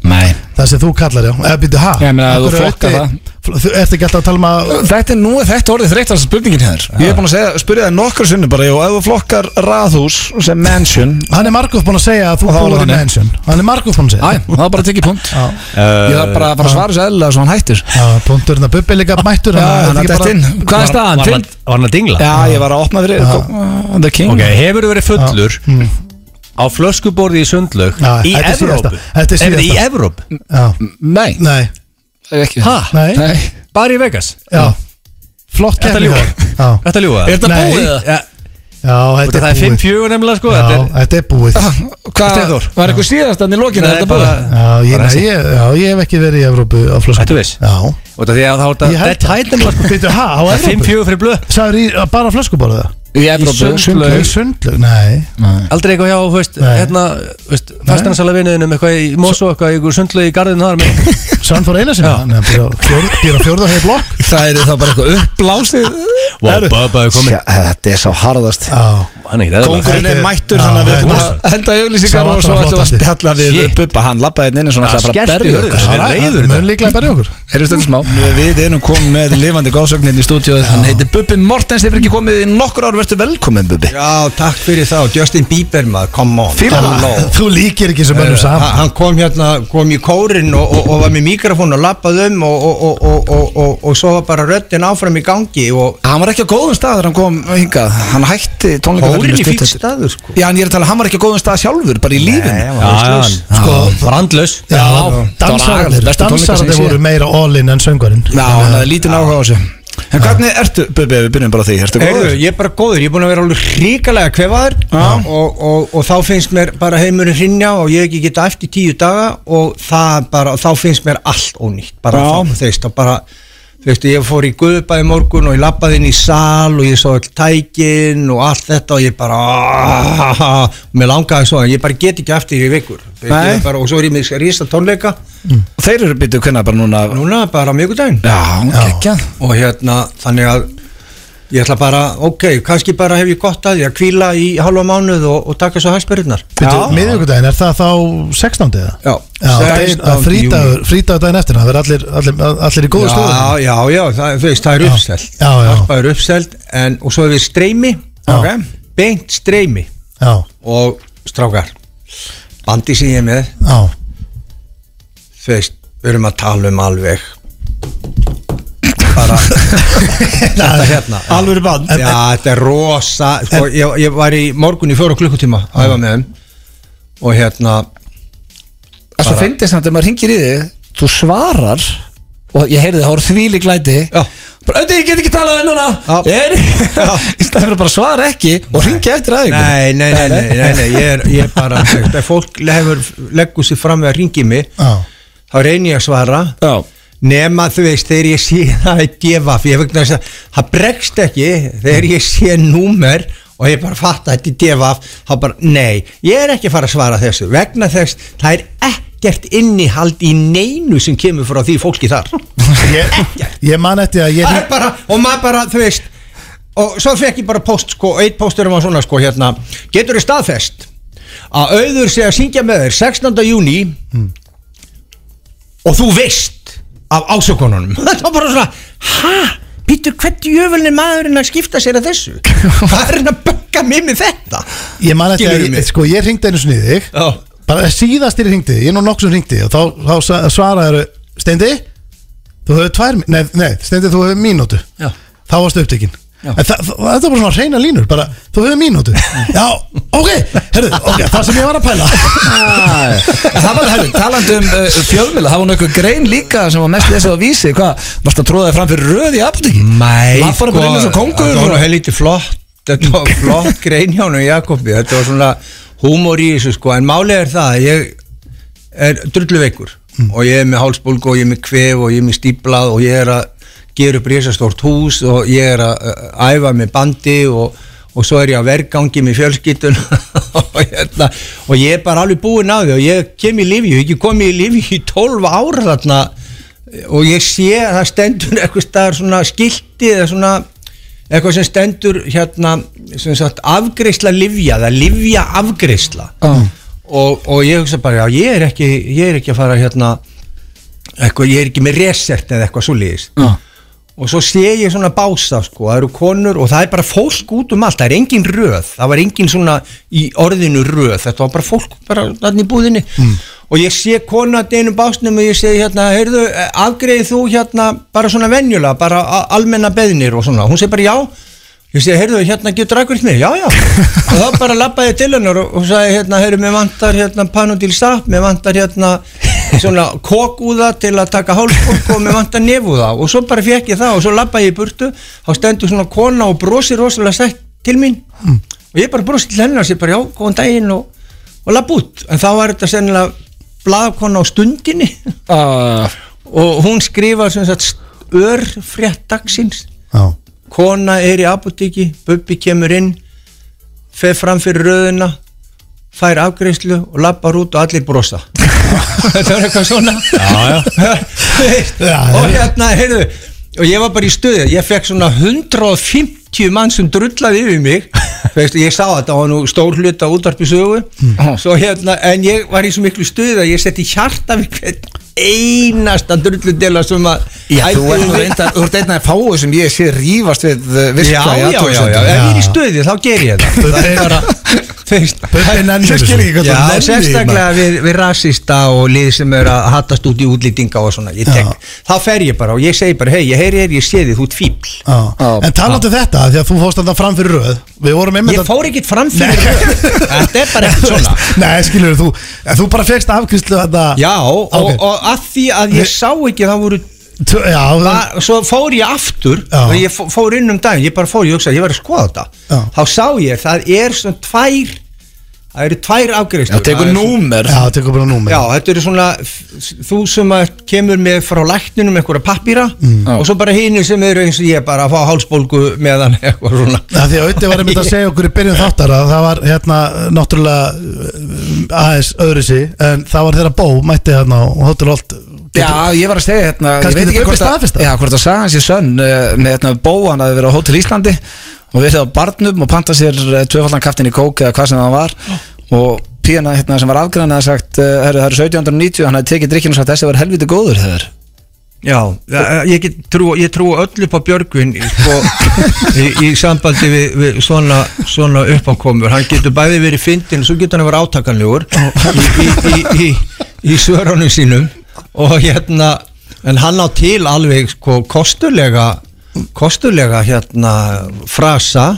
Nei
Það sem þú kallar já Eða býttu ha
Ég meina, þú
Af hverju
flokkar
ertu- Fl- Þú ert ekki alltaf að tala um að
Þetta er nú er þetta orðið þreytast spurningin hér Ég er búin að segja, spyrja það nokkur sinnum bara Jó, ef þú flokkar raðhús sem mansion
Hann er margóð búin að segja að þú
Og þá er
búir í
hann, ja.
mansion Hann er margóð búin að segja
Æ, það er bara að tekja punkt
Já,
Ég þarf bara að fara að svara þessu eðlilega svo hann hættir
já punkturinn að bubbi líka mættur
Já,
þannig að
hann er
þetta er
dætt
ekki
inn
bara-
Hvað er
Eh, Var-
staðan?
Var hann-
Fimm-
var hann að dingla?
Já, ég var að opna fyrir uh, The King
Ok, hefur þú verið fullur á flöskuborði í sundlaug
Mm. Já,
í
þetta er
Evrópu?
síðasta. Þetta er
Nei, Í
síðasta.
Evrópu?
Já,
Nei,
nei,
ekki
Ha?
Nei.
Bara í Vegas?
já Flott
Þetta
kemur
ljúga.
Já,
Þetta ljúga?
Er þetta
Nei.
búið eða?
Ja,
já, þetta
það
er
er
búið
5-4 nefnilega sko
Já,
þetta er-
þetta er búið
Ah. Hvað,
Steinþór.
var eitthvað síðast þannig í lokinu?
Nei,
Er þetta
bara-
búið?
Já, ég, nei, ég, já, ég hef ekki verið í Evrópu á flöskum
Ertu viss?
Já
Og það því að þá er
Ég
þetta
held
dead height nefnilega sko
Býttu, ha, á
Það er
Evrópu?
5-4 fyrir blöð
Sæður í, bara á flöskuborðu það?
Í Evrópu
Sundlaug Sundlaug, nei
Aldrei eitthvað hjá, þú veist,
Nei.
hérna, þú veist, fastanansala vinuðinum, eitthvað í Mosó, eitthvað í einhver sundlu í garðinu þar með
Sann fór eina sinna Hann er bara á fjór- býr á fjórðu og hefur blokk
Það er það bara eitthvað uppblásið
Wow, Bubba er komin,
Sjá, Þetta er svo harðast
Já,
hann er ekki eðlilega
Kongurinn er
Þetta er-
mættur
Já,
þannig að við
þetta
erum
er
búin að henda auðlýsingar
Sá
og svo
allra
ætlum við að
flottasti.
spjalla við
Shit.
Bubba, hann labbaði hérna inn eins og hann ætlaði bara að
skellti
berja
hörðu.
okkur
er reiður í
Mjög líklega berja okkur
Heyrðu stundum smá Við erum komin með lifandi góðsögnin í stúdíu Hann heitir Bubbi Mortens, hefur ekki komið í nokkur ár Vertu velkomin Bubbi
Já, takk fyrir þá, Justin Bieber maður, come on Hello.
Þú líkir ekki sem
Eh,
önnum saman
ha- Hann kom hérna, kom í kórin og, og, og var með mikrofón og lappað um og, og, og, og, og, og, og svo var bara röddin áfram í gangi og
Hann var ekki á góðum stað þegar hann kom hingað Hann hætti
kórin í
tónleikaferðinu stuttu
fík
eftir.
staður sko
Já, en ég er að tala, hann var ekki á góðum stað sjálfur Bara í lífinu
hann
Já,
var
já,
veistlaus.
hann-
Sko,
hann brandlaus
Já,
dansararnir
dansararnir Dansararnir voru meira all-in en söngarinn
Já, hann hafði lítið náhuga á þessu En hvernig ertu, Bubbi, við byrjum bara á því Ertu
Heyrðu,
góður?
ég er bara góður, ég er búin að vera alveg hrikalega kvefaður og, og, og þá finnst mér bara heimurinn hrinja og ég hef ekki geta eftir tíu daga og það bara, þá finnst mér allt ónýtt bara þá, þú veist, þá bara
þú veist, ég fór í guðbæði morgun og ég lappaði inn í sal og ég svo all tækin og allt þetta og ég bara og mér langaði svo, en ég bara get ekki eftir í vikur Ég
Nei.
bara, og svo er ég með rísa tónleika
Og þeir eru byrjuð hvernig bara núna
núna bara á miðgudaginn
Já, geggjað
og hérna þannig að ég ætla bara, ok, kannski bara hef ég gott að ég að kvíla í halva mánuð og, og taka svo hæsbyrðnar
Býtu, miðvikudaginn, er það þá 16. eða?
Já,
Já, daginn- að frídagur, frídagur daginn eftir, það verður allir, allir, allir í góðu stöðu
Já, já, já, það, þú veist, það er
Já.
uppselt
Já, já.
Það er uppselt en, og svo er við streymi
Já.
ok, beint streymi
Já,
og strákar bandi sem ég er með,
já,
þú veist, við erum að tala um alveg bara þetta hérna alveg band já, þetta er rosa sko, ég, ég var í morgun í fjóra klukkutíma að æfa með þeim og hérna
Það svo fyndist samt að maður hringir í þig Þú svarar Og ég heyrði það voru þvílík læti
Já.
Bara, auðvitað, ég get ekki talað ennuna
Já.
Ég er Í stæðan fyrir að bara svara ekki Og hringi eftir aðeins
nei, nei, nei, nei, nei, nei ég, er, ég er bara þegar fólk hefur, leggur sér fram við að ringi mig
já
þá reynir ég að svara
Já
nema þú veist þegar ég sé það er devaf, ég vegna þess að það bregst ekki þegar ég sé númer og ég bara fatta þetta er devaf þá bara nei, ég er ekki að fara að svara þessu vegna þess það er ekkert innihald í neinu sem kemur frá því fólki þar
Ég, ég man eftir að ég
það er bara, og maður bara, þú veist og svo fekk ég bara post sko, eitt postur um að svona sko hérna getur þið staðfest að auður sé að syngja með þér 16. júni Hmm. og þú veist af ásökununum það var bara svona, hæ? Pítur, hvernig jöfulni maðurinn að skipta sér að þessu? Hvað er hann að bögga mig með þetta?
Ég man eftir að
Skilurðu mig?
ég, sko, ég ringdi einu sinni í þig
Já.
Bara síðast ég ringdi, ég er nú nokkuð sem ringdi Og þá, þá sa- svaraðiru, Steindi Þú hefur tvær, mi- nei, nei Steindi þú hefur mínútu
Já.
Þá varstu upptekinn En það, það, þetta er bara svona reyna línur, bara, þú hefur mínútu Já, ok, herðu, ok, það sem ég var að pæla
Það var, herru, talandi um uh, fjölmila Það var nú einhver grein líka sem var mest lesið á vísi Hvað, varst að tróða þig fram fyrir röð í apotek
Mæ,
Lappar bara inn eins og kóngur
Það sko, var nú
og-
heilítið flott Þetta var flott grein hjá hann Jakobi Þetta var svona húmor í þessu sko En málið er það að Ég er drullu veikur Og ég er með hálsbólgu og ég er með kvef Og ég er með stíplað og ég er að Gera upp risastórt hús Og ég er að uh, æfa með bandi Og, og svo er ég á vergangi með fjölskytun og, hérna, og ég er bara alveg búinn á því Og ég kem í lifi Ég hef ekki komið í lifi í 12 ár þarna og ég sé að það stendur eitthvað staðar svona skilti eða svona eitthvað sem stendur hérna sem sagt afgreisla livja eða livja afgreisla
Já.
og, og ég hugsa bara já ég er ekki, ég er ekki að fara hérna eitthvað, ég er ekki með resert eða eitthvað svo
Já.
og svo sé ég svona bása sko, það eru konur og það er bara fólk út um allt, það er engin röð það var engin svona í orðinu röð þetta var bara fólk bara þarna í búðinni
Mm.
og ég sé konu að einum básnum og ég segi hérna, heyrðu, eh, afgreiði þú hérna bara svona venjulega, bara a- almenna beðnir og svona, hún segi bara já ég segi, heyrðu, hérna getur akkur mig, já, já og þá bara lappaði ég til hennar og, og sagði, hérna, heyrðu, mér vantar hérna panodil sapp, mér vantar hérna svona kókúða til að taka hálfbólk og mér vantar nefúða og svo bara fekk ég það og svo lappaði ég í burtu þá stendur svona kona og brosir rosalega sætt til mín og ég bara brosi til hennar og segi bara, já, góðan daginn og, og lapp út, en þá var þetta sennilega blaðkona á stundinni
uh,
og hún skrifar sem sagt örfrétt dagsins
Já,
kona er í apotíki, Bubbi kemur inn fer fram fyrir röðuna fær afgreiðslu og lappar út og allir brosa þetta var eitthvað svona já, já. og hérna, heyrðu og ég var bara í stuði, ég fekk svona 150 mann sem drullaði yfir mig Veist, ég sá þetta, það var nú stór hluta útarpi sögu
Hmm.
Svo hérna, en ég var í svo miklu stuði að ég setti hjarta við hvern einasta drulludela sem að
Já, þú ert
ætluðu
nú
við-
reyndar, þú ert einn af fáu sem ég sé rífast við uh,
já,
virka í
já, já, já,
athugasemdum.
ef ég er í stuði þá ger ég það það er bara fyrst
Bubbi nennir
Ég skil
þessu.
ekki hvað
Já,
Já,
sérstaklega við, við rasista og lið sem er að hattast út í útlýtinga og svona, ég tek, þá fer ég bara og ég segi bara, hei, ég heyri þér, ég sé þið, þú ert fíbl
já. En talandu þetta, því að þú fórst alltaf fram fyrir röð Við vorum einmitt
ég
að-
fór ekkert fram fyrir röð. þetta er bara ekkert svona
Nei, skilur þú, en þú bara fegst afkvistlu þetta
já, og,
Ok.
og að því að ég sá ekki það voru,
Tvö- já,
það, svo fór ég aftur
Já.
og ég fó- fór inn um daginn, ég bara fór, ég hugsaði, ég var að skoða
Já.
þetta þá sá ég, það er svona tvær það eru tvær afgreiðslu
Já, tekur númer
Já, það tekur bara númer
Já, þetta eru svona f- þú sem að kemur með frá lækninum einhverja pappýra
Mm.
og svo bara hinu sem eru eins og ég bara að fá hálsbólgu meðan eitthvað svona
Já, því að auðvitað var einmitt að segja okkur í byrjun þáttar að það var hérna náttúrulega uh, aðeins öðru en það var þeirra bó mætti hérna og hóttur holt
Já, ég var að segja hérna ég
Kannski
veit ekki
getur
hvort
Bubbi
að-
staðfest það?
Já, hvort að sagan sér sönn eh, með hérna bóan að vera á Hótel Íslandi og verið á barnum og panta sér eh, tvöfaldan kaftin í kók eða hvað sem það var og píana hérna sem var afgræna að sagt, eh, herru, það eru 1790 hann hafði tekið drikkinu og sagt þessi var helviti góður þegar
Já, eh, ég, get trú, ég trú öll upp á Björgvin sko, í, í sambandi við, við svona, svona uppákomur hann getur bæði verið fyndin svo getur hann verið átakanlegur í, í, í, í, í svörunum sínum og hérna en hann á til alveg sko, kostulega kostulega hérna frasa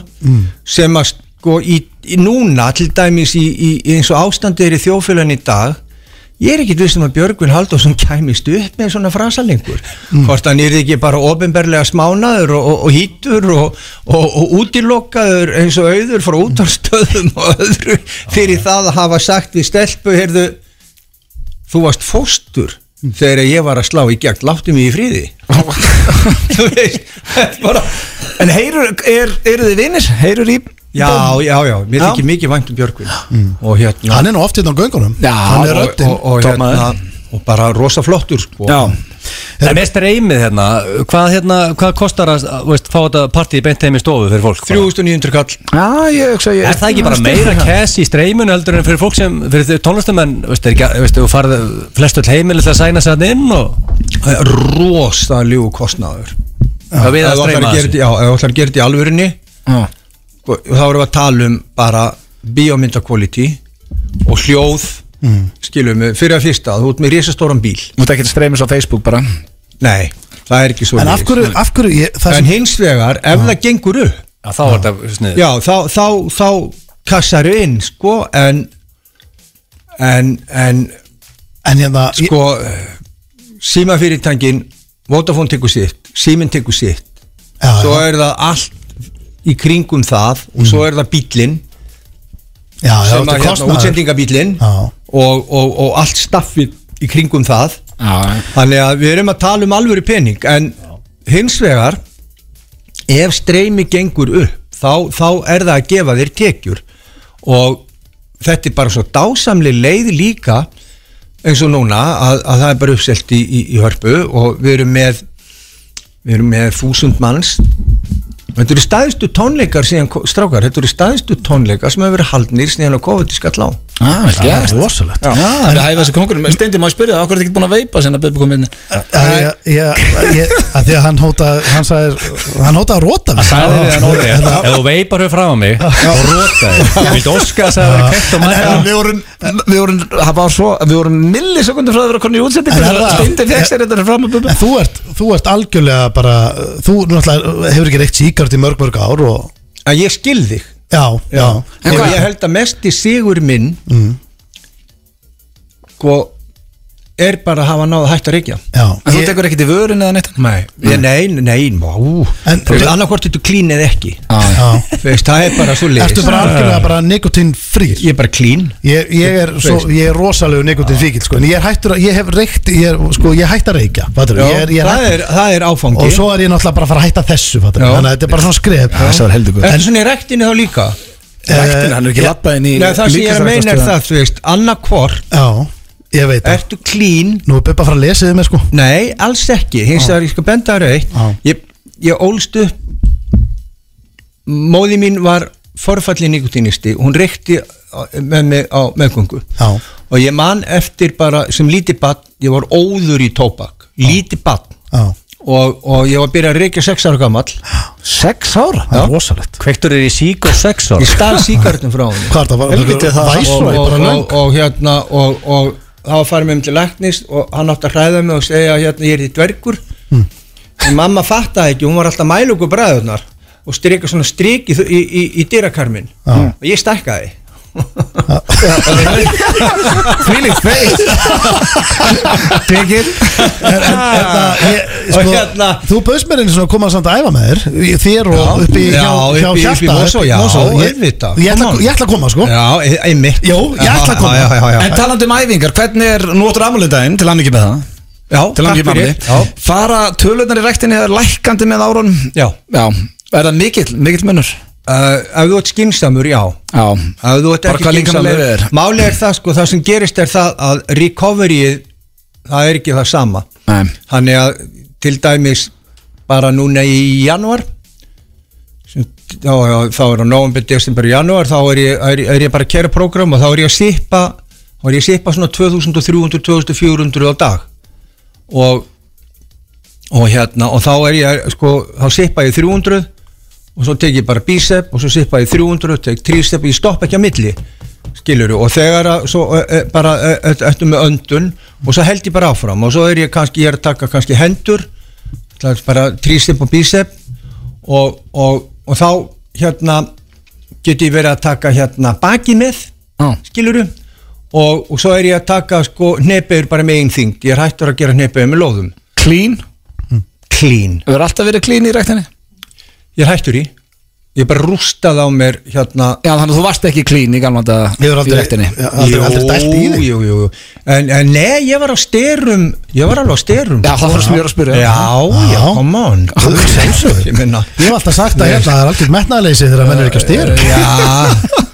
sem að sko í, í núna til dæmis í, í, í eins og ástandið er í þjófélagin í dag Ég er ekkit vissum að Björgvin Halldórsson kæmist upp með svona frasalengur hvort hann er ekki bara ofinberlega smánaður og, og, og hýtur og, og, og útilokkaður eins og auður frá útvarstöðum og öðru fyrir það að hafa sagt við stelpu heyrðu, þú varst fóstur þegar ég var að slá í gegn láttu mig í friði þú veist, þetta er bara
En heyrur, er, eru þið vinnir? Heyrur í
já, já, já, mér
Já. Mm.
þykir mikið vænt um Björgvin og hérna
Hann er nú oft hérna á göngunum
Já,
Hann er
og-
röddinn
og, og,
Toppmaður.
hérna, og bara rosa flottur sko.
Já,
En mest reymið hérna, hvað, hérna, hvað kostar að þú veist, fá þetta partí beint heim í stofu fyrir fólk? bara?
3900 kall
já, ég hugsa ég
Er það ekki bara meira cash í streyminu heldur en fyrir fólk sem, fyrir þau tónlistamenn, veist, er ekki, veist, þú farið flestu til heimili til að sæna sér hann inn og
Það er rosaljú kostnaður Ef
það við að
þú ætlar
streyma
að gera
þessu.
þetta- Já, ef þú ætlar að gera þetta í alvörinni
Já.
Þá erum við að tala um bara bíómyndakvaliti og hljóð mm. skilum við, fyrir að fyrsta þú ert með risastóran bíl
Þú ert ekki að streymis á Facebook bara
Nei, það er ekki svo
En af hverju, af hverju ég, það
En
sem,
hins vegar, ef það gengur upp
Já, þá er þetta snið.
Já, þá, þá, þá kassar inn sko, en en, en
en hérna ég,
sko símafyrirtangin Vodafone tekur sitt, síminn tekur sitt
já,
svo
já,
er það allt í kringum það og svo er það bílinn
já, já,
sem
Mhm. þetta
að
er
hérna
kostnaður
útsendingabílinn
Já.
og, og, og allt staffið í kringum það
Já,
þannig að við erum að tala um alvöru pening en hins vegar ef streymi gengur upp þá, þá er það að gefa þér tekjur og þetta er bara svo dásamli leið líka eins og núna að, að það er bara uppselt í, í, í hörpu og við erum með við erum með þúsund manns þetta eru staðistu tónleikar síðan, ko- strákar, þetta eru staðistu tónleikar sem hefur verið haldnir síðan á COVID skall á
Ah, vel
Það
gert
er rosalegt Mm.
Já, það er að hæfa þessi kongur Steindi, maður spyrja það, okkur er ekki búin að veipa sinna Bubbi kom inn
Að ég- ég- ég- að Því að hann hóta Hann sagði, hann hóta að róta mig Hérna,
Sæði við hann orðið, ef þú veipar þau frá mig og róta þau, þú vilt óska að það er kveikt og
En herra,
mæta.
Við vorum, við vorum, það var svo, við vorum millisekundum frá að vera konið í útsendingu
En
þegar
herra,
Steindi fekk sér þetta fram að bubba
En þú ert, þú ert algjörlega bara uh, Þú náttúrulega hefur ekki reykt síkart í mörg mörg ár og,
að ég skil þig
Já, já,
En Mm.
hvað-
ég held að mest í sigur minn sko er bara að hafa náð að hætta að reykja
já
En þú
Ég-
tekur ekkert í vörun eða neitt
Nei, Mm. ég, nei, nei, má
En-
Annarkvort þetta klín eða ekki
Já
Þú Veist, það er bara svo
Ertu
leiðis
bara algjörlega bara nikotín frýr
Ég er bara klín
Ég, ég er, svo, ég er rosalegu nikotín fíkil sko, en ég er hættur að, ég hef reykt ég, er, sko, ég hætt að reyka, fattur
Já,
ég er, ég er
það,
hætt,
er, það er áfangi
og svo er ég náttúrulega bara að fara að hætta þessu fattur,
Já.
þannig að þetta er bara svona skref
Það var heldur
Ertu svona í rektinni þá líka?
Ræktin, hann er
Eh,
eh,
ekki labbað inn í
Nei, það sem ég er að meina er
líkamsræktarstöðina.
það, þú veist Annarkvort,
Já, ég veit það
ertu klín
Nú er Bubba að fara að lesa þið með sko
Nei, alls ekki, hins vegar ég skal benda þér á eitt
Já.
ég, ég ólst upp Móði mín var forfallin nikotinisti Hún reykti á- með mig á meðgöngu
Já.
Og ég man eftir bara sem lítið barn Ég var óður í tóbak, lítið barn
Já,
og, og ég var að byrja að reykja sex ára gamall
sex ára, það er rosalegt
Kveiktur er í sík og sex ára.
Ég stað síkartum frá henni
Hvað er það, var
Helviti, það-
og,
væsvæði
og,
bara
og,
löng
og hérna og, og það var farið með um til læknis og hann átti að hræða mig og segja hérna ég er því dvergur
Hmm.
en mamma fattaði ekki, hún var alltaf mælu okkur bræðunar og strika svona strik í, í, í, í dyrakarmin og ég stækkaði
Fílíkt feist Tekir
en, en, hérna, ég, sko,
Og hérna-
Þú bauðst mér einu svona að koma samt að æfa með þér í- Þér og
Já.
upp í
Já,
hjá, hjá
upp í- upp í
hjarta
Mosó, já,
Ég, ég,
auðvitað,
ég, ætla,
come on.
ég ætla að koma sko
Já, e- einmitt
Jó, ég ætla að koma.
Já, já, já, já.
En talandi um æfingar, hvernig er nótur afmæludaginn til hann ekki með það? Til
já
hann
takk
ekki með
fyrir. Já.
það Fara tölurnar í rektinni eða lækandi með árunum?
Já.
Já, er það mikill, mikill munur?
Uh, Ef þú ert skynstamur, já
Já
Ef þú ert
Bara
ekki
hvað líkamann
skynstamur
leyfir þér.
Málið er það, sko, það sem gerist er það að recoveryið, það er ekki það sama
Nei.
Þannig að til dæmis bara núna í janúar sem, já, já, þá er á november, desember, janúar þá er ég, er, er ég bara að kæra prógram og þá er ég að sippa þá er ég að sippa svona 2300-2400 á dag og og hérna, og þá er ég sko, þá sippa ég 300 og svo tek ég bara bíceps og svo sippa ég 300 tek tríceps, ég stoppa ekki að milli skilur og þegar að svo, e, e, bara e, e, eftir með öndun og svo held ég bara áfram og svo er ég kannski ég er að taka kannski hendur það er bara tríceps og bíceps og, og, og þá hérna get ég verið að taka hérna baki með
Já.
skiluru og, og svo er ég að taka sko hnepegur bara með einn þyngd ég er hættur að gera hnepegur með lóðum
Clean?
Mm.
clean
Við erum alltaf verið clean í rektinni?
ég er hættur í ég er bara rústað á mér hérna
Já, þannig að þú varst ekki clean í gamlanda
Ég hefur
í
aldrei,
rektinni
aldrei, aldrei, aldrei dælt í þig
jú, jú, jú. En, en nei, ég var á styrum ég var alveg á styrum
Já, það var það sem ég er að spyrja
já, já,
Já.
come on ég minna
Ég hef alltaf sagt að hérna, það er aldrei metnaðleysi þegar menn er ekki á styr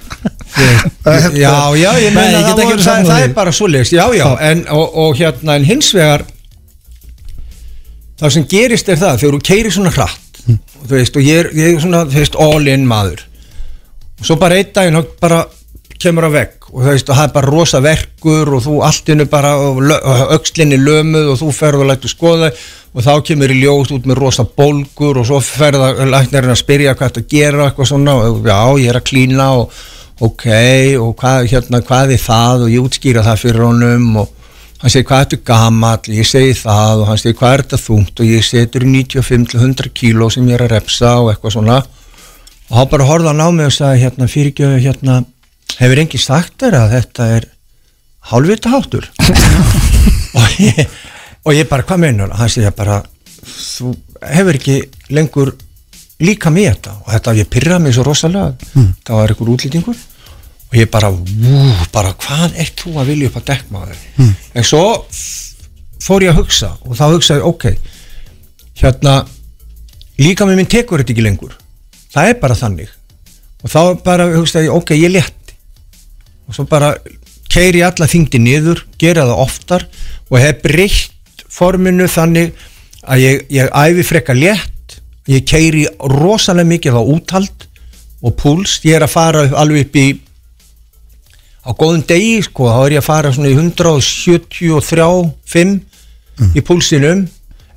Eh, já Ég- já, já, ég
Eh, hérna. Nei,
meina
ég get
það,
ekki
voru-
verið
það,
sammála
það
því.
er bara svoleiðis já, já, en, og, og hérna en hins vegar það sem gerist er það, þegar þú keirir svona hratt
Hm.
og þú veist, og ég er, ég er svona þú veist, all in maður og svo bara einn daginn þá bara kemur á vegg og þú veist, og það er bara rosa verkur og þú allt innu bara og lö- og aukslinni lömuð og þú ferð og lætur skoða og þá kemur í ljós út með rosa bólgur og svo ferða læknarinn að spyrja hvað þetta gera og eitthvað svona og já, ég er að klína og ok, og hvað, hérna, hvað er það og ég útskýra það fyrir honum og hann segir hvað ertu gamall ég segi það og hann segir hvað er þetta þungt og ég segi þetta eru 95-100 kíló sem ég er að repsa og eitthvað svona og þá bara horfði hann á mig og sagði hérna fyrirgjöðu hérna hefur enginn sagt þér að þetta er hálfvita hátur og ég og ég bara hvað meinar hann segja bara þú hefur ekki lengur líka mig í þetta og þetta ég pyrraði mig svo rosalega mm. það var einhver útlýtingur og ég bara, vú, bara hvað er þú að vilja upp að dekkmaður mm. en svo fór ég að hugsa og þá hugsaði, ég, ok hérna, líka með minn tekur þetta ekki lengur það er bara þannig og þá bara hugsaði, ég, ok, ég létti og svo bara keiri alla þingdi niður, gera það oftar og hef breytt forminu þannig að ég, ég æfi frekka létt ég keiri rosalega mikið á úthald og púls, ég er að fara upp- alveg upp í á góðum degi sko, þá er ég að fara svona í 173 5 í púlsinum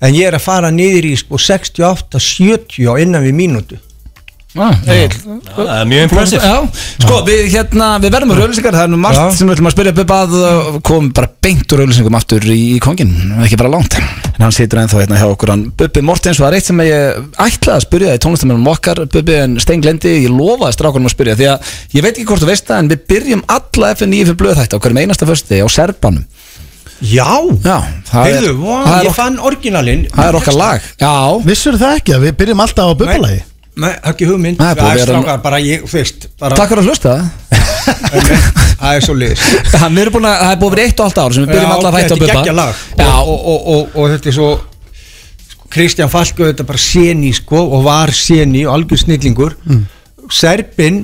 en ég er að fara niður í sko 68, 70 á innan við mínútu
Já,
Það er mjög impressive
Já, sko, við, hérna, við verðum úr auðlýsingar Það er nú margt
Já.
sem við ætlum að spyrja Bubba að uh, kom bara beint úr auðlýsingum aftur í, í kongin Ekki bara langt En hann situr ennþá hérna hjá okkur hann Bubbi Mortens og það er eitt sem ég ætlaði að spyrja í tónlistamennum okkar Bubbi en Steinglendi, ég lofaði strákunum að spyrja Því að ég veit ekki hvort þú veist það En við byrjum alla FN95 blöðþætti á hverjum einasta fösti á Serbanum
Já,
Já, það er-
heyrðu, vá,
það er
ég
ok-
fann orginalinn
Það er okkar lag Já,
Vissur það ekki að við byrjum alltaf á bubbalagi
Nei, ekki hugmynd
Nei, búið að
Það er
vera-
strákar, bara ég, þú veist bara,
takk fyrir að hlusta
Það er svo liðs
Það við erum búin að, það er búin að vera eitt og allt ár sem við byrjum alla að þætti á Bubba
Þetta er geggjalag
Já,
og, og, og, og, og þetta er svo sko, Kristján Falkau þetta er bara séni sko og var séni og algjör snillingur Serbin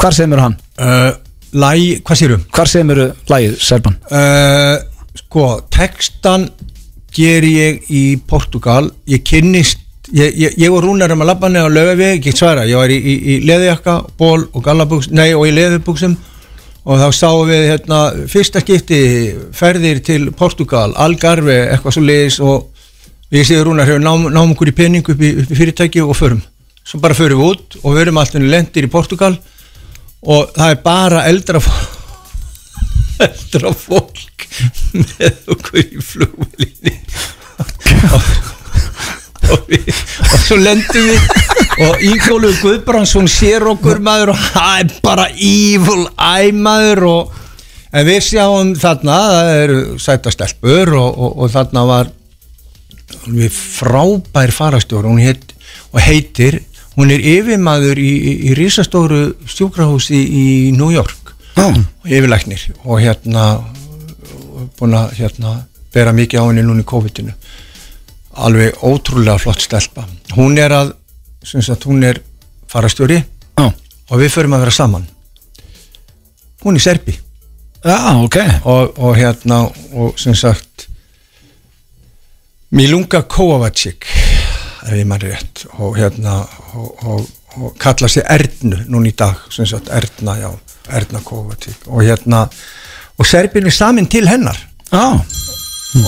hvar semur hann?
uh, Læ, hvað sérum?
Hvar semur lagið Serban?
Uh, sko, textan ger ég í Portugal ég kynnist ég, ég, ég og Rúnar um að labba neða á löfi ég get svara, ég var í, í, í leðjakka ból og gallabugs, nei og í leðubugsum og þá sáum við hérna fyrsta skipti ferðir til Portugal, Algarve, eitthvað svo leiðis og ég segir Rúnar hefur nám, nám okkur í pening upp í, upp í fyrirtæki og förum, svo bara förum við út og verum alltaf lendir í Portugal og það er bara eldra fólk eldra fólk með okkur í flugvelinni og, og, við, og svo lendum við og Ingólu Guðbrandsson sér okkur maður og það er bara evil eye maður og en við sjáum þarna það eru sæta stelpur og, og, og þarna var alveg frábær farastjóra hún heit, og heitir hún er yfirmaður í, í, í risastóru sjúkrahúsi í New York
Já.
og yfirlæknir og hérna búin að hérna bera mikið á henni núna í COVID-inu alveg ótrúlega flott stelpa hún er að, sem sagt, hún er farastjóri
Já.
og við förum að vera saman hún er serbi
Já, ok
og, og hérna og sem sagt Milunga Kovacic er ég mann rétt og hérna og, og, og kalla sig Ernu núna í dag sem sagt Erna, já, Erna Kovacic og hérna og Serbin er samin til hennar
Já,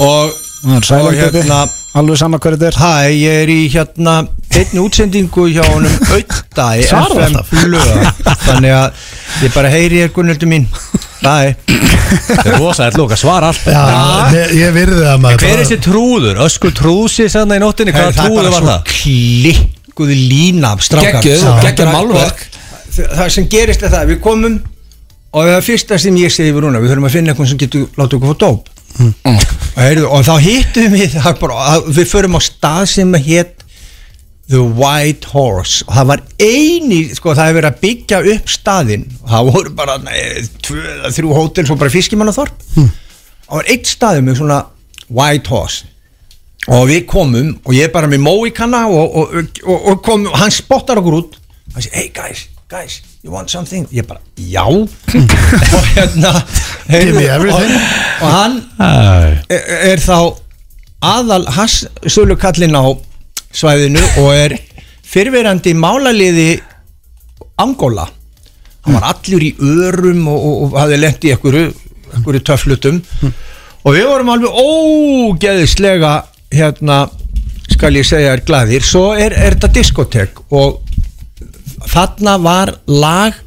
og,
það er
og
sælan
hérna
Alveg sama hverju þetta er
Hæ, ég er í hérna einni útsendingu hjá honum auðda í
Svarar
FM lög þannig að ég bara heyri ég Gunnildur mín Hæ
Það er rosa, þetta lóka svar allt
Já, ég, ég virði það maður
Hver er þessi trúður? Öskur trúðsi sann í nóttinni,
Herri,
hvaða trúður var
svo
það?
klikkuð lína af strákar
Geggjuð,
Já.
geggjað málverk.
Það- Það sem gerist er það, að við komum og það fyrsta sem ég segi við rúna við þurfum að finna eitthvað sem getur látið okkur fá dóp og, heyrðu, og þá hittum við það er bara, að við förum á stað sem hétt The White Horse og það var eini, sko það hefur verið að byggja upp staðinn og það voru bara nei, tvö, eða þrjú hótel svo bara fiskimannaþorp það var eitt staðið með svona White Horse og við komum og ég er bara með móikanna og, og, og, og kom, hann spottar okkur út hann segir, hey guys, guys, you want something ég bara, já og hérna
Give me
og,
everything.
og hann er, er þá aðal hans sölu á svæðinu og er fyrverandi málaliði Angola hann var allur í örum og, og, og hafði lent í einhverju, einhverju töfflutum og við vorum alveg ógeðislega hérna skal ég segja er glæðir svo er, er þetta diskotek og þarna var lag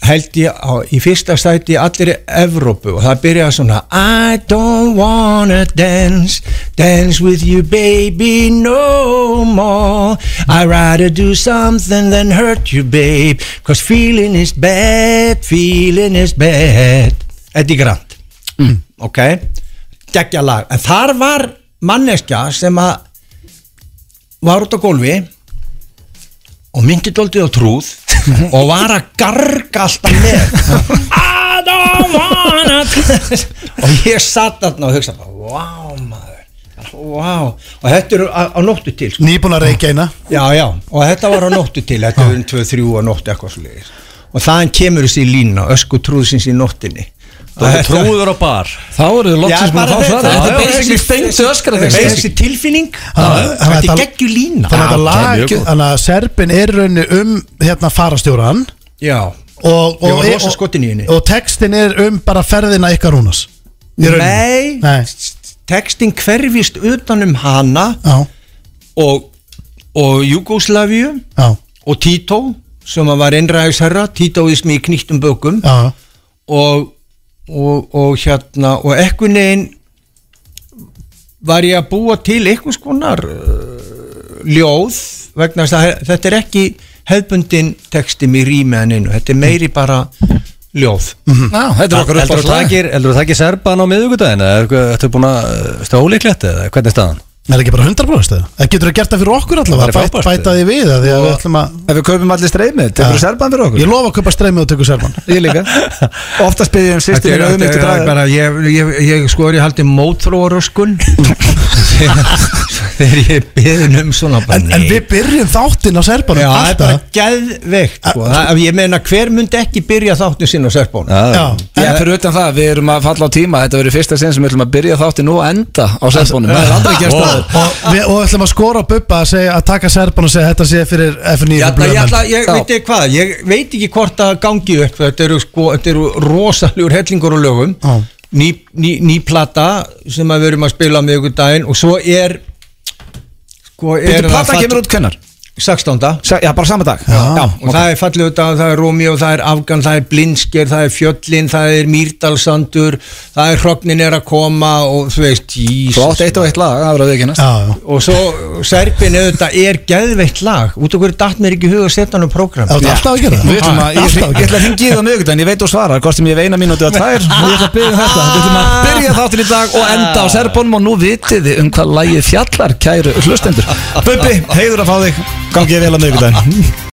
held ég á, í fyrsta sæti í allir Evrópu og það byrjaði svona I don't wanna dance dance with you baby no more I'd rather do something than hurt you babe cause feeling is bad feeling is bad Eddie Grant ok, geggja lag en þar var manneskja sem að var út á gólfi og myndi doldið á trúð og var að garga alltaf með I don't wanna og ég satt þarna og hugsaði bara, wow maður wow, og þetta eru á, á nóttu til sko.
Nýbúin að reykja eina
já, já, og þetta var á nóttu til þetta eru 2-3 á nóttu eitthvað svo og þaðan kemur þessi lína, ösku trúðsins í nóttinni
Það er trúður á bar
Þá eru
Já,
þið loksins búin
bara
að fá
þetta-
svara
já,
Þetta er
já,
basically
þessi-
steintu öskra
Þessi-
þegar
þessi tilfinning
Þannig að-
þetta er
þetta-
geggju lína
Þannig að þetta lag,
mjög gott.
þannig að Serbin er raunni um hérna farastjóran
já,
og,
Ég
og,
var rosa
og,
skotin í henni.
og textin er um bara ferðina ykkar húnas
nei,
Nei.
textin hverfist utanum hana
Já,
og, og Jugoslavju
já,
og Tito sem að var einræðisherra, Titoismi í knýttum bökum
já
og, og, og hérna og ekkun neginn var ég að búa til einhvers konar uh, ljóð vegna þess að þetta er ekki hefbundin textum í rýmiðaninu þetta er meiri bara ljóð
Já, þetta er okkar upp á
Eldur Mhm. þú takir, eldur þú takir serban á miðugudaginn eða er- ertu búin að stólíklegt eða hvernig er staðan?
Er það ekki bara 100 bróðist eða? Það getur það gert það fyrir okkur
Það
allavega
er
bæt,
frábært.
Bæta því við að því að við ætlum að
Ef við kaupum allir streymið, tekur
Já.
þú serban fyrir okkur
Ég lofa að köpa streymið og tökur serban
Ég líka Oftast byrðið um
Þetta
sýstir
er,
minn auðmynd
þetta
til
er
draga
bara, ég, ég, ég sko er ég haldið mótþróaröskun þegar ég beðin um svona bara,
en, en
nei.
við byrjum þáttinn á serbanum
Já, það er bara
alltaf
geðveikt sko. Það- ég meina hver myndi ekki byrja þáttu sín á Serbónu
Já,
En fyrir utan það, við erum að falla á tíma Þetta verður fyrsta sinn sem við ætlum að byrja þátti nú og enda á serbanum Það er aldrei gerst það
og, við, og ætlum að skora á Bubba að, segja, að taka serban og segja þetta sé fyrir F9
Ég, ætla, ég, ætla, ég
Já.
veit ekki hvað, ég veit ekki hvort það gangi upp, þetta eru, sko, þetta eru rosalegur hellingur og lögum
Já.
ný, ný, ný plata sem að við erum að spila með ykkur daginn og svo er sko,
Þetta
það
plata
fall-
kemur út kennar
16.
Sa- Já, bara sama dag
Já.
og það er fallið auðvitað, það er Rómi það er Afgan, það er Blinsker, það er Fjöllin það er Mýrdalsandur það er Hrognin er að koma og þú veist,
Þú
jís
átt eitt og eitt lag, það verður að viðkynast
Já, já
og svo Serbin auðvitað er geðveitt lag út af hverju datt mér ekki í hug að setja hann á program
Það er alltaf að gera það
Við ætlum að, ég,
Alltaf
ég ætla að hringi í það miðugut en ég veit þú svarar, kostum ég eina mínúti og tvær og ég ætla að
um
byrja þetta, við ætlum að byrja þáttin í dag og enda á serbónum og nú vitið þið um hvað lægið fjallar, kæru hlustendur Bubbi, heiður að fá þig, gangið vel að miðugut